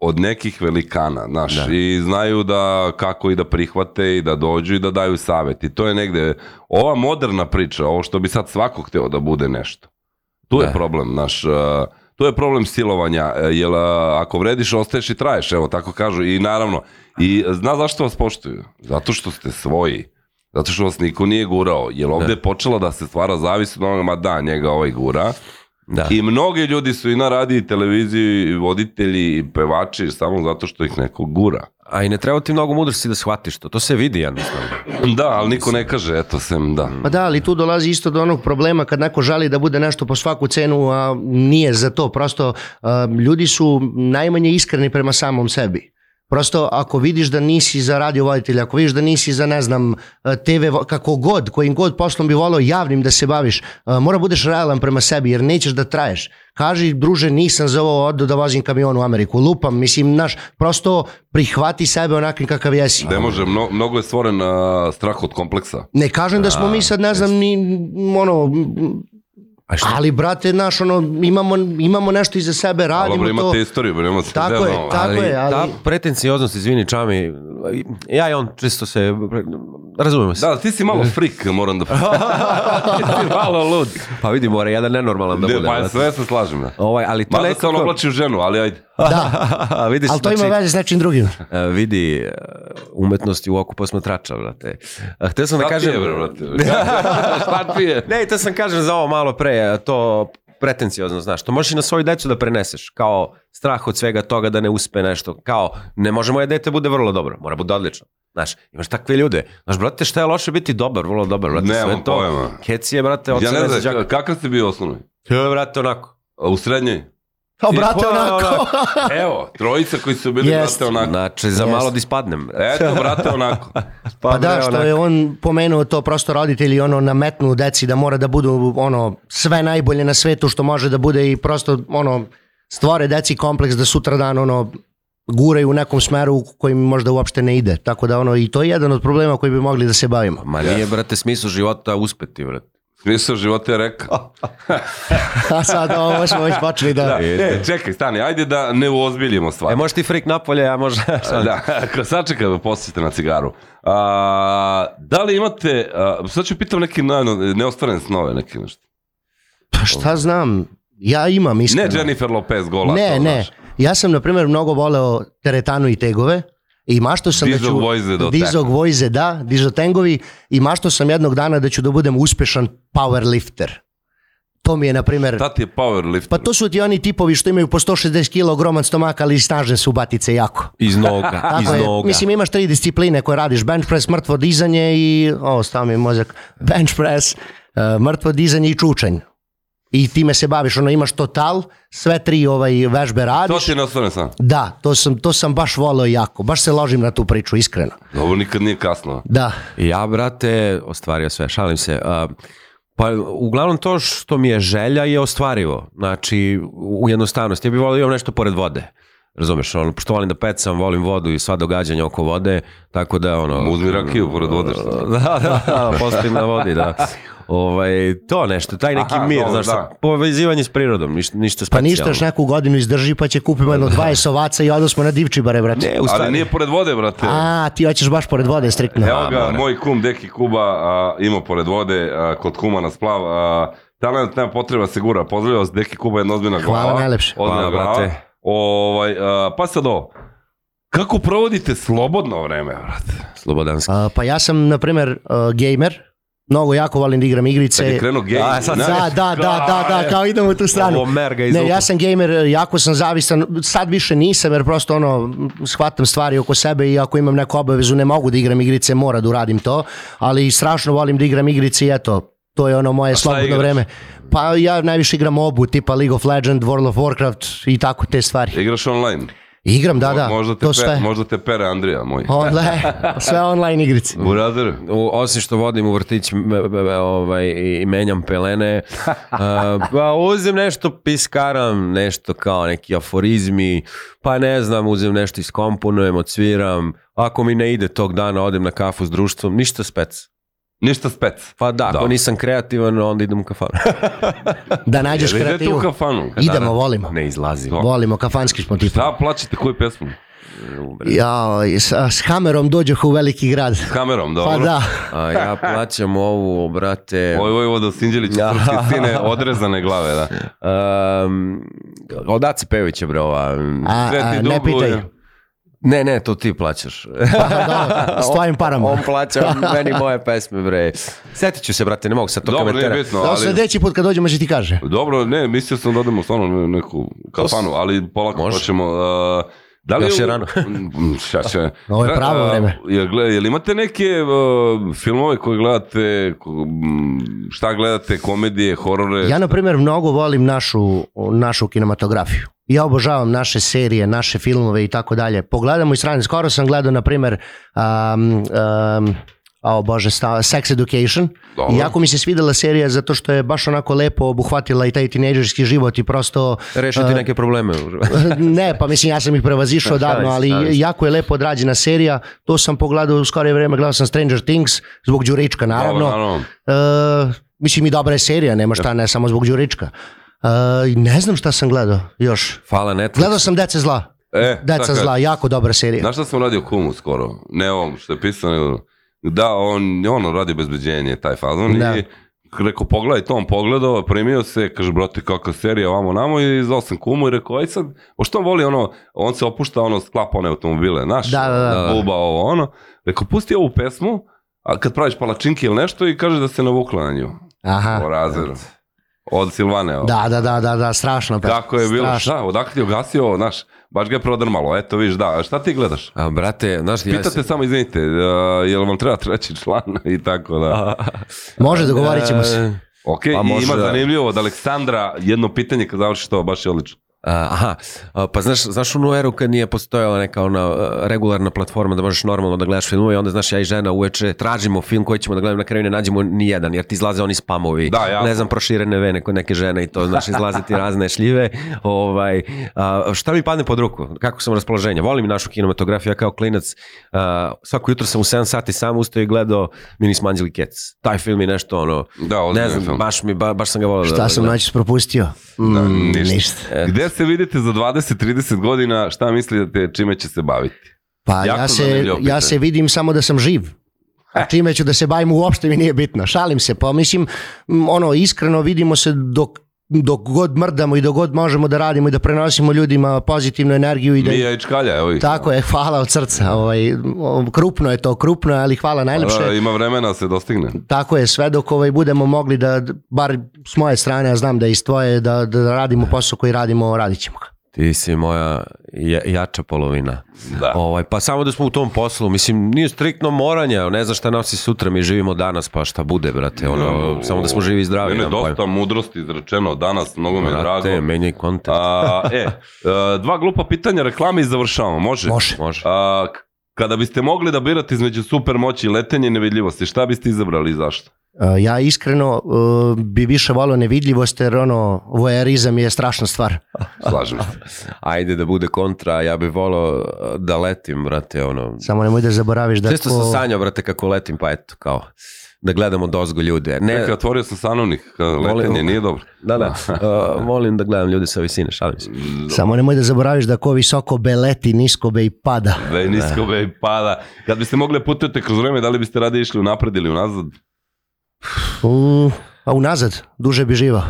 Speaker 2: od nekih velikana, znaš,
Speaker 3: Da.
Speaker 2: i znaju da kako i da prihvate i da dođu i da daju savjet. I to je negde, ova moderna priča, ovo što bi sad svako hteo da bude nešto. Tu je
Speaker 3: Da.
Speaker 2: problem, naš, uh, tu je problem silovanja, e, jer uh, ako vrediš, ostaješ i traješ, evo, tako kažu. I naravno, i zna zašto vas poštuju? Zato što ste svoji. Zato što vas niko nije gurao, jer ovde je počela da se stvara zavisno od onoga, ma da, njega da, ovaj gura,
Speaker 3: Da.
Speaker 2: I mnogi ljudi su i na radiji i televiziji, i voditelji, i pevači, samo zato što ih neko gura.
Speaker 3: A i ne treba ti mnogo mudrosti da shvatiš to. To se vidi jednostavno.
Speaker 2: Da, ali niko ne kaže, eto sem, da.
Speaker 4: Pa da, ali tu dolazi isto do onog problema kad neko žali da bude nešto po svaku cenu, a nije za to. Prosto a, ljudi su najmanje iskreni prema samom sebi. Prosto ako vidiš da nisi za radio voditelja, ako vidiš da nisi za ne znam a, TV, vo- kako god, kojim god poslom bi volao javnim da se baviš, a, mora budeš realan prema sebi jer nećeš da traješ. Kaži, druže, nisam za ovo odu da vozim kamion u Ameriku, lupam, mislim, naš, prosto prihvati sebe onakvim kakav jesi.
Speaker 2: Ne može, mno, mnogo je stvoren a, strah od kompleksa.
Speaker 4: Ne kažem da smo mi sad, ne znam, ni, ono,
Speaker 3: A šta?
Speaker 4: Ali, brate, znaš, ono, imamo, istoriju, nešto iza sebe,
Speaker 2: Ali
Speaker 4: radimo
Speaker 2: dobro,
Speaker 4: to.
Speaker 2: imate istoriju, bre, imate
Speaker 4: Tako
Speaker 2: ne
Speaker 4: je,
Speaker 2: znam,
Speaker 4: tako je, ali-
Speaker 3: ta pretencioznost, izvini Čami, ja i on čisto se, razumemo se.
Speaker 2: Da, ali ti si malo frik, moram da... ti si malo lud.
Speaker 3: Pa vidi, mora jedan nenormalan da
Speaker 2: Ne,
Speaker 3: bude.
Speaker 2: pa ja
Speaker 3: brate.
Speaker 2: sve se slažem. Da.
Speaker 3: Ovaj, ali to
Speaker 2: Mada se on
Speaker 3: nekako...
Speaker 2: oblači u ženu, ali ajde.
Speaker 4: Da,
Speaker 3: A, vidiš,
Speaker 4: ali to ima
Speaker 3: znači,
Speaker 4: veze s nečim drugim.
Speaker 3: e, vidi e, umetnosti u oku posmatrača, brate. A, Htio sam da
Speaker 2: Šta ti
Speaker 3: kažem...
Speaker 2: je, bre, brate? Šta ti je?
Speaker 3: Ne, i to sam kažem za ovo malo pre, a to pretenciozno, znaš, to možeš i na svoju decu da preneseš, kao strah od svega toga da ne uspe nešto, kao ne može moje dete bude vrlo dobro, mora bude odlično. Znaš, imaš takve ljude. Znaš, brate, šta je loše biti dobar, vrlo dobar, brate,
Speaker 2: Nemam
Speaker 3: sve to.
Speaker 2: pojma.
Speaker 3: Keci je, brate, od
Speaker 2: Ja ne
Speaker 3: za
Speaker 2: znam,
Speaker 3: džaka.
Speaker 2: kakav si bio osnovni?
Speaker 3: E, brate, onako.
Speaker 2: A, U srednjoj?
Speaker 4: O,
Speaker 3: I
Speaker 4: brate,
Speaker 3: pa,
Speaker 4: onako.
Speaker 2: Evo, trojica koji su bili,
Speaker 4: Jest.
Speaker 2: brate, onako.
Speaker 3: Znači, za
Speaker 4: Yes.
Speaker 3: malo da ispadnem, brate.
Speaker 2: Eto, brate, onako.
Speaker 4: Pa
Speaker 3: bre,
Speaker 4: da, što
Speaker 3: onako.
Speaker 4: je on pomenuo to, prosto roditelji ono nametnu deci da mora da budu ono sve najbolje na svetu što može da bude i prosto ono stvore deci kompleks da sutra dan ono guraju u nekom smeru u kojim možda uopšte ne ide. Tako da ono i to je jedan od problema koji bi mogli da se bavimo.
Speaker 3: Ma nije, brate, smisao života uspeti, brate.
Speaker 2: Smisao života je rekao.
Speaker 4: A sad ovo smo već počeli da...
Speaker 2: E, čekaj, stani, ajde da ne uozbiljimo stvar.
Speaker 3: E, možeš ti frik napolje, a može...
Speaker 2: Da, ako sačekaj da posjetite na cigaru. A, da li imate, a, sad ću pitam neke naravno, neostvarene snove, neke nešto.
Speaker 4: Pa šta znam, ja imam iskreno.
Speaker 2: Ne Jennifer Lopez gola.
Speaker 4: Ne,
Speaker 2: to,
Speaker 4: ne.
Speaker 2: znaš.
Speaker 4: Ja sam, na primjer, mnogo voleo teretanu i tegove. I mašto sam da
Speaker 2: Dizog
Speaker 4: ću...
Speaker 2: Voize do
Speaker 4: Dizog
Speaker 2: tekme.
Speaker 4: Voize, da, dizotengovi. I mašto sam jednog dana da ću da budem uspešan powerlifter. To mi je, na primjer...
Speaker 2: Šta ti je powerlifter?
Speaker 4: Pa to su ti oni tipovi što imaju po 160 kg ogroman stomak, ali snažne su batice jako.
Speaker 3: Iz noga, iz
Speaker 4: Tako je.
Speaker 3: noga.
Speaker 4: Mislim, imaš tri discipline koje radiš. Bench press, mrtvo dizanje i... O, stao mi je mozak. Bench press, e, mrtvo dizanje i čučanj. I time se baviš, ono imaš total, sve tri ovaj vežbe
Speaker 2: to
Speaker 4: radiš.
Speaker 2: ti je neostvarene snove.
Speaker 4: Da, to sam, to sam baš voleo jako. Baš se ložim na tu priču, iskreno.
Speaker 2: Dobro, nikad nije kasno.
Speaker 4: Da.
Speaker 3: Ja, brate, ostvario sve, šalim se. A, Pa, uglavnom to što mi je želja je ostvarivo. Znači, u jednostavnosti. Ja bih volio da imam nešto pored vode. Razumeš, ono, pošto volim da pecam, volim vodu i sva događanja oko vode, tako da, ono...
Speaker 2: Uzmi rakiju pored vode, znači. šta?
Speaker 3: Da, da, da, postojim na vodi, da. Ovaj, to nešto, taj neki
Speaker 2: Aha,
Speaker 3: mir,
Speaker 2: dobro,
Speaker 3: znaš,
Speaker 2: da.
Speaker 3: da. povezivanje s prirodom, ništa, ništa
Speaker 4: Pa
Speaker 3: specijalno.
Speaker 4: ništa još neku godinu izdrži, pa će kupimo jedno 20 ovaca i odosmo na divčibare, brate.
Speaker 3: Ne, u stvari,
Speaker 2: Ali nije pored vode, brate.
Speaker 4: A, ti hoćeš baš pored vode, striktno.
Speaker 2: Evo ga,
Speaker 3: more.
Speaker 2: moj kum Deki Kuba a, ima pored vode, a, kod kuma na splav. A, talent nema potreba se gura. Pozdravljam vas, Deki Kuba je jedna ozbiljna glava.
Speaker 4: Hvala najlepše.
Speaker 2: Ozbiljna
Speaker 3: Hvala,
Speaker 2: glava.
Speaker 3: brate.
Speaker 2: Ovaj, a, pa sad ovo. Kako provodite slobodno vreme, brate?
Speaker 3: slobodanski.
Speaker 4: A, pa ja sam, na primjer, gamer. Mnogo jako volim da igram
Speaker 2: Kad je
Speaker 4: igrice.
Speaker 2: krenuo gej.
Speaker 3: A, sad-
Speaker 2: ne?
Speaker 4: Da, da, da, da, da, kao idemo u tu stranu.
Speaker 3: Ovo merga
Speaker 4: Ne,
Speaker 3: izvuku.
Speaker 4: ja sam gamer, jako sam zavisan, sad više nisam jer prosto ono, shvatam stvari oko sebe i ako imam neku obavezu ne mogu da igram igrice, mora da uradim to, ali strašno volim da igram igrice i eto, to je ono moje slobodno
Speaker 2: igraš?
Speaker 4: vreme. Pa ja najviše igram obu, tipa League of Legends, World of Warcraft i tako te stvari.
Speaker 2: Igraš online.
Speaker 4: Igram, da, da,
Speaker 2: možda te
Speaker 4: to
Speaker 2: pe,
Speaker 4: sve.
Speaker 2: možda te pere Andrija moj.
Speaker 4: Online, sve online igrice.
Speaker 2: U razeru.
Speaker 3: U, osim što vodim u vrtić m- m- m- ovaj, i menjam pelene, a, pa uzem nešto, piskaram, nešto kao neki aforizmi, pa ne znam, uzem nešto, iskomponujem, odsviram, ako mi ne ide tog dana, odem na kafu s društvom, ništa spec.
Speaker 2: Ništa spec.
Speaker 3: Pa da,
Speaker 2: Da.
Speaker 3: ako nisam kreativan, onda idem u kafanu.
Speaker 4: Da nađeš
Speaker 2: Jel idete u
Speaker 4: kreativu.
Speaker 2: kafanu?
Speaker 4: Idemo, volimo.
Speaker 3: Da, ne izlazim.
Speaker 4: Volimo, kafanski smo
Speaker 2: Da,
Speaker 4: tipa.
Speaker 2: Šta plaćate koju pesmu?
Speaker 4: Ja, sa- s Hammerom dođoh u veliki grad.
Speaker 2: S kamerom, dobro.
Speaker 4: Pa da.
Speaker 3: A ja plaćam ovu, brate...
Speaker 2: Oj, oj, voda Sinđelić,
Speaker 3: Ja.
Speaker 4: Da.
Speaker 2: srpske sine, odrezane glave, da.
Speaker 3: Um, Ehm, od Ace Pejovića, bre, ova...
Speaker 4: A,
Speaker 2: Sve ti
Speaker 4: a, ne
Speaker 2: duguje.
Speaker 4: pitaju.
Speaker 3: Ne, ne, to ti plaćaš.
Speaker 4: Da, s tvojim parama.
Speaker 3: On plaća meni moje pesme, bre. Setit ću se, brate, ne mogu sad to
Speaker 2: Dobro, nije
Speaker 3: komentera.
Speaker 2: bitno,
Speaker 4: Da,
Speaker 2: ali...
Speaker 4: sledeći put kad dođemo će ti kaže.
Speaker 2: Dobro, ne, mislio sam da odemo stvarno u neku kafanu, ali polako
Speaker 3: Može.
Speaker 2: hoćemo. Uh, da li
Speaker 3: Još je
Speaker 2: u-
Speaker 3: rano.
Speaker 2: Mm, šta će?
Speaker 4: Ovo je
Speaker 2: Gra-
Speaker 4: pravo
Speaker 2: a,
Speaker 4: vreme.
Speaker 2: Jel, gle- jel imate neke uh, filmove koje gledate, ko- mm, šta gledate, komedije, horore?
Speaker 4: Ja, na primjer, mnogo volim našu, našu kinematografiju. Ja obožavam naše serije, naše filmove i tako dalje. Pogledamo i strane. Skoro sam gledao, na primjer, um, um, o bože, sta- Sex Education.
Speaker 2: Dobro.
Speaker 4: I jako mi se svidela serija zato što je baš onako lepo obuhvatila i taj tinejdžerski život i prosto...
Speaker 3: Rešiti
Speaker 4: e,
Speaker 3: neke probleme.
Speaker 4: ne, pa mislim ja sam ih prevazišao davno, ali
Speaker 3: Šta je, šta
Speaker 4: jako je lepo odrađena serija. To sam pogledao u skorije vreme, gledao sam Stranger Things, zbog Đurička
Speaker 2: Dobro,
Speaker 4: naravno.
Speaker 2: naravno.
Speaker 4: E, mislim i dobra je serija, nema šta, ne samo zbog Đurička. E, i ne znam šta sam gledao još.
Speaker 3: Hvala Netflix.
Speaker 4: Gledao sam Dece zla.
Speaker 2: E, šta
Speaker 4: Deca
Speaker 2: kažeš?
Speaker 4: zla, jako dobra serija.
Speaker 2: Znaš šta sam radio kumu skoro? Ne ovom što je pisao, nego da, on, ono radi obezbeđenje, taj fazon.
Speaker 4: Da.
Speaker 2: I rekao, pogledaj to, on pogledao, primio se, kaže, brate, kakva serija, vamo namo, i zvao sam kumu i rekao, aj sad, pošto on voli ono, on se opušta, ono, sklapa one automobile, znaš,
Speaker 4: Da, da, da.
Speaker 2: buba, ovo, ono. Rekao, pusti ovu pesmu, a kad praviš palačinke ili nešto i kaže da se navukla na nju,
Speaker 4: Aha.
Speaker 2: o razredu. Od Silvane, ovo.
Speaker 4: Ah, Da, da, da, da, da, strašno.
Speaker 2: Kako je bilo,
Speaker 4: strašno.
Speaker 2: šta, odakle je ugasio, znaš, baš ga je prodrmalo, eto, viš, da, a šta ti gledaš?
Speaker 3: A, brate, znaš, ti, ja
Speaker 2: Pitate
Speaker 3: se...
Speaker 2: samo, izvinite, uh, jel vam treba treći član i tako da.
Speaker 4: Može, dogovorit ćemo se.
Speaker 3: E,
Speaker 2: Ok,
Speaker 3: Pa
Speaker 2: i
Speaker 3: može
Speaker 2: ima
Speaker 3: da.
Speaker 2: zanimljivo od Aleksandra jedno pitanje kad završi to, baš je odlično.
Speaker 3: A, Aha, A, pa znaš, znaš onu eru kad nije postojala neka ona e, regularna platforma da možeš normalno da gledaš filmove i onda znaš ja i žena uveče tražimo film koji ćemo da gledamo na kraju i ne nađemo ni jedan jer ti izlaze oni spamovi,
Speaker 2: Da, jako.
Speaker 3: ne znam proširene vene kod neke žene i to znaš izlaze ti razne šljive, ovaj, a, šta mi padne pod ruku, kako sam raspoloženja, volim našu kinematografiju, ja kao klinac a, svako jutro sam u 7 sati sam ustao i gledao Minis Manđeli Kec, taj film je nešto ono,
Speaker 2: Da, ozbiljan
Speaker 3: ne znam,
Speaker 2: film.
Speaker 3: baš, mi, ba, baš sam ga volao da-
Speaker 4: Šta sam
Speaker 3: da-
Speaker 4: noćas propustio? Mm,
Speaker 2: Da, ništa.
Speaker 4: ništa.
Speaker 2: Gde se vidite za 20-30 godina, šta mislite čime će se baviti?
Speaker 4: Pa
Speaker 2: Jako
Speaker 4: ja se,
Speaker 2: zanimljivo pitanje. E.
Speaker 4: ja se vidim samo da sam živ. A čime ću da se bavim uopšte mi nije bitno. Šalim se, pa mislim, m, ono, iskreno vidimo se dok, dok god mrdamo i dok god možemo da radimo i da prenosimo ljudima pozitivnu energiju i da...
Speaker 2: Mija i Čkalja, evo ih.
Speaker 4: Tako je, hvala od srca. Ovaj, o, krupno je to, krupno je, ali hvala najlepše.
Speaker 2: Da, ima vremena da se dostigne.
Speaker 4: Tako je, sve dok ovaj, budemo mogli da, bar s moje strane, ja znam da je iz tvoje, da, da radimo posao koji radimo, radit ćemo ga.
Speaker 3: Ti si moja ja, jača polovina.
Speaker 2: Da.
Speaker 3: Ovaj, pa samo da smo u tom poslu, mislim, nije striktno moranja, ne znam šta nosi sutra, mi živimo danas, pa šta bude, brate, ono, samo da smo živi i zdravi.
Speaker 2: Mene je
Speaker 3: nemam pojma.
Speaker 2: dosta mudrosti izrečeno danas, mnogo mi je drago.
Speaker 3: Brate, menjaj kontakt.
Speaker 2: A, e, a, dva glupa pitanja reklame i završavamo, može?
Speaker 4: Može.
Speaker 3: Može.
Speaker 2: A, k- kada biste mogli da birate između supermoći, letenja i nevidljivosti, šta biste izabrali i zašto?
Speaker 4: E, Ja iskreno e, bi više volao nevidljivost jer ono, vojerizam je strašna stvar.
Speaker 2: Slažem se.
Speaker 3: Ajde da bude kontra, ja bih volao eh, da letim, brate, ono.
Speaker 4: Samo nemoj da zaboraviš da
Speaker 3: Često
Speaker 4: ko-
Speaker 3: sam sanjao, brate, kako letim, pa eto, kao, da gledamo dozgo ljude. Ne,
Speaker 2: Čekaj, otvorio sam sanovnik, a, letenje
Speaker 3: Volim-
Speaker 2: nije dobro.
Speaker 3: da, da, uh, molim da gledam ljude sa visine, šalim se.
Speaker 4: Samo nemoj da zaboraviš da ko visoko beleti, nisko be i pada.
Speaker 2: Da je nisko be i pada. Kad biste mogli da putujete kroz vreme, da li biste radi išli unapred ili unazad?
Speaker 4: U, a unazad, duže bi živao.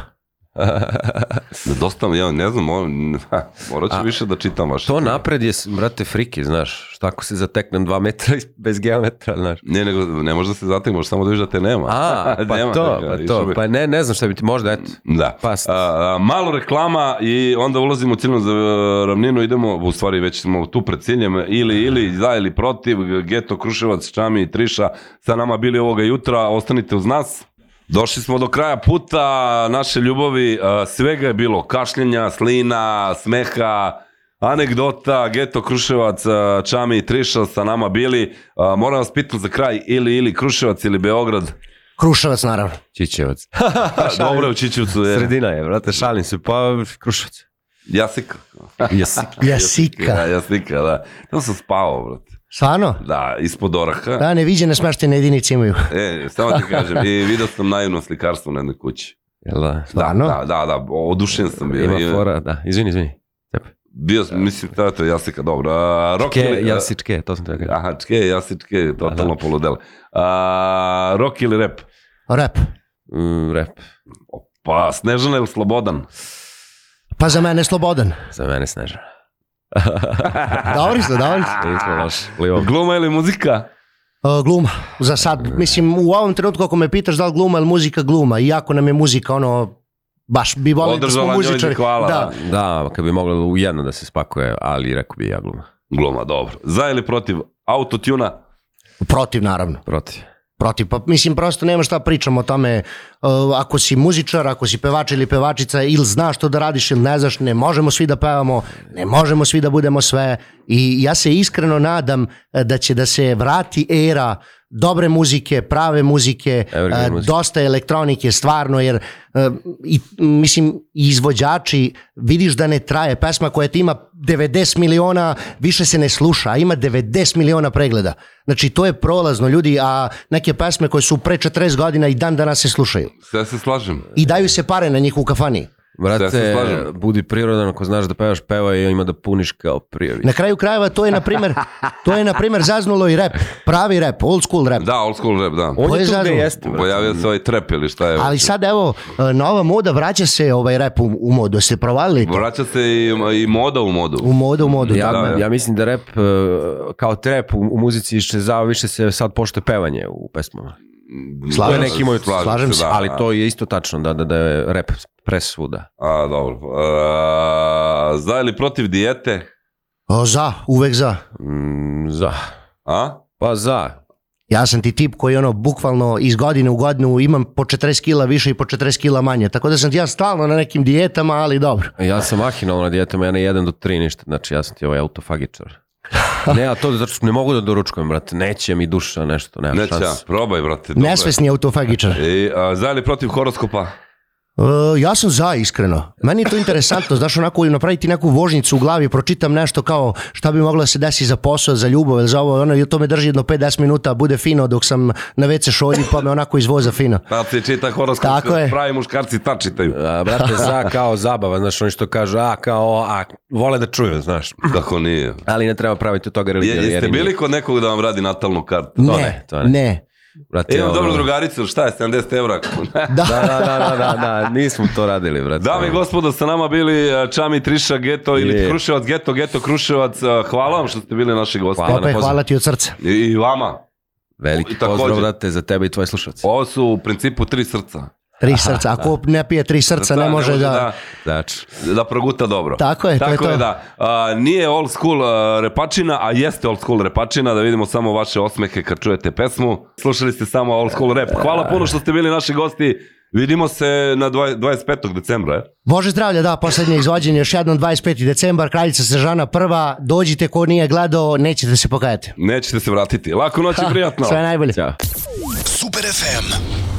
Speaker 2: Da dosta, ja ne znam, ovo- morat ću
Speaker 3: A-
Speaker 2: više da čitam vaše.
Speaker 3: To napred je, brate, friki, znaš, šta ako se zateknem dva metra bez geometra, znaš.
Speaker 2: Ne, nego, ne može da se zatim, može samo da viš da te nema.
Speaker 3: A, pa
Speaker 2: Nema
Speaker 3: to,
Speaker 2: toga,
Speaker 3: pa
Speaker 2: išao
Speaker 3: to,
Speaker 2: bi.
Speaker 3: pa ne, ne znam šta bi ti, možda, eto.
Speaker 2: Da.
Speaker 3: Pa,
Speaker 2: A, a, malo reklama i onda ulazimo u ciljnu za e, ravninu, idemo, u stvari već smo tu pred ciljem, ili, ili, za ili protiv, Geto, Kruševac, Čami i Triša, sa nama bili ovoga jutra, ostanite uz nas. Došli smo do kraja puta naše ljubavi, e, svega je bilo, kašljenja, slina, smeha, anegdota, Geto, Kruševac, e, Čami i Triša sa nama bili. E, Moram vas pitam za kraj, ili, ili Kruševac ili Beograd.
Speaker 4: Kruševac naravno.
Speaker 3: Čičevac.
Speaker 2: Dobro je u Čičevcu. je.
Speaker 3: Sredina je, brate, šalim se, pa Kruševac.
Speaker 2: Jasik.
Speaker 3: Jesi.
Speaker 2: Da,
Speaker 4: Jasika.
Speaker 2: ja slika, da. Tamo sam spavao, brate.
Speaker 4: Stvarno?
Speaker 2: Da, ispod oraha.
Speaker 4: Da, neviđene smeštene jedinice imaju.
Speaker 2: E, samo ti kažem, i video sam naivno slikarstvo na jednoj kući.
Speaker 3: Jel da?
Speaker 2: Da,
Speaker 4: Stvarno?
Speaker 2: da, da, da, odušen sam bio. I-
Speaker 3: Ima fora, da, izvini, izvini.
Speaker 2: Bio sam, mislim, da, to je jasika, dobro. A, rock
Speaker 3: Čke,
Speaker 2: ili,
Speaker 3: jasi čke, to sam te rekao.
Speaker 2: Aha, čke, jasi, čke, totalno
Speaker 3: Da.
Speaker 2: poludele. A, rock ili rap?
Speaker 4: Rap.
Speaker 3: Mm, rap,
Speaker 2: Pa, Snežana ili Slobodan?
Speaker 4: Pa za mene slobodan.
Speaker 3: za mene Snežana.
Speaker 4: Dobri ste, dobri ste.
Speaker 3: Nismo loši, plivom.
Speaker 2: Gluma ili muzika?
Speaker 4: Uh, gluma, za sad. Mislim, u ovom trenutku ako me pitaš da li gluma ili muzika, gluma. Iako nam je muzika ono, baš bi volio da smo
Speaker 2: Održala njoj
Speaker 4: muzičari.
Speaker 2: hvala.
Speaker 4: Da.
Speaker 3: Da, kad bi mogla u jedno da se spakuje, ali rekao bi ja gluma.
Speaker 2: Gluma, dobro. Za ili protiv autotuna?
Speaker 4: Protiv, naravno.
Speaker 3: Protiv.
Speaker 4: Protiv, pa mislim prosto nema šta pričamo o tome uh, ako si muzičar, ako si pevač ili pevačica ili znaš što da radiš ili ne znaš, ne možemo svi da pevamo, ne možemo svi da budemo sve i ja se iskreno nadam eh, da će da se vrati era dobre muzike, prave muzike,
Speaker 3: Evergreen
Speaker 4: eh,
Speaker 3: muzike.
Speaker 4: dosta elektronike stvarno jer eh, i, mislim i izvođači vidiš da ne traje pesma koja ti ima 90 miliona više se ne sluša a ima 90 miliona pregleda znači to je prolazno ljudi a neke pesme koje su pre 40 godina i dan danas se slušaju
Speaker 2: Sve se slažem.
Speaker 4: i daju se pare na njih u kafani
Speaker 2: Ja se
Speaker 3: Brate,
Speaker 2: slažem.
Speaker 3: budi prirodan, ako znaš da pevaš, peva i ima da puniš kao prijavi.
Speaker 4: na kraju krajeva to je na primer to je na primer zaznulo i rap pravi rap old school rap
Speaker 2: Da, old school rap, da.
Speaker 4: to
Speaker 3: On
Speaker 4: je
Speaker 3: je tu gde
Speaker 4: zazvon.
Speaker 3: jeste, brate.
Speaker 2: Pojavio se ovaj trap ili šta je.
Speaker 4: ali sad evo eh, nova moda vraća se ovaj rap u, u modu ste provalili to?
Speaker 2: Vraća se i, i moda u modu.
Speaker 4: u modu u modu
Speaker 3: Ja,
Speaker 4: da.
Speaker 2: da.
Speaker 3: ja mislim da rap e, kao trap u, u muzici iščezava, više se sad pošto pevanju u pesmama.
Speaker 4: Slažem
Speaker 3: neki
Speaker 4: se.
Speaker 3: imaju-
Speaker 4: slažem se,
Speaker 2: da.
Speaker 3: Ali to je isto tačno, da, da, da je rap presvuda.
Speaker 2: A, dobro. A, za ili protiv dijete?
Speaker 4: O, za, uvek za
Speaker 3: Mm, za.
Speaker 2: A?
Speaker 3: Pa za.
Speaker 4: Ja sam ti tip koji ono bukvalno iz godine u godinu imam po 40 kila više i po 40 kila manje. Tako da sam ti ja stalno na nekim dijetama, ali dobro.
Speaker 3: Ja sam mahinalno na dijetama, ja ne jedan do tri ništa, znači ja sam ti ovaj autofagičar. Ne, a to zato što ne mogu da doručkujem, brate, neće mi duša nešto, nema
Speaker 2: Neća,
Speaker 3: šans.
Speaker 2: probaj, brate. dobro je.
Speaker 4: Nesvesni autofagičar.
Speaker 3: E.
Speaker 2: I, a, za ili protiv horoskopa?
Speaker 4: E, ja sam za, iskreno. Meni je to interesantno, znaš, onako napraviti neku vožnicu u glavi, pročitam nešto kao šta bi moglo da se desi za posao, za ljubav, ili za ovo, ono, i to me drži jedno 5-10 minuta, bude fino dok sam na WC šolji, pa me onako izvoza fino.
Speaker 2: Tad se čita horoskop,
Speaker 4: Tako je.
Speaker 2: pravi muškarci tad čitaju.
Speaker 3: A, brate, za kao zabava, znaš, oni što kažu, a kao, a, vole da čuju, znaš.
Speaker 2: Tako nije.
Speaker 3: Ali ne treba praviti od toga
Speaker 2: Je,
Speaker 3: religiju.
Speaker 2: jeste bili kod nekog da vam radi natalnu kartu?
Speaker 4: Ne,
Speaker 3: ne, to
Speaker 4: ne.
Speaker 3: ne.
Speaker 4: ne.
Speaker 3: Brate,
Speaker 2: Imam
Speaker 3: ono-
Speaker 2: dobru drugaricu, šta je, 70 evra?
Speaker 3: Da, da, da, da, da, da, nismo to radili, brate.
Speaker 2: Dame i gospodo, sa nama bili a, Čami Triša Geto ili
Speaker 3: Je.
Speaker 2: Kruševac Geto, Geto Kruševac. A, Hvala vam što ste bili naši gosti.
Speaker 3: Hvala na
Speaker 4: Opet
Speaker 3: pozivu.
Speaker 4: hvala ti od srca.
Speaker 2: I, I vama.
Speaker 3: Veliki
Speaker 2: I takođe-
Speaker 3: pozdrav, brate, za tebe i tvoje slušalce.
Speaker 2: Ovo su u principu tri srca.
Speaker 4: Tri srca. Ako
Speaker 3: da.
Speaker 4: ne pije tri srca, ne može da...
Speaker 3: Znači,
Speaker 2: da, da proguta dobro.
Speaker 4: Tako je, to je
Speaker 2: Tako je
Speaker 4: to.
Speaker 2: da, a, nije old school a, repačina, a jeste old school repačina, da vidimo samo vaše osmehe kad čujete pesmu. Slušali ste samo old school rap. Hvala puno što ste bili naši gosti. Vidimo se na dva- 25. decembra. e? je.
Speaker 4: Bože zdravlja, da, poslednje izvođenje, još jednom 25. decembar, Kraljica Sežana prva, dođite ko nije gledao, nećete se pokajati.
Speaker 2: Nećete se vratiti. Laku noć i prijatno.
Speaker 4: Sve najbolje.
Speaker 3: ćao.
Speaker 1: Super FM.